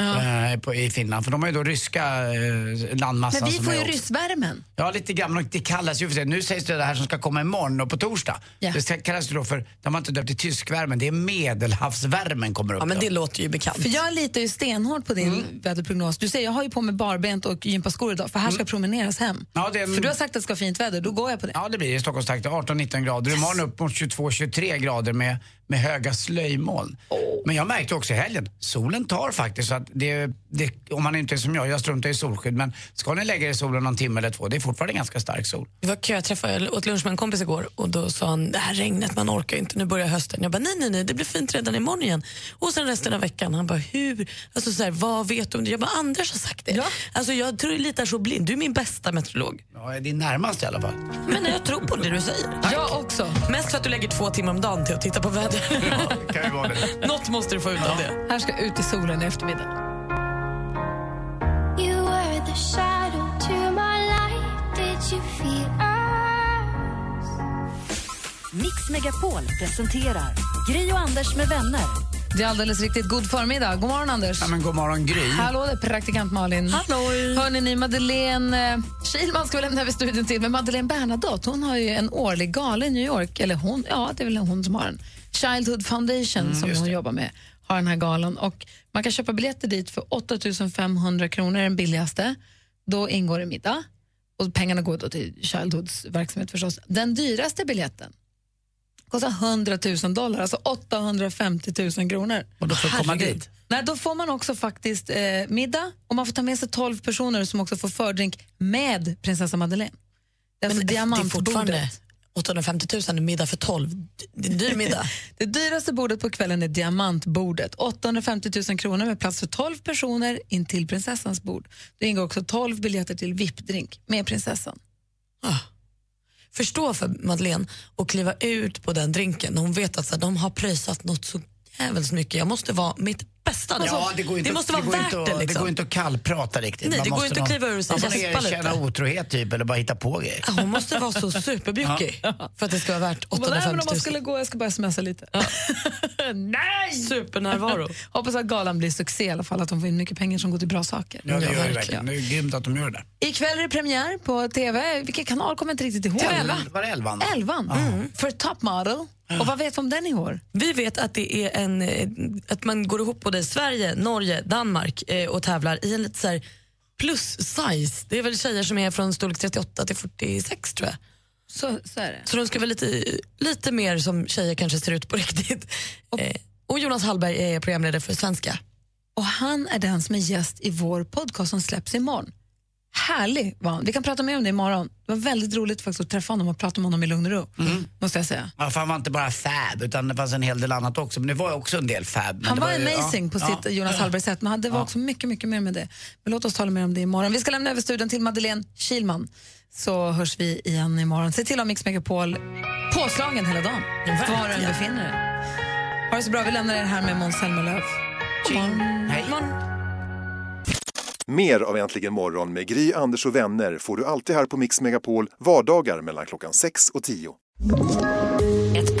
S8: eh, på, i Finland. För de har ju då ryska eh, landmassan
S3: Men vi
S8: som
S3: får
S8: är
S3: ju
S8: också-
S3: ryssvärmen.
S8: Ja, lite grann. Och Det kallas ju för sig. Nu sägs det det här som ska komma imorgon och på torsdag.
S3: Ja.
S8: Det kallas ju då för, det har man inte döpt till tyskvärmen, det är medelhavsvärmen kommer upp.
S2: Ja, men
S8: då.
S2: det låter ju bekant.
S3: För jag litar ju stenhårt på din
S8: Mm.
S3: väderprognos. Du säger jag har ju på mig barbent och gympaskor idag för här ska promeneras hem.
S8: Mm. Ja, det är en-
S3: För du har sagt att det ska vara fint väder, då går jag på det.
S8: Ja, det blir i Stockholmstrakten 18-19 grader. Imorgon upp mot 22-23 grader med, med höga slöjmoln. Men jag märkte också i helgen, solen tar faktiskt. Så att det, det, om man inte är som jag, jag struntar i solskydd. Men ska ni lägga er i solen någon timme eller två, det är fortfarande ganska stark sol.
S2: Det var kö, jag träffade jag åt lunch med en kompis igår och då sa han det här regnet, man orkar ju inte, nu börjar hösten. Jag bara nej, nej, nej, det blir fint redan imorgon igen. Och sen resten av veckan, han bara hur, alltså så här, vad vet du om det? Jag bara Anders har sagt det. Alltså jag tror jag litar så blind, du är min bästa meteorolog.
S8: Ja, det är närmast i alla fall.
S2: Men jag tror på det du säger.
S3: Jag också.
S2: Mest för att du lägger två timmar om dagen till att titta på vädret.
S8: kan ju vara det.
S2: Något måste du få ut av det.
S3: Här ska ut i solen i eftermiddag.
S13: You were the shadow to my light. Did you feel us?
S1: Mix Megapol presenterar Gry och Anders med vänner.
S3: Det är alldeles riktigt god förmiddag. God morgon Anders.
S8: Ja, men god morgon Gry.
S3: Hallå där, praktikant Malin. Hallå. Hörni, ni, Madeleine eh, Kihlman ska vi lämna över studion till. Men Madeleine Bernadotte, hon har ju en årlig gala i New York. Eller hon, ja det är väl hon som har den. Childhood Foundation
S8: Mm,
S3: som hon jobbar med har den här galan. Och man kan köpa biljetter dit för 8 500 kronor, den billigaste. Då ingår det middag. Och pengarna går då till Childhoods verksamhet förstås. Den dyraste biljetten kostar 100 000 dollar, alltså 850 000 kronor.
S8: Och då får du komma
S3: Herregud.
S8: dit.
S3: Nej, då får man också faktiskt eh, middag och man får ta med sig 12 personer som också får fördrink med prinsessa Madeleine. Det är alltså
S2: Men eh, det är fortfarande
S3: diamantbordet.
S2: 850 000 middag för 12. Det är en dyr middag.
S3: Det dyraste bordet på kvällen är diamantbordet. 850 000 kronor med plats för 12 personer in till prinsessans bord. Det ingår också 12 biljetter till VIP-drink med prinsessan.
S2: förstå för Madeleine och kliva ut på den drinken när hon vet att så här, de har pröjsat något så jävligt mycket. Jag måste vara mitt bästa.
S8: Alltså, ja, det, går inte,
S2: Alltså, det måste
S8: det
S2: vara
S8: går
S2: värt
S8: inte, att-
S2: det. Liksom.
S8: Det går inte att kallprata riktigt.
S2: Nej,
S8: Man
S2: det går
S8: måste
S2: inte att
S8: nog-
S2: kliva ur sig,
S8: Man får
S2: gäspa
S8: erkänna
S2: lite.
S8: otrohet typ, eller bara hitta på grejer.
S2: Ja, Hon måste vara så superbjuckig för att det ska vara värt
S3: Hon bara, nej, men
S2: 850
S3: om man
S2: 000.
S3: skulle gå, jag ska bara smsa lite. nej!
S2: Supernärvaro.
S3: Hoppas att galan blir succé i alla fall, att de får in mycket pengar som går till bra saker.
S8: Ja, det gör det verkligen. Det är grymt att de gör det.
S3: Ikväll är det premiär på TV. Vilken kanal kommer jag inte riktigt ihåg?
S8: Var det elvan? Ah.
S3: Elvan.
S2: mm.
S3: Mm. För Top Model. Och vad vet vi om den i år?
S2: Vi vet att, det är en, eh, att man går ihop både Sverige, Norge, Danmark eh, och tävlar i en lite så här plus size. Det är väl tjejer som är från storlek 38 till 46 tror jag.
S3: Så, så är det.
S2: Så de ska vara lite, lite mer som tjejer kanske ser ut på riktigt. Och, eh, och Jonas Hallberg är programledare för Svenska.
S3: Och han är den som är gäst i vår podcast som släpps imorgon. Härlig var han. Vi kan prata mer om det imorgon. Det var väldigt roligt faktiskt att träffa honom och prata med honom i lugn och ro.
S8: Mm.
S3: Måste jag säga.
S8: Ja, för han var inte bara fab, utan det fanns en hel del annat också. Men det var ju också en del fab. Men
S3: Han
S8: det
S3: var,
S8: ju-
S3: amazing på
S8: ja,
S3: sitt
S8: ja.
S3: Jonas Hallberg-sätt, men det var också mycket, mycket mer med det. Men låt oss tala mer om det imorgon. Vi ska lämna över studion till Madeleine Kilman. så hörs vi igen imorgon. Se till att ha Mix Megapol påslagen hela dagen, var du än befinner dig. Ha det så bra. Vi lämnar er här med Måns Zelmerlöw. God morgon.
S6: Mer av Äntligen morgon med Gry, Anders och vänner får du alltid här på Mix Megapol vardagar mellan klockan 6 och 10.
S1: Ett